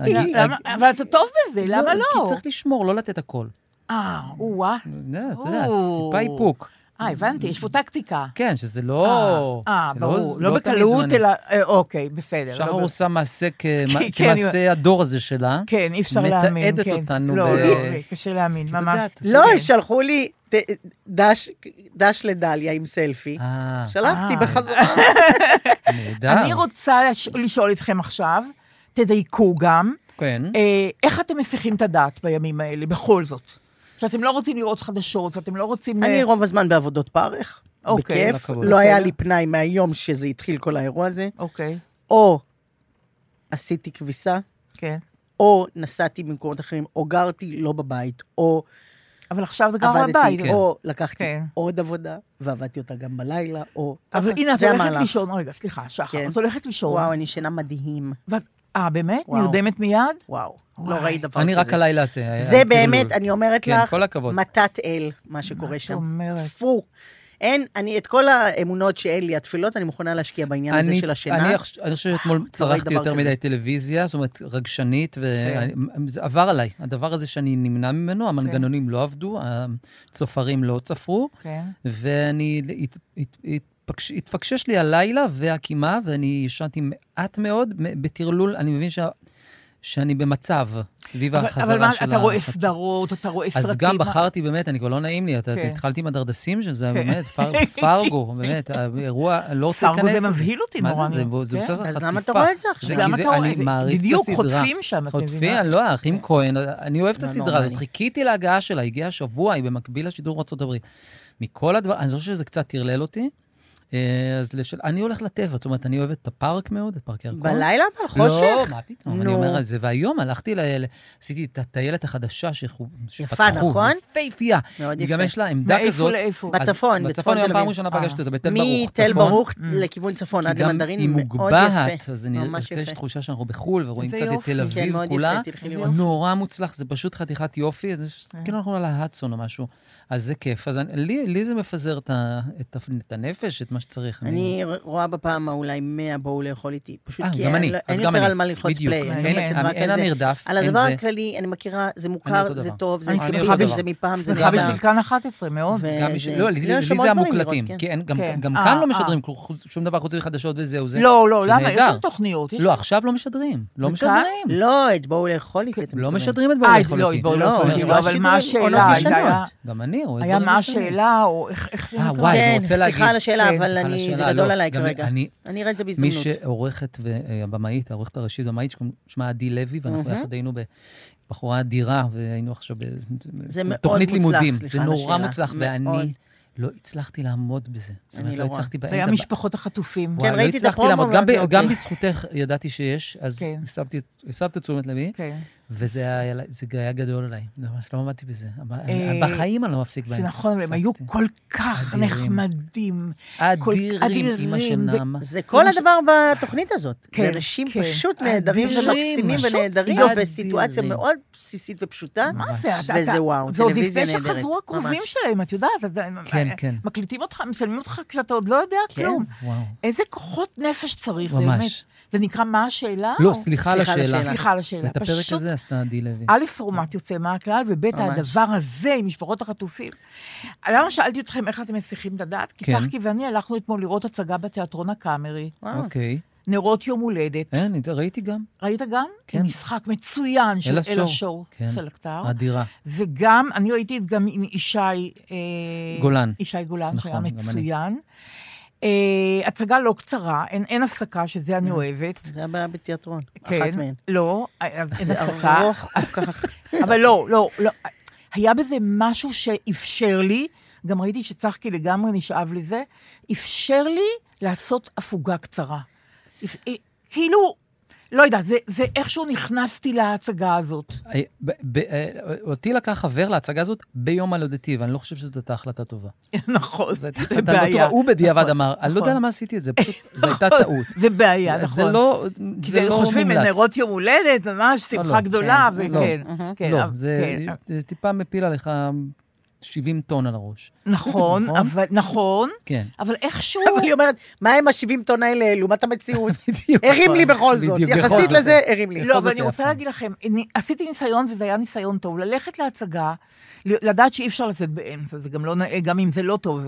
[SPEAKER 5] אני-
[SPEAKER 3] למה- אבל אתה טוב בזה, למה
[SPEAKER 5] כי
[SPEAKER 3] לא?
[SPEAKER 5] צריך לשמור, לא לתת הכל.
[SPEAKER 3] אה, או-אה.
[SPEAKER 5] אתה יודע,
[SPEAKER 3] או.
[SPEAKER 5] טיפה איפוק.
[SPEAKER 3] אה, הבנתי, יש פה טקטיקה.
[SPEAKER 5] כן, שזה לא...
[SPEAKER 3] אה, אה,
[SPEAKER 5] שלא-
[SPEAKER 3] ברור.
[SPEAKER 5] זה
[SPEAKER 3] לא
[SPEAKER 5] תמיד
[SPEAKER 3] בקלות,
[SPEAKER 5] זמני.
[SPEAKER 3] אלא... אה, אוקיי, בסדר.
[SPEAKER 5] שחר
[SPEAKER 3] לא ב-
[SPEAKER 5] עושה מעשה כ-
[SPEAKER 3] כן, אני-
[SPEAKER 5] כמעשה הדור הזה שלה.
[SPEAKER 3] כן, אי אפשר להאמין.
[SPEAKER 5] מתעדת
[SPEAKER 3] כן.
[SPEAKER 5] אותנו
[SPEAKER 3] לא,
[SPEAKER 5] ב- כן.
[SPEAKER 3] לא, זה קשה להאמין,
[SPEAKER 5] את
[SPEAKER 3] ממש.
[SPEAKER 5] יודעת, את
[SPEAKER 4] לא,
[SPEAKER 5] יודעת.
[SPEAKER 4] שלחו לי ת- דש- דש לדליה עם סלפי.
[SPEAKER 5] אה,
[SPEAKER 4] שלחתי
[SPEAKER 3] אה.
[SPEAKER 4] בחזרה.
[SPEAKER 5] נהדר.
[SPEAKER 3] אני רוצה לש- לשאול אתכם עכשיו, תדייקו גם,
[SPEAKER 5] כן.
[SPEAKER 3] אה, איך אתם מסיחים את הדעת בימים האלה, בכל זאת? שאתם לא רוצים לראות חדשות, ואתם לא רוצים...
[SPEAKER 4] אני
[SPEAKER 3] אה,
[SPEAKER 4] רוב הזמן בעבודות פרך,
[SPEAKER 3] אוקיי,
[SPEAKER 4] בכיף.
[SPEAKER 5] כל הכבוד.
[SPEAKER 4] לא היה
[SPEAKER 3] בסדר.
[SPEAKER 4] לי פנאי מהיום שזה התחיל כל האירוע הזה.
[SPEAKER 3] אוקיי,
[SPEAKER 4] או עשיתי כביסה,
[SPEAKER 3] כן.
[SPEAKER 4] או נסעתי במקומות אחרים, או גרתי לא בבית, או
[SPEAKER 3] אבל עכשיו זה גם בבית.
[SPEAKER 4] עבדתי, או לקחתי
[SPEAKER 3] כן.
[SPEAKER 4] עוד עודה ועבדתי אותה גם בלילה, או...
[SPEAKER 3] אבל
[SPEAKER 4] ככה.
[SPEAKER 3] הנה, את
[SPEAKER 4] זה
[SPEAKER 3] הולכת
[SPEAKER 4] המהלך.
[SPEAKER 3] לישון, רגע, סליחה, שחר,
[SPEAKER 4] כן.
[SPEAKER 3] את הולכת לישון.
[SPEAKER 4] וואו, אני ישנה מדהים.
[SPEAKER 3] ואת- אה, באמת?
[SPEAKER 4] וואו.
[SPEAKER 3] נרדמת מיד?
[SPEAKER 4] וואו, לא
[SPEAKER 3] וואי.
[SPEAKER 4] ראית דבר כזה.
[SPEAKER 5] אני רק הלילה אעשה. היה
[SPEAKER 4] זה
[SPEAKER 5] כאילו-
[SPEAKER 4] באמת, אני אומרת
[SPEAKER 5] כן,
[SPEAKER 4] לך,
[SPEAKER 5] כל הכבוד.
[SPEAKER 4] מתת אל, מה שקורה שם.
[SPEAKER 3] אומרת?
[SPEAKER 4] פו. אין, אני את כל האמונות שאין לי, התפילות, אני מוכנה להשקיע בעניין הזה
[SPEAKER 5] אני-
[SPEAKER 4] של השינה.
[SPEAKER 5] אני חוש- אני חושב
[SPEAKER 3] לא
[SPEAKER 5] שאתמול צרכתי
[SPEAKER 4] דבר
[SPEAKER 5] יותר
[SPEAKER 4] כזה.
[SPEAKER 5] מדי טלוויזיה, זאת אומרת, רגשנית,
[SPEAKER 3] כן.
[SPEAKER 5] וזה עבר עליי. הדבר הזה שאני נמנע ממנו, המנגנונים לא עבדו, הצופרים לא צפרו,
[SPEAKER 3] כן.
[SPEAKER 5] ואני... הת- הת- התפקש- התפקשש לי הלילה והקימה, ואני ישנתי מעט מאוד, מ- בטרלול, אני מבין שה- שאני במצב סביב
[SPEAKER 3] אבל-
[SPEAKER 5] החזרה של
[SPEAKER 3] אבל מה,
[SPEAKER 5] ה-
[SPEAKER 3] אתה רואה סדרות, אתה רואה סרטים.
[SPEAKER 5] אז גם
[SPEAKER 3] מה-
[SPEAKER 5] בחרתי באמת, אני כבר לא נעים לי, אתה
[SPEAKER 3] כן.
[SPEAKER 5] התחלתי עם הדרדסים שזה
[SPEAKER 3] כן.
[SPEAKER 5] באמת, פר- פרגו, באמת, האירוע, לא רוצה
[SPEAKER 3] פרגו
[SPEAKER 5] להיכנס.
[SPEAKER 3] זה
[SPEAKER 5] לזה.
[SPEAKER 3] מבהיל אותי
[SPEAKER 5] מה
[SPEAKER 3] נורא.
[SPEAKER 5] זה, זה, זה
[SPEAKER 3] כן.
[SPEAKER 5] מבוסס על
[SPEAKER 4] אז
[SPEAKER 5] חטיפה.
[SPEAKER 4] למה אתה רואה את זה עכשיו?
[SPEAKER 5] כי
[SPEAKER 3] למה אתה רואה?
[SPEAKER 5] אני מעריץ את
[SPEAKER 3] בדיוק,
[SPEAKER 5] הסדרה.
[SPEAKER 3] חוטפים שם, את
[SPEAKER 5] חוטפים,
[SPEAKER 3] מבינה? כן.
[SPEAKER 5] לא, האחים כהן, אני אוהב את
[SPEAKER 4] לא
[SPEAKER 5] הסדרה
[SPEAKER 4] נורמלי.
[SPEAKER 5] הזאת. חיכיתי להגעה שלה, הגיעה השבוע, היא במקביל לשידור בארצות הברית. מכל הדבר, אני לא חושב שזה קצת טרלל אותי. אה, אז לשל... אני הולך לטבע, זאת אומרת, אני אוהב את הפארק מאוד, את פארק ירקון.
[SPEAKER 4] בלילה? אבל
[SPEAKER 5] לא,
[SPEAKER 4] חושך?
[SPEAKER 5] מה פתאום, אני
[SPEAKER 4] נו.
[SPEAKER 5] אומר על זה. והיום הלכתי, ל... ל- עשיתי את הטיילת החדשה שחו- שפתחו.
[SPEAKER 4] נכון?
[SPEAKER 5] יפהפייה.
[SPEAKER 4] מאוד
[SPEAKER 5] היא גם
[SPEAKER 4] יפה.
[SPEAKER 5] יש לה עמדה
[SPEAKER 3] מאיפה
[SPEAKER 5] כזאת.
[SPEAKER 3] לאיפה?
[SPEAKER 5] אז
[SPEAKER 4] בצפון, בצפון
[SPEAKER 5] בצפון היום
[SPEAKER 4] תל
[SPEAKER 5] פעם
[SPEAKER 4] אביב.
[SPEAKER 5] ראשונה
[SPEAKER 3] אה.
[SPEAKER 5] פגשתי אותה, בתל ברוך.
[SPEAKER 4] מתל
[SPEAKER 5] צפון.
[SPEAKER 4] ברוך
[SPEAKER 3] Mm.
[SPEAKER 4] לכיוון צפון עד
[SPEAKER 5] כי גם
[SPEAKER 4] למנדרין,
[SPEAKER 5] היא
[SPEAKER 4] היא מאוד
[SPEAKER 5] מוגבהת,
[SPEAKER 4] יפה.
[SPEAKER 5] אז אני
[SPEAKER 4] ממש
[SPEAKER 5] רוצה, יש
[SPEAKER 4] יפה.
[SPEAKER 5] תחושה שאנחנו בחו"ל ורואים
[SPEAKER 3] זה
[SPEAKER 5] קצת את
[SPEAKER 3] יופי.
[SPEAKER 5] תל
[SPEAKER 4] כן,
[SPEAKER 5] אביב
[SPEAKER 4] מאוד
[SPEAKER 5] כולה.
[SPEAKER 4] יפה, תלכי
[SPEAKER 3] זה
[SPEAKER 4] לראות.
[SPEAKER 5] נורא מוצלח, זה פשוט חתיכת יופי, זה ש-
[SPEAKER 4] אה.
[SPEAKER 5] כאילו אנחנו על ההדסון או משהו. אז זה כיף. אז אני- לי לי זה מפזר את ה- את ה- את הנפש, את מה שצריך.
[SPEAKER 4] אני רואה בפעם האולי 100 בואו לאכול איתי. פשוט
[SPEAKER 5] אה,
[SPEAKER 4] כי
[SPEAKER 5] גם
[SPEAKER 4] אין-
[SPEAKER 5] אני,
[SPEAKER 4] לא-
[SPEAKER 5] אז
[SPEAKER 4] אין
[SPEAKER 5] גם
[SPEAKER 4] יותר
[SPEAKER 5] אני.
[SPEAKER 4] על מה ללחוץ
[SPEAKER 5] בדיוק.
[SPEAKER 4] פליי. אני
[SPEAKER 5] אין-
[SPEAKER 4] יוצאת
[SPEAKER 5] אין-
[SPEAKER 4] רק
[SPEAKER 5] אין
[SPEAKER 4] על זה.
[SPEAKER 5] המרדף,
[SPEAKER 4] על
[SPEAKER 5] אין
[SPEAKER 4] הדבר
[SPEAKER 5] זה.
[SPEAKER 4] הכללי, אני מכירה, זה מוכר,
[SPEAKER 5] אותו
[SPEAKER 4] זה
[SPEAKER 5] דבר.
[SPEAKER 4] טוב, זה
[SPEAKER 3] אני
[SPEAKER 4] סמכה,
[SPEAKER 3] שמחה בש-
[SPEAKER 4] זה מפעם, זה
[SPEAKER 3] שמחה
[SPEAKER 5] גם-
[SPEAKER 4] מפעם.
[SPEAKER 3] בשביל כאן 11 מאוד.
[SPEAKER 4] ו-
[SPEAKER 5] גם יש-
[SPEAKER 4] זה-
[SPEAKER 5] לא, לי לי-
[SPEAKER 4] יש
[SPEAKER 5] לי
[SPEAKER 4] המון
[SPEAKER 5] זה
[SPEAKER 4] דברים
[SPEAKER 5] המוקלטים,
[SPEAKER 4] לראות,
[SPEAKER 5] כי אין- גם-
[SPEAKER 3] כן.
[SPEAKER 5] גם
[SPEAKER 3] אה,
[SPEAKER 5] כאן
[SPEAKER 3] אה.
[SPEAKER 5] לא משדרים כל- שום דבר חוץ מחדשות וזהו, זה
[SPEAKER 3] לא, לא, למה? יש
[SPEAKER 5] שנהדר.
[SPEAKER 3] שם תוכניות. יש
[SPEAKER 5] לא, עכשיו לא משדרים. לא
[SPEAKER 3] וכאן?
[SPEAKER 5] משדרים.
[SPEAKER 4] לא, את בואו לאכול איתי. אתם
[SPEAKER 5] לא
[SPEAKER 4] מתכוונים.
[SPEAKER 5] משדרים את
[SPEAKER 3] אה,
[SPEAKER 5] בעלי
[SPEAKER 3] לא,
[SPEAKER 5] חולקים.
[SPEAKER 3] בואו
[SPEAKER 4] לא,
[SPEAKER 3] לא,
[SPEAKER 4] אני
[SPEAKER 3] יכולים,
[SPEAKER 4] רואה
[SPEAKER 3] לא, אבל מה
[SPEAKER 4] שידורים,
[SPEAKER 3] השאלה?
[SPEAKER 4] עונות
[SPEAKER 3] הייתה- היה-
[SPEAKER 4] ישנות.
[SPEAKER 5] גם אני רואה
[SPEAKER 3] היה
[SPEAKER 5] דברים
[SPEAKER 3] מה
[SPEAKER 5] ישנים.
[SPEAKER 3] השאלה, או איך איך זה
[SPEAKER 5] אה,
[SPEAKER 3] נקרא?
[SPEAKER 5] וואי, אני
[SPEAKER 4] כן,
[SPEAKER 5] רוצה
[SPEAKER 4] סליחה על
[SPEAKER 5] להגיד-
[SPEAKER 4] השאלה,
[SPEAKER 3] כן,
[SPEAKER 4] אבל
[SPEAKER 5] סליחה על
[SPEAKER 4] אני- זה
[SPEAKER 5] השאלה,
[SPEAKER 4] גדול
[SPEAKER 5] לא,
[SPEAKER 4] עליי
[SPEAKER 5] גם
[SPEAKER 4] כרגע.
[SPEAKER 5] אני-
[SPEAKER 4] אני אראה את זה
[SPEAKER 5] מי
[SPEAKER 4] בהזדמנות.
[SPEAKER 5] שעורכת, והבמאית, העורכת הראשית והבמאית, שקוראים- שמה עדי לוי, ואנחנו יחד היינו בבחורה אדירה, והיינו עכשיו
[SPEAKER 4] זה מאוד
[SPEAKER 5] בתוכנית
[SPEAKER 4] מוצלח,
[SPEAKER 5] לימודים.
[SPEAKER 4] סליחה
[SPEAKER 5] זה
[SPEAKER 4] על
[SPEAKER 5] נורא
[SPEAKER 4] השאלה.
[SPEAKER 5] מוצלח,
[SPEAKER 4] מאוד.
[SPEAKER 5] ואני לא הצלחתי לעמוד בזה. זאת
[SPEAKER 4] אני
[SPEAKER 5] אומרת,
[SPEAKER 4] לא
[SPEAKER 5] לא
[SPEAKER 4] רואה.
[SPEAKER 5] הצלחתי
[SPEAKER 3] זה היה
[SPEAKER 5] באמצע.
[SPEAKER 3] משפחות החטופים. כן,
[SPEAKER 5] וואי, לא
[SPEAKER 4] ראיתי את
[SPEAKER 5] הצלחתי
[SPEAKER 4] הפרומו,
[SPEAKER 5] לעמוד. גם ב-
[SPEAKER 4] ואמרתי,
[SPEAKER 5] גם
[SPEAKER 4] אוקיי.
[SPEAKER 5] בזכותך ידעתי שיש, אז
[SPEAKER 3] כן.
[SPEAKER 5] הסבתי- הסבת את תשומת לבי,
[SPEAKER 3] כן.
[SPEAKER 5] וזה היה- זה היה גדול עליי. ממש לא עמדתי בזה.
[SPEAKER 3] אה,
[SPEAKER 5] בחיים אני לא מפסיק
[SPEAKER 3] זה
[SPEAKER 5] באמצע.
[SPEAKER 3] נכון, אבל הם היו
[SPEAKER 5] הפסקתי.
[SPEAKER 3] כל כך
[SPEAKER 5] אדירים.
[SPEAKER 3] נחמדים. כל-
[SPEAKER 5] אדירים, אימא של
[SPEAKER 3] זה-
[SPEAKER 5] נעמה.
[SPEAKER 4] זה כל הדבר בתוכנית הזאת.
[SPEAKER 3] כן,
[SPEAKER 4] זה אנשים
[SPEAKER 3] כן.
[SPEAKER 4] פשוט
[SPEAKER 3] אדירים,
[SPEAKER 4] נהדרים ומקסימים
[SPEAKER 5] פשוט
[SPEAKER 4] ונהדרים,
[SPEAKER 5] אדירים.
[SPEAKER 4] בסיטואציה מאוד בסיסית ופשוטה.
[SPEAKER 3] מה זה? אתה-
[SPEAKER 4] וזה
[SPEAKER 3] אתה-
[SPEAKER 4] וואו,
[SPEAKER 3] זה עוד
[SPEAKER 4] טלוויזיה
[SPEAKER 3] לפני
[SPEAKER 4] נהדרת.
[SPEAKER 3] שחזרו הקרובים
[SPEAKER 4] ממש.
[SPEAKER 3] שלהם, את יודעת. אז- אה,
[SPEAKER 5] כן, כן.
[SPEAKER 3] מקליטים אותך, מצלמים אותך כשאתה עוד לא יודע
[SPEAKER 4] כן.
[SPEAKER 3] כלום.
[SPEAKER 5] וואו.
[SPEAKER 3] איזה כוחות נפש צריך, זה
[SPEAKER 5] ממש.
[SPEAKER 3] באמת. זה נקרא מה השאלה?
[SPEAKER 5] לא,
[SPEAKER 3] או-
[SPEAKER 5] סליחה על
[SPEAKER 4] סליחה על
[SPEAKER 5] השאלה.
[SPEAKER 4] השאלה.
[SPEAKER 3] סליחה על השאלה.
[SPEAKER 5] ואת הפרק
[SPEAKER 3] פשוט
[SPEAKER 5] הזה עשתה עדי לוי?
[SPEAKER 3] א', פורמט יוצא מהכלל, וב',
[SPEAKER 5] כן. ממש.
[SPEAKER 3] הדבר הזה עם משפחות החטופים. למה שאלתי אתכם איך אתם מצליחים לדעת? כי
[SPEAKER 5] כן.
[SPEAKER 3] צחקי ואני הלכנו אתמול לראות הצגה בתיאטרון הקאמרי,
[SPEAKER 5] אוקיי.
[SPEAKER 3] נרות יום הולדת.
[SPEAKER 5] אה, אני ראיתי גם.
[SPEAKER 3] ראית גם?
[SPEAKER 5] כן.
[SPEAKER 3] משחק מצוין של
[SPEAKER 5] אלה
[SPEAKER 3] אלה
[SPEAKER 5] שור.
[SPEAKER 3] שור,
[SPEAKER 5] כן.
[SPEAKER 3] סלקטר.
[SPEAKER 5] אדירה.
[SPEAKER 3] וגם, אני ראיתי את גם עם ישי... אה,
[SPEAKER 5] גולן.
[SPEAKER 3] ישי גולן,
[SPEAKER 5] נכון,
[SPEAKER 3] שהיה
[SPEAKER 5] גם אני.
[SPEAKER 3] מצוין. אה, הצגה לא קצרה, אין, אין הפסקה, שזה אני אוהבת.
[SPEAKER 4] זה הבעיה בתיאטרון,
[SPEAKER 3] כן.
[SPEAKER 4] אחת מהן.
[SPEAKER 3] לא, אין
[SPEAKER 4] זה
[SPEAKER 3] הפסקה.
[SPEAKER 4] ארוך כל כך.
[SPEAKER 3] אבל לא, לא, לא. היה בזה משהו שאפשר לי, גם ראיתי שצחקי לגמרי נשאב לזה, אפשר לי לעשות הפוגה קצרה. אפ- אה, כאילו, לא יודעת, זה, זה איכשהו נכנסתי להצגה הזאת.
[SPEAKER 5] אה, ב- ב- אה, אותי לקח חבר להצגה הזאת ביום הולדתי, ואני לא חושב שזאת הייתה החלטה טובה.
[SPEAKER 3] נכון,
[SPEAKER 5] זו
[SPEAKER 3] זה
[SPEAKER 5] הייתה החלטה לא טובה. הוא בדיעבד
[SPEAKER 3] נכון,
[SPEAKER 5] אמר, אני לא יודע
[SPEAKER 3] נכון.
[SPEAKER 5] למה עשיתי את זה, פשוט זו הייתה טעות.
[SPEAKER 3] זה בעיה,
[SPEAKER 5] זה-
[SPEAKER 3] נכון.
[SPEAKER 5] זה לא
[SPEAKER 3] כי
[SPEAKER 5] זה
[SPEAKER 3] זה
[SPEAKER 5] לא
[SPEAKER 3] חושבים,
[SPEAKER 5] מומלץ.
[SPEAKER 3] נרות יום הולדת, ממש
[SPEAKER 5] לא,
[SPEAKER 3] שמחה
[SPEAKER 5] כן,
[SPEAKER 3] גדולה,
[SPEAKER 5] לא.
[SPEAKER 3] וכן, כן,
[SPEAKER 5] לא,
[SPEAKER 3] אבל-
[SPEAKER 5] זה
[SPEAKER 3] כן,
[SPEAKER 5] זה טיפה מפיל עליך 70 טון על הראש.
[SPEAKER 3] נכון,
[SPEAKER 5] נכון?
[SPEAKER 3] אבל- נכון,
[SPEAKER 5] כן.
[SPEAKER 3] אבל איכשהו...
[SPEAKER 4] אבל היא אומרת, מה הם ה-70 טון האלה לעומת המציאות?
[SPEAKER 3] נכון.
[SPEAKER 5] בדיוק.
[SPEAKER 4] הרים לי בכל זאת,
[SPEAKER 5] בדיוק, בכל
[SPEAKER 4] יחסית
[SPEAKER 5] זאת.
[SPEAKER 4] לזה הרים לי.
[SPEAKER 5] בכל
[SPEAKER 3] לא, אבל
[SPEAKER 5] זאת
[SPEAKER 3] אני
[SPEAKER 5] היה
[SPEAKER 3] רוצה
[SPEAKER 5] פעם.
[SPEAKER 3] להגיד לכם, אני- עשיתי ניסיון, וזה היה ניסיון טוב, ללכת להצגה, ל- לדעת שאי אפשר לצאת באמצע, זה גם לא נאה, גם אם זה לא טוב.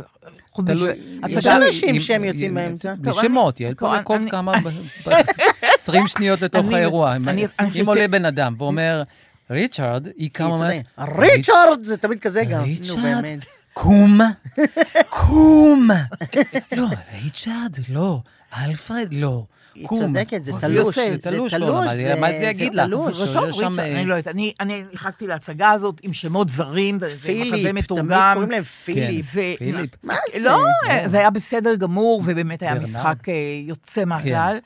[SPEAKER 3] חוץ מזה,
[SPEAKER 4] יש
[SPEAKER 3] הצגה-
[SPEAKER 4] אנשים שהם יוצאים באמצע.
[SPEAKER 3] טוב,
[SPEAKER 5] בשמות,
[SPEAKER 3] אני-
[SPEAKER 5] יעל
[SPEAKER 3] טוב,
[SPEAKER 5] פולקוב
[SPEAKER 3] אני-
[SPEAKER 5] כמה, ב- ב- 20 שניות לתוך
[SPEAKER 3] אני-
[SPEAKER 5] האירוע.
[SPEAKER 3] אני-
[SPEAKER 5] אם-
[SPEAKER 3] אני חושבת
[SPEAKER 5] אם
[SPEAKER 3] ש-
[SPEAKER 5] עולה בן אדם ואומר, ריצ'רד, היא
[SPEAKER 4] היא
[SPEAKER 5] קמה אומרת,
[SPEAKER 4] צודקת. ריצ'רד! זה תמיד כזה גם. נו,
[SPEAKER 5] ריצ'רד,
[SPEAKER 4] באמת.
[SPEAKER 5] קום, קום. לא, ריצ'רד, לא. אלפרד, לא.
[SPEAKER 4] היא
[SPEAKER 5] קום.
[SPEAKER 4] צודקת, זה
[SPEAKER 5] אוי,
[SPEAKER 4] תלוש,
[SPEAKER 5] יוצא,
[SPEAKER 4] זה
[SPEAKER 5] תלוש,
[SPEAKER 4] תלוש,
[SPEAKER 5] לא, אבל
[SPEAKER 4] זה-
[SPEAKER 5] מה זה
[SPEAKER 4] זה
[SPEAKER 5] יגיד לה?
[SPEAKER 4] תלוש.
[SPEAKER 5] שיש
[SPEAKER 3] רצון,
[SPEAKER 5] שם,
[SPEAKER 3] רצון,
[SPEAKER 5] אה,
[SPEAKER 3] אני לא יודעת, אני- אני נכנסתי להצגה הזאת עם שמות זרים, זה- זה מחזה
[SPEAKER 4] פיליפ, תמיד
[SPEAKER 3] מתורגם.
[SPEAKER 4] קוראים להם
[SPEAKER 5] כן.
[SPEAKER 4] פיליפ.
[SPEAKER 3] ו-
[SPEAKER 5] פיליפ.
[SPEAKER 4] מה זה?
[SPEAKER 3] לא, זה היה בסדר גמור, ובאמת היה
[SPEAKER 5] ברנרד.
[SPEAKER 3] משחק אה, יוצא מהכלל.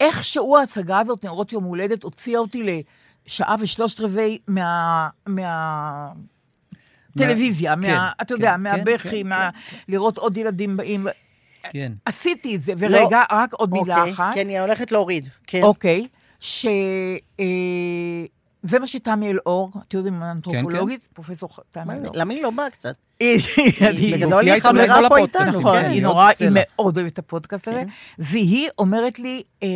[SPEAKER 3] איכשהו ההצגה הזאת, נרות יום הולדת, הוציאה אותי לשעה ושלושת רבעי מה... מה... טלוויזיה,
[SPEAKER 5] כן,
[SPEAKER 3] מה, אתה יודע,
[SPEAKER 5] כן,
[SPEAKER 3] מהבכי,
[SPEAKER 5] כן,
[SPEAKER 3] מה... לראות עוד ילדים באים.
[SPEAKER 5] כן.
[SPEAKER 3] עשיתי את זה, ורגע, רק עוד מילה
[SPEAKER 4] לא. אוקיי,
[SPEAKER 3] אחת.
[SPEAKER 4] כן, היא הולכת להוריד. כן.
[SPEAKER 3] אוקיי, ש... אה, זה מה שתמי אלאור, את יודעת, עם האנתרופולוגית, פרופסור תמי
[SPEAKER 4] מה,
[SPEAKER 3] אלאור.
[SPEAKER 4] למה היא לא באה קצת?
[SPEAKER 3] היא
[SPEAKER 4] בגדול
[SPEAKER 5] מופיעה
[SPEAKER 4] היא
[SPEAKER 5] איתנו
[SPEAKER 4] חברה
[SPEAKER 5] בכל
[SPEAKER 4] פה
[SPEAKER 5] הפודקאסטים,
[SPEAKER 4] איתנו.
[SPEAKER 3] נכון,
[SPEAKER 5] כן,
[SPEAKER 3] היא
[SPEAKER 5] היא
[SPEAKER 3] נורא,
[SPEAKER 5] עוד
[SPEAKER 3] היא
[SPEAKER 5] סלע.
[SPEAKER 3] מאוד אוהבת את הפודקאסט
[SPEAKER 5] כן.
[SPEAKER 3] הזה, והיא אומרת לי, אה,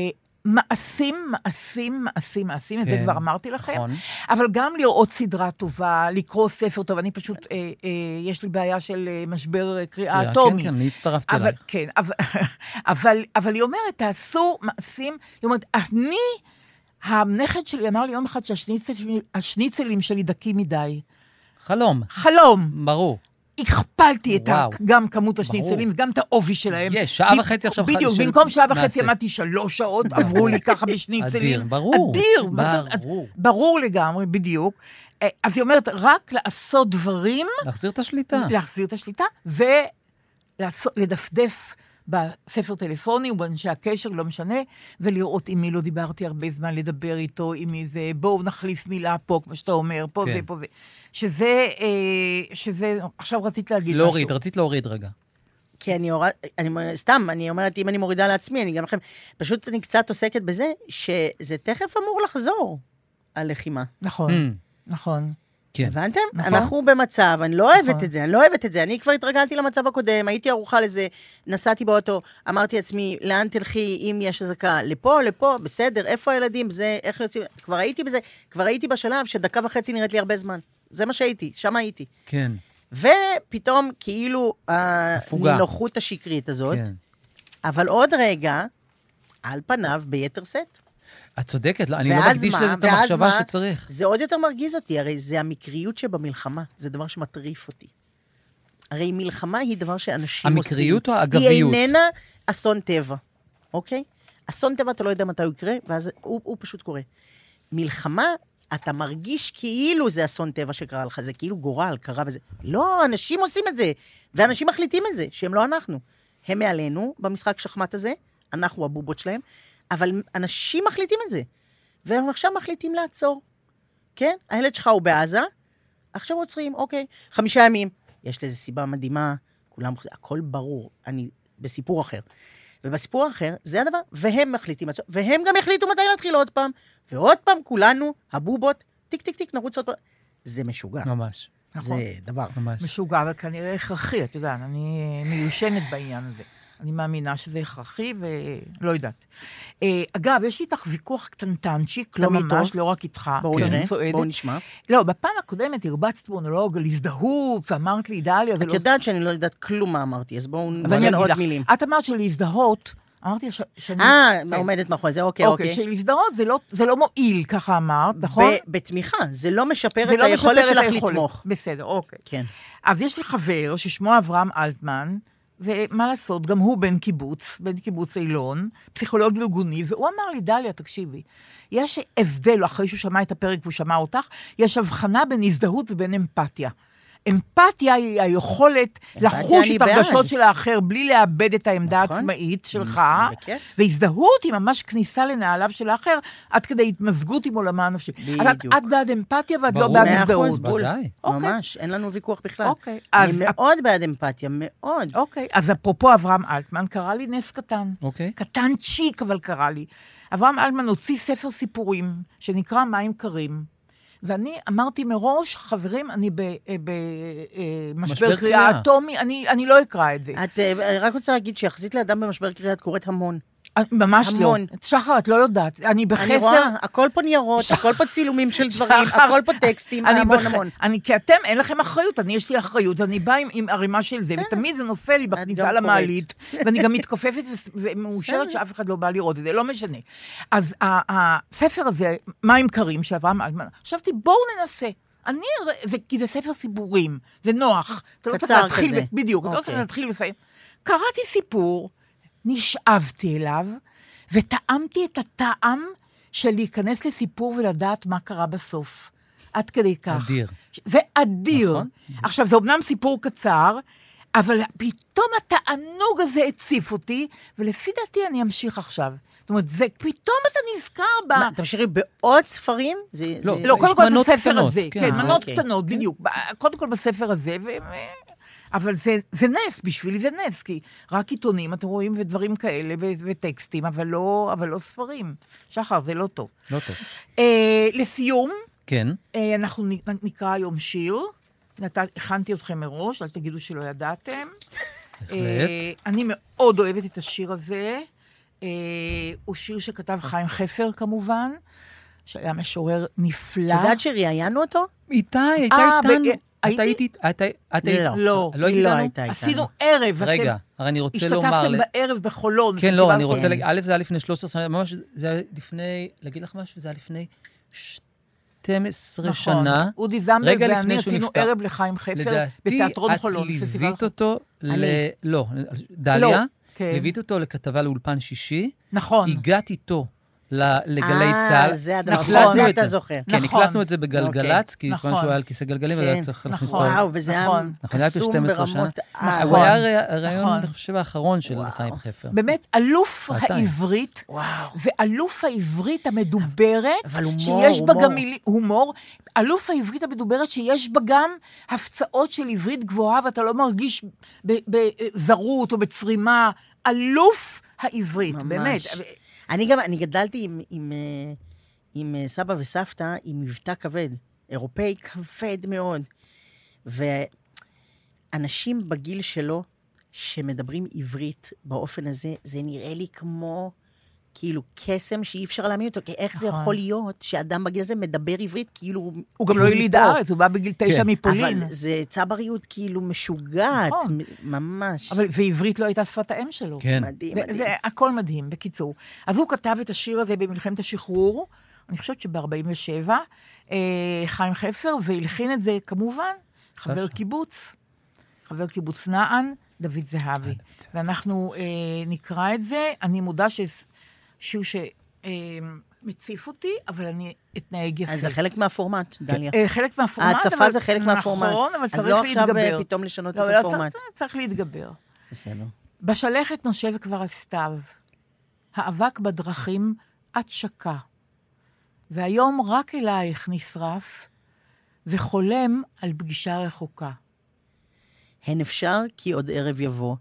[SPEAKER 3] מעשים, מעשים, מעשים, מעשים, את זה
[SPEAKER 5] כן,
[SPEAKER 3] כבר אמרתי לכם,
[SPEAKER 5] נכון.
[SPEAKER 3] אבל גם לראות סדרה טובה, לקרוא ספר טוב, אני פשוט, אה, אה, יש לי בעיה של אה, משבר אה, קריאה אטומי.
[SPEAKER 5] כן, כן, אני הצטרפתי
[SPEAKER 3] אבל,
[SPEAKER 5] אלייך.
[SPEAKER 3] כן, אבל, אבל, אבל היא אומרת, תעשו מעשים, היא אומרת, אני, הנכד שלי אמר לי יום אחד שהשניצל שלי- השניצלים שלי דקים מדי.
[SPEAKER 5] חלום,
[SPEAKER 3] חלום.
[SPEAKER 5] ברור.
[SPEAKER 3] הכפלתי את ה...
[SPEAKER 5] וואו.
[SPEAKER 3] גם כמות השניצלים, גם את העובי שלהם.
[SPEAKER 5] יש, שעה
[SPEAKER 3] ב-
[SPEAKER 5] וחצי עכשיו חד-
[SPEAKER 3] בדיוק,
[SPEAKER 5] של
[SPEAKER 3] במקום שעה וחצי
[SPEAKER 5] מעשה.
[SPEAKER 3] עמדתי שלוש שעות, עברו לי ככה בשניצלים.
[SPEAKER 5] אדיר, ברור.
[SPEAKER 3] אדיר, מה זאת אומרת?
[SPEAKER 5] ברור.
[SPEAKER 3] ברור לגמרי, בדיוק. אה, אז היא אומרת, רק לעשות דברים,
[SPEAKER 5] להחזיר את השליטה.
[SPEAKER 3] להחזיר את השליטה, ולדפדף. בספר טלפוני ובאנשי הקשר, לא משנה, ולראות עם מי לא דיברתי הרבה זמן, לדבר איתו, עם מי זה, בואו נחליף מילה פה, כמו שאתה אומר, פה
[SPEAKER 5] כן.
[SPEAKER 3] זה, פה זה. שזה, אה, שזה, עכשיו רצית להגיד משהו.
[SPEAKER 5] להוריד, רצית להוריד רגע.
[SPEAKER 4] כי אני הורד... אני... סתם, אני אומרת, אם אני מורידה לעצמי, אני גם לכם... פשוט אני קצת עוסקת בזה, שזה תכף אמור לחזור, הלחימה.
[SPEAKER 3] נכון,
[SPEAKER 5] Mm,
[SPEAKER 3] נכון.
[SPEAKER 5] כן.
[SPEAKER 4] הבנתם?
[SPEAKER 3] נכון.
[SPEAKER 4] אנחנו במצב, אני לא אוהבת
[SPEAKER 3] נכון.
[SPEAKER 4] את זה, אני לא אוהבת את זה. אני כבר התרגלתי למצב הקודם, הייתי ערוכה לזה, נסעתי באוטו, אמרתי לעצמי, לאן תלכי אם יש אזעקה? לפה, לפה, בסדר, איפה הילדים? זה, איך יוצאים? כבר הייתי בזה, כבר הייתי בשלב שדקה וחצי נראית לי הרבה זמן. זה מה שהייתי, שם הייתי.
[SPEAKER 5] כן,
[SPEAKER 4] ופתאום, כאילו,
[SPEAKER 5] הפוגה.
[SPEAKER 4] הנינוחות השקרית הזאת,
[SPEAKER 5] כן.
[SPEAKER 4] אבל עוד רגע, על פניו ביתר סט.
[SPEAKER 5] את צודקת, לא, אני לא
[SPEAKER 4] ואז
[SPEAKER 5] מקדיש
[SPEAKER 4] מה?
[SPEAKER 5] לזה את
[SPEAKER 4] ואז
[SPEAKER 5] המחשבה
[SPEAKER 4] מה?
[SPEAKER 5] שצריך.
[SPEAKER 4] זה עוד יותר מרגיז אותי, הרי זה המקריות שבמלחמה, זה דבר שמטריף אותי. הרי מלחמה היא דבר שאנשים עושים.
[SPEAKER 5] המקריות או האגביות?
[SPEAKER 4] היא איננה אסון טבע, אוקיי? אסון טבע, אתה לא יודע מתי הוא יקרה, ואז הוא, הוא פשוט קורה. מלחמה, אתה מרגיש כאילו זה אסון טבע שקרה לך, זה כאילו גורל, קרה וזה. לא, אנשים עושים את זה, ואנשים מחליטים את זה, שהם לא אנחנו. הם מעלינו במשחק שחמט הזה, אנחנו הבובות שלהם, אבל אנשים מחליטים את זה. והם עכשיו מחליטים לעצור. כן? הילד שלך הוא בעזה, עכשיו עוצרים, אוקיי, חמישה ימים. יש לזה סיבה מדהימה, כולם, הכל ברור, אני בסיפור אחר. ובסיפור האחר, זה הדבר, והם מחליטים, לעצור, והם גם יחליטו מתי להתחיל עוד פעם, ועוד פעם כולנו, הבובות, טיק טיק טיק, נרוץ עוד פעם. זה משוגע,
[SPEAKER 5] ממש,
[SPEAKER 3] נכון.
[SPEAKER 4] זה דבר.
[SPEAKER 5] ממש.
[SPEAKER 3] משוגע, אבל כנראה הכרחי, את יודעת, אני מיושנת בעניין הזה. אני מאמינה שזה הכרחי ולא יודעת. אה, אגב, יש לי איתך ויכוח קטנטנצ'יק, לא
[SPEAKER 4] גם איתו?
[SPEAKER 3] ממש, לא רק איתך.
[SPEAKER 4] בואו
[SPEAKER 3] כי
[SPEAKER 4] נראה,
[SPEAKER 3] אני צועדת.
[SPEAKER 4] בואו נשמע.
[SPEAKER 3] לא, בפעם הקודמת הרבצת מונולוג על הזדהות, ואמרת לי, דליה, זה
[SPEAKER 4] את
[SPEAKER 3] לא...
[SPEAKER 4] יודעת שאני לא יודעת כלום מה אמרתי, אז בואו
[SPEAKER 3] אבל אני
[SPEAKER 4] נגיד
[SPEAKER 3] אגיד
[SPEAKER 4] עוד
[SPEAKER 3] לך,
[SPEAKER 4] מילים.
[SPEAKER 3] את אמרת שלהזדהות, אמרתי ש- שאני...
[SPEAKER 4] אה,
[SPEAKER 3] כן.
[SPEAKER 4] עומדת מאחורי זה, אוקיי,
[SPEAKER 3] אוקיי,
[SPEAKER 4] אוקיי.
[SPEAKER 3] שלהזדהות זה לא- זה לא מועיל, ככה אמרת, נכון?
[SPEAKER 4] ב- בתמיכה, זה לא משפר
[SPEAKER 3] זה
[SPEAKER 4] את
[SPEAKER 3] לא
[SPEAKER 4] היכולת
[SPEAKER 3] משפר את
[SPEAKER 4] שלך
[SPEAKER 3] היכולת.
[SPEAKER 4] לתמוך.
[SPEAKER 3] בסדר, אוקיי.
[SPEAKER 4] כן.
[SPEAKER 3] אז יש לי חבר ששמו אברהם אלטמן, ומה לעשות, גם הוא בן קיבוץ, בן קיבוץ אילון, פסיכולוג ארגוני, והוא אמר לי, דליה, תקשיבי, יש הבדל, אחרי שהוא שמע את הפרק והוא שמע אותך, יש הבחנה בין הזדהות ובין אמפתיה. אמפתיה היא היכולת לחוש
[SPEAKER 4] אני
[SPEAKER 3] את
[SPEAKER 4] בעד.
[SPEAKER 3] הרגשות של האחר בלי לאבד את העמדה
[SPEAKER 4] נכון.
[SPEAKER 3] העצמאית שלך,
[SPEAKER 4] בכיף.
[SPEAKER 3] והזדהות היא ממש כניסה לנעליו של האחר, עד כדי התמזגות עם עולמה הנפשי. אבל
[SPEAKER 4] בדיוק.
[SPEAKER 3] את בעד אמפתיה ואת לא
[SPEAKER 5] ברור.
[SPEAKER 3] בעד
[SPEAKER 5] מאה
[SPEAKER 4] מאה
[SPEAKER 3] הזדהות.
[SPEAKER 4] אחוז, בול.
[SPEAKER 5] ודאי.
[SPEAKER 3] אוקיי.
[SPEAKER 4] ממש, אין לנו ויכוח בכלל.
[SPEAKER 3] אוקיי,
[SPEAKER 4] אני
[SPEAKER 3] אז-
[SPEAKER 4] מאוד בעד אמפתיה, מאוד.
[SPEAKER 3] אוקיי, אז אפרופו אברהם אלטמן, קרא לי נס קטן.
[SPEAKER 5] אוקיי.
[SPEAKER 3] קטנצ'יק, אבל קרא לי. אברהם אלטמן הוציא ספר סיפורים, שנקרא מים קרים. ואני אמרתי מראש, חברים, אני אה, במשבר
[SPEAKER 5] משבר
[SPEAKER 3] קריאה
[SPEAKER 5] קריאה.
[SPEAKER 3] אטומי, אני, אני לא אקרא את זה.
[SPEAKER 4] את אה, רק רוצה להגיד שיחסית לאדם במשבר קריאה את קוראת המון.
[SPEAKER 3] ממש לא.
[SPEAKER 4] אה, המון.
[SPEAKER 3] שחר, את לא יודעת, אני
[SPEAKER 4] אני
[SPEAKER 3] בחסר.
[SPEAKER 4] רואה, הכל פה ניירות, הכל פה צילומים של דברים,
[SPEAKER 3] שחר,
[SPEAKER 4] הכל פה טקסטים,
[SPEAKER 3] אני
[SPEAKER 4] המון
[SPEAKER 3] בח-
[SPEAKER 4] המון.
[SPEAKER 3] אני, כי אתם, אין לכם אחריות, אני יש לי אחריות, אני באה עם, עם ערימה של זה, ותמיד זה נופל לי
[SPEAKER 4] גם
[SPEAKER 3] בכניסה
[SPEAKER 4] קוראת.
[SPEAKER 3] למעלית, ואני גם מתכופפת וס- ומאושרת
[SPEAKER 4] בסדר.
[SPEAKER 3] שאף אחד לא בא לראות את זה, לא משנה. אז ה- הספר הזה, מים קרים, שאברהם אלטמן, חשבתי, בואו ננסה. אני, אראה- זה, כי זה ספר סיפורים, זה נוח. אתה לא צריך
[SPEAKER 4] קצר
[SPEAKER 3] להתחיל,
[SPEAKER 4] כזה.
[SPEAKER 3] ו- בדיוק, אתה לא צריך
[SPEAKER 4] אוקיי.
[SPEAKER 3] להתחיל ולסיים. קראתי סיפור, נשאבתי אליו, וטעמתי את הטעם של להיכנס לסיפור ולדעת מה קרה בסוף. עד כדי כך.
[SPEAKER 5] אדיר.
[SPEAKER 3] זה אדיר. נכון.
[SPEAKER 5] נכון.
[SPEAKER 3] עכשיו, זה אומנם סיפור קצר, אבל פתאום התענוג הזה הציף אותי, ולפי דעתי אני אמשיך עכשיו. זאת אומרת, זה פתאום אתה נזכר ב...
[SPEAKER 4] מה, תמשיכי בעוד ספרים? זה...
[SPEAKER 5] לא,
[SPEAKER 4] זה-
[SPEAKER 3] לא, קודם כל
[SPEAKER 5] מנות
[SPEAKER 3] בספר
[SPEAKER 5] קטנות,
[SPEAKER 3] הזה. כן,
[SPEAKER 5] כן.
[SPEAKER 3] כן
[SPEAKER 5] אה,
[SPEAKER 3] מנות
[SPEAKER 4] אוקיי.
[SPEAKER 3] קטנות, בדיוק. ב- קודם כל בספר הזה, ו... אבל זה, זה נס, בשבילי זה נס, כי רק עיתונים, אתם רואים, ודברים כאלה, ו- וטקסטים, אבל לא, אבל לא ספרים. שחר, זה לא טוב.
[SPEAKER 5] לא טוב.
[SPEAKER 3] אה, לסיום,
[SPEAKER 5] כן.
[SPEAKER 3] אה, אנחנו נ- נקרא היום שיר. נת... הכנתי אתכם מראש, אל תגידו שלא ידעתם. אה, אני מאוד אוהבת את השיר הזה. אה, הוא שיר שכתב חיים חפר, כמובן, שהיה משורר נפלא.
[SPEAKER 4] את יודעת שראיינו אותו?
[SPEAKER 5] איתי, הייתה
[SPEAKER 3] אה,
[SPEAKER 5] איתנו.
[SPEAKER 3] ב-
[SPEAKER 5] את
[SPEAKER 3] הייתי?
[SPEAKER 5] היית איתי? את היית?
[SPEAKER 4] לא.
[SPEAKER 3] לא,
[SPEAKER 5] לא
[SPEAKER 4] היא לא
[SPEAKER 5] איתנו?
[SPEAKER 4] הייתה איתנו.
[SPEAKER 3] עשינו ערב.
[SPEAKER 5] רגע,
[SPEAKER 3] אתם
[SPEAKER 5] הרי אני רוצה לומר...
[SPEAKER 3] השתתפתם
[SPEAKER 5] ל-
[SPEAKER 3] בערב בחולון.
[SPEAKER 5] כן, לא, אני
[SPEAKER 3] פסטיבל
[SPEAKER 5] רוצה...
[SPEAKER 3] חולון.
[SPEAKER 5] להגיד- א', זה היה לפני 13 שנה, ממש, זה היה לפני... להגיד לך משהו? זה היה לפני 12
[SPEAKER 3] נכון.
[SPEAKER 5] שנה.
[SPEAKER 3] אודי זמבל
[SPEAKER 5] רגע
[SPEAKER 3] ואני
[SPEAKER 5] לפני שהוא
[SPEAKER 3] עשינו
[SPEAKER 5] נפטר.
[SPEAKER 3] ערב לחיים חפר
[SPEAKER 5] לדעתי,
[SPEAKER 3] בתיאטרון
[SPEAKER 5] את
[SPEAKER 3] חולון. פסטיבל
[SPEAKER 5] ליווית
[SPEAKER 3] חולון.
[SPEAKER 5] אותו ל...
[SPEAKER 4] אני.
[SPEAKER 5] לא, דליה.
[SPEAKER 3] כן.
[SPEAKER 5] ליווית אותו לכתבה לאולפן שישי.
[SPEAKER 3] נכון.
[SPEAKER 5] הגעת איתו ל- לגלי
[SPEAKER 4] אה,
[SPEAKER 5] צה"ל.
[SPEAKER 4] זה הדבר,
[SPEAKER 5] הקלטנו
[SPEAKER 4] זה
[SPEAKER 5] את
[SPEAKER 4] אתה זוכר. אוקיי.
[SPEAKER 5] כן,
[SPEAKER 3] נכון.
[SPEAKER 5] הקלטנו את זה בגלגלצ, כי
[SPEAKER 3] נכון.
[SPEAKER 5] כיוון שהוא היה על כיסא גלגלים, אז
[SPEAKER 4] כן,
[SPEAKER 5] היה צריך להכניס אותו.
[SPEAKER 3] נכון.
[SPEAKER 4] וואו, וזה היה
[SPEAKER 3] נכון.
[SPEAKER 5] נכון, זה היה
[SPEAKER 4] קסום
[SPEAKER 5] לפני 12 שנה.
[SPEAKER 4] ברמות... אה,
[SPEAKER 5] הוא
[SPEAKER 3] נכון.
[SPEAKER 5] היה הרי- הרעיון,
[SPEAKER 3] נכון.
[SPEAKER 5] אני חושב, האחרון של חיים חפר.
[SPEAKER 3] באמת, אלוף
[SPEAKER 5] שעתיים.
[SPEAKER 3] העברית, ואלוף העברית המדוברת,
[SPEAKER 4] אבל הומור,
[SPEAKER 3] שיש בה
[SPEAKER 4] הומור.
[SPEAKER 3] גם מילי- הומור, אלוף העברית המדוברת שיש בה גם הפצעות של עברית גבוהה, ואתה לא מרגיש בזרות או בצרימה. אלוף העברית,
[SPEAKER 4] ממש.
[SPEAKER 3] באמת.
[SPEAKER 4] אני גם, אני גדלתי עם, עם, אה, עם אה, סבא וסבתא עם מבטא כבד, אירופאי כבד מאוד. ואנשים בגיל שלו שמדברים עברית באופן הזה, זה נראה לי כמו כאילו קסם שאי אפשר להאמין אותו, כי איך זה
[SPEAKER 3] נכון.
[SPEAKER 4] יכול להיות שאדם בגיל הזה מדבר עברית כאילו...
[SPEAKER 3] הוא גם לא
[SPEAKER 4] כאילו
[SPEAKER 3] יליד
[SPEAKER 4] מפה?
[SPEAKER 3] הארץ, הוא בא בגיל תשע
[SPEAKER 5] כן.
[SPEAKER 3] מפולין.
[SPEAKER 4] אבל זה צבריות כאילו משוגעת,
[SPEAKER 3] נכון.
[SPEAKER 4] מ- ממש.
[SPEAKER 3] אבל, ועברית לא הייתה שפת האם שלו.
[SPEAKER 5] כן.
[SPEAKER 4] מדהים,
[SPEAKER 3] זה,
[SPEAKER 4] מדהים.
[SPEAKER 3] זה הכל מדהים, בקיצור. אז הוא כתב את השיר הזה במלחמת השחרור, אני חושבת שב-47, אה, חיים חפר, והלחין את זה כמובן, חבר
[SPEAKER 5] סשה.
[SPEAKER 3] קיבוץ, חבר קיבוץ נען, דוד זהבי. ואנחנו אה, נקרא את זה, אני מודה שזה שיר שמציף אותי, אבל אני אתנהג יפה.
[SPEAKER 4] אז זה חלק מהפורמט, דליה.
[SPEAKER 3] אה, חלק מהפורמט,
[SPEAKER 4] ההצפה זה חלק מהפורמט.
[SPEAKER 3] נכון, אבל צריך
[SPEAKER 4] אז לא עכשיו
[SPEAKER 3] להתגבר.
[SPEAKER 4] אה, פתאום לשנות
[SPEAKER 3] לא,
[SPEAKER 4] את
[SPEAKER 3] לא,
[SPEAKER 4] הפורמט.
[SPEAKER 3] צריך- צריך להתגבר.
[SPEAKER 4] בסדר.
[SPEAKER 3] בשלכת נושב כבר הסתיו, האבק בדרכים את שקע, והיום רק אלייך נשרף, וחולם על פגישה רחוקה.
[SPEAKER 4] הן אפשר כי עוד ערב יבוא,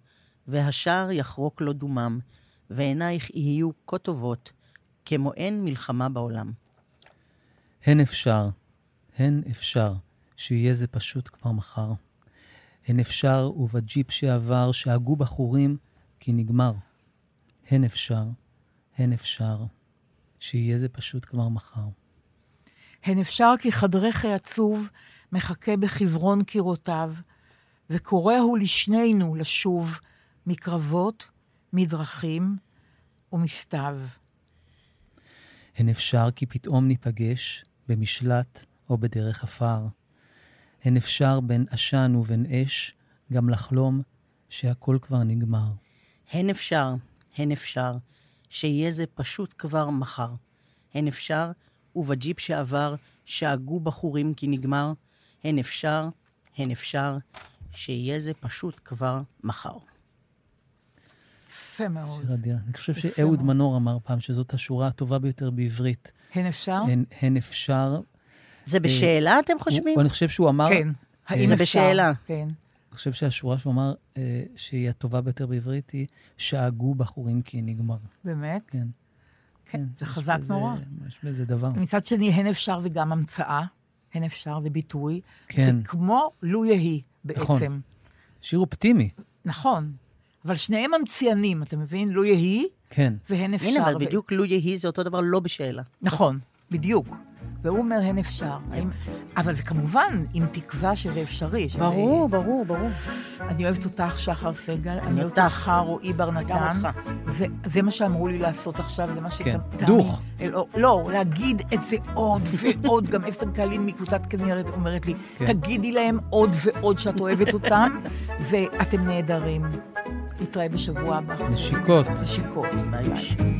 [SPEAKER 4] והשער יחרוק לו דומם, ועינייך יהיו כה טובות, כמו אין מלחמה בעולם.
[SPEAKER 5] הן אפשר, הן אפשר, שיהיה זה פשוט כבר מחר. הן אפשר, ובג'יפ שעבר, שהגו בחורים, כי נגמר. הן אפשר, הן אפשר, שיהיה זה פשוט כבר מחר.
[SPEAKER 3] הן אפשר כי חדרך העצוב מחכה בחברון קירותיו, וקורא הוא לשנינו לשוב מקרבות, מדרכים ומסתיו.
[SPEAKER 5] הן אפשר כי פתאום ניפגש במשלט או בדרך עפר. הן אפשר בין עשן ובין אש גם לחלום שהכל כבר נגמר.
[SPEAKER 4] הן אפשר, הן אפשר, שיהיה זה פשוט כבר מחר. הן אפשר, ובג'יפ שעבר, שאגו בחורים כי נגמר. הן אפשר, הן אפשר, שיהיה זה פשוט כבר מחר.
[SPEAKER 3] יפה מאוד.
[SPEAKER 5] שיר אדיר. אני חושב
[SPEAKER 3] יפה
[SPEAKER 5] שאהוד
[SPEAKER 3] מאוד.
[SPEAKER 5] מנור אמר פעם שזאת השורה הטובה ביותר בעברית.
[SPEAKER 3] הן אפשר?
[SPEAKER 5] הן- הן אפשר...
[SPEAKER 4] זה בשאלה, אתם חושבים?
[SPEAKER 5] הוא- אני חושב שהוא אמר...
[SPEAKER 3] כן. האם
[SPEAKER 4] זה
[SPEAKER 3] אפשר?
[SPEAKER 4] בשאלה.
[SPEAKER 3] כן.
[SPEAKER 5] אני חושב שהשורה שהוא אמר אה, שהיא הטובה ביותר בעברית היא שאגו בחורים כי נגמר.
[SPEAKER 3] באמת?
[SPEAKER 5] כן.
[SPEAKER 3] כן. זה
[SPEAKER 5] יש
[SPEAKER 3] חזק
[SPEAKER 5] בזה-
[SPEAKER 3] נורא.
[SPEAKER 5] יש בזה דבר.
[SPEAKER 3] מצד שני, הן אפשר וגם המצאה. הן אפשר וביטוי.
[SPEAKER 5] כן.
[SPEAKER 3] זה כמו לו יהי בעצם.
[SPEAKER 5] נכון. שיר אופטימי.
[SPEAKER 3] נכון. אבל שניהם ממציאנים, אתה מבין? לו יהי
[SPEAKER 5] כן.
[SPEAKER 3] והן אפשר.
[SPEAKER 4] הנה, אבל
[SPEAKER 3] ו-
[SPEAKER 4] בדיוק לו יהי זה אותו דבר לא בשאלה.
[SPEAKER 3] נכון, בדיוק. והוא אומר, הן אפשר. האם... אבל זה כמובן עם תקווה שזה אפשרי. שזה...
[SPEAKER 4] ברור, ברור, ברור.
[SPEAKER 3] אני אוהבת אותך, שחר סגל, אני אוהבת
[SPEAKER 4] אותך.
[SPEAKER 3] אותך, רועי בר
[SPEAKER 4] גם
[SPEAKER 3] נתן.
[SPEAKER 4] אותך.
[SPEAKER 3] זה, זה מה שאמרו לי לעשות עכשיו, זה מה שתמי...
[SPEAKER 5] כן, דוך.
[SPEAKER 3] אלאור- לא, להגיד את זה עוד ועוד. גם אסתר קהלין מקבוצת כנרת אומרת לי,
[SPEAKER 5] כן.
[SPEAKER 3] תגידי להם עוד ועוד שאת אוהבת אותם, ואתם נהדרים. נתראה בשבוע הבא.
[SPEAKER 5] נשיקות.
[SPEAKER 3] נשיקות. ביי ביי.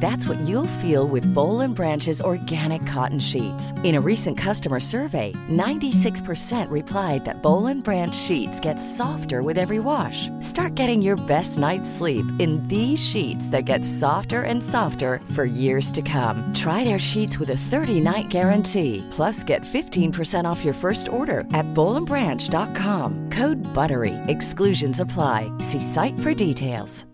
[SPEAKER 6] That's what you'll feel with Bowl and Branch's organic cotton sheets. In a recent customer survey, 96% replied that Bowl and Branch sheets get softer with every wash. Start getting your best night's sleep in these sheets that get softer and softer for years to come. Try their sheets with a 30-night guarantee. Plus, get 15% off your first order at bowlandbranch.com. Code BUTTERY. Exclusions apply. See site for details.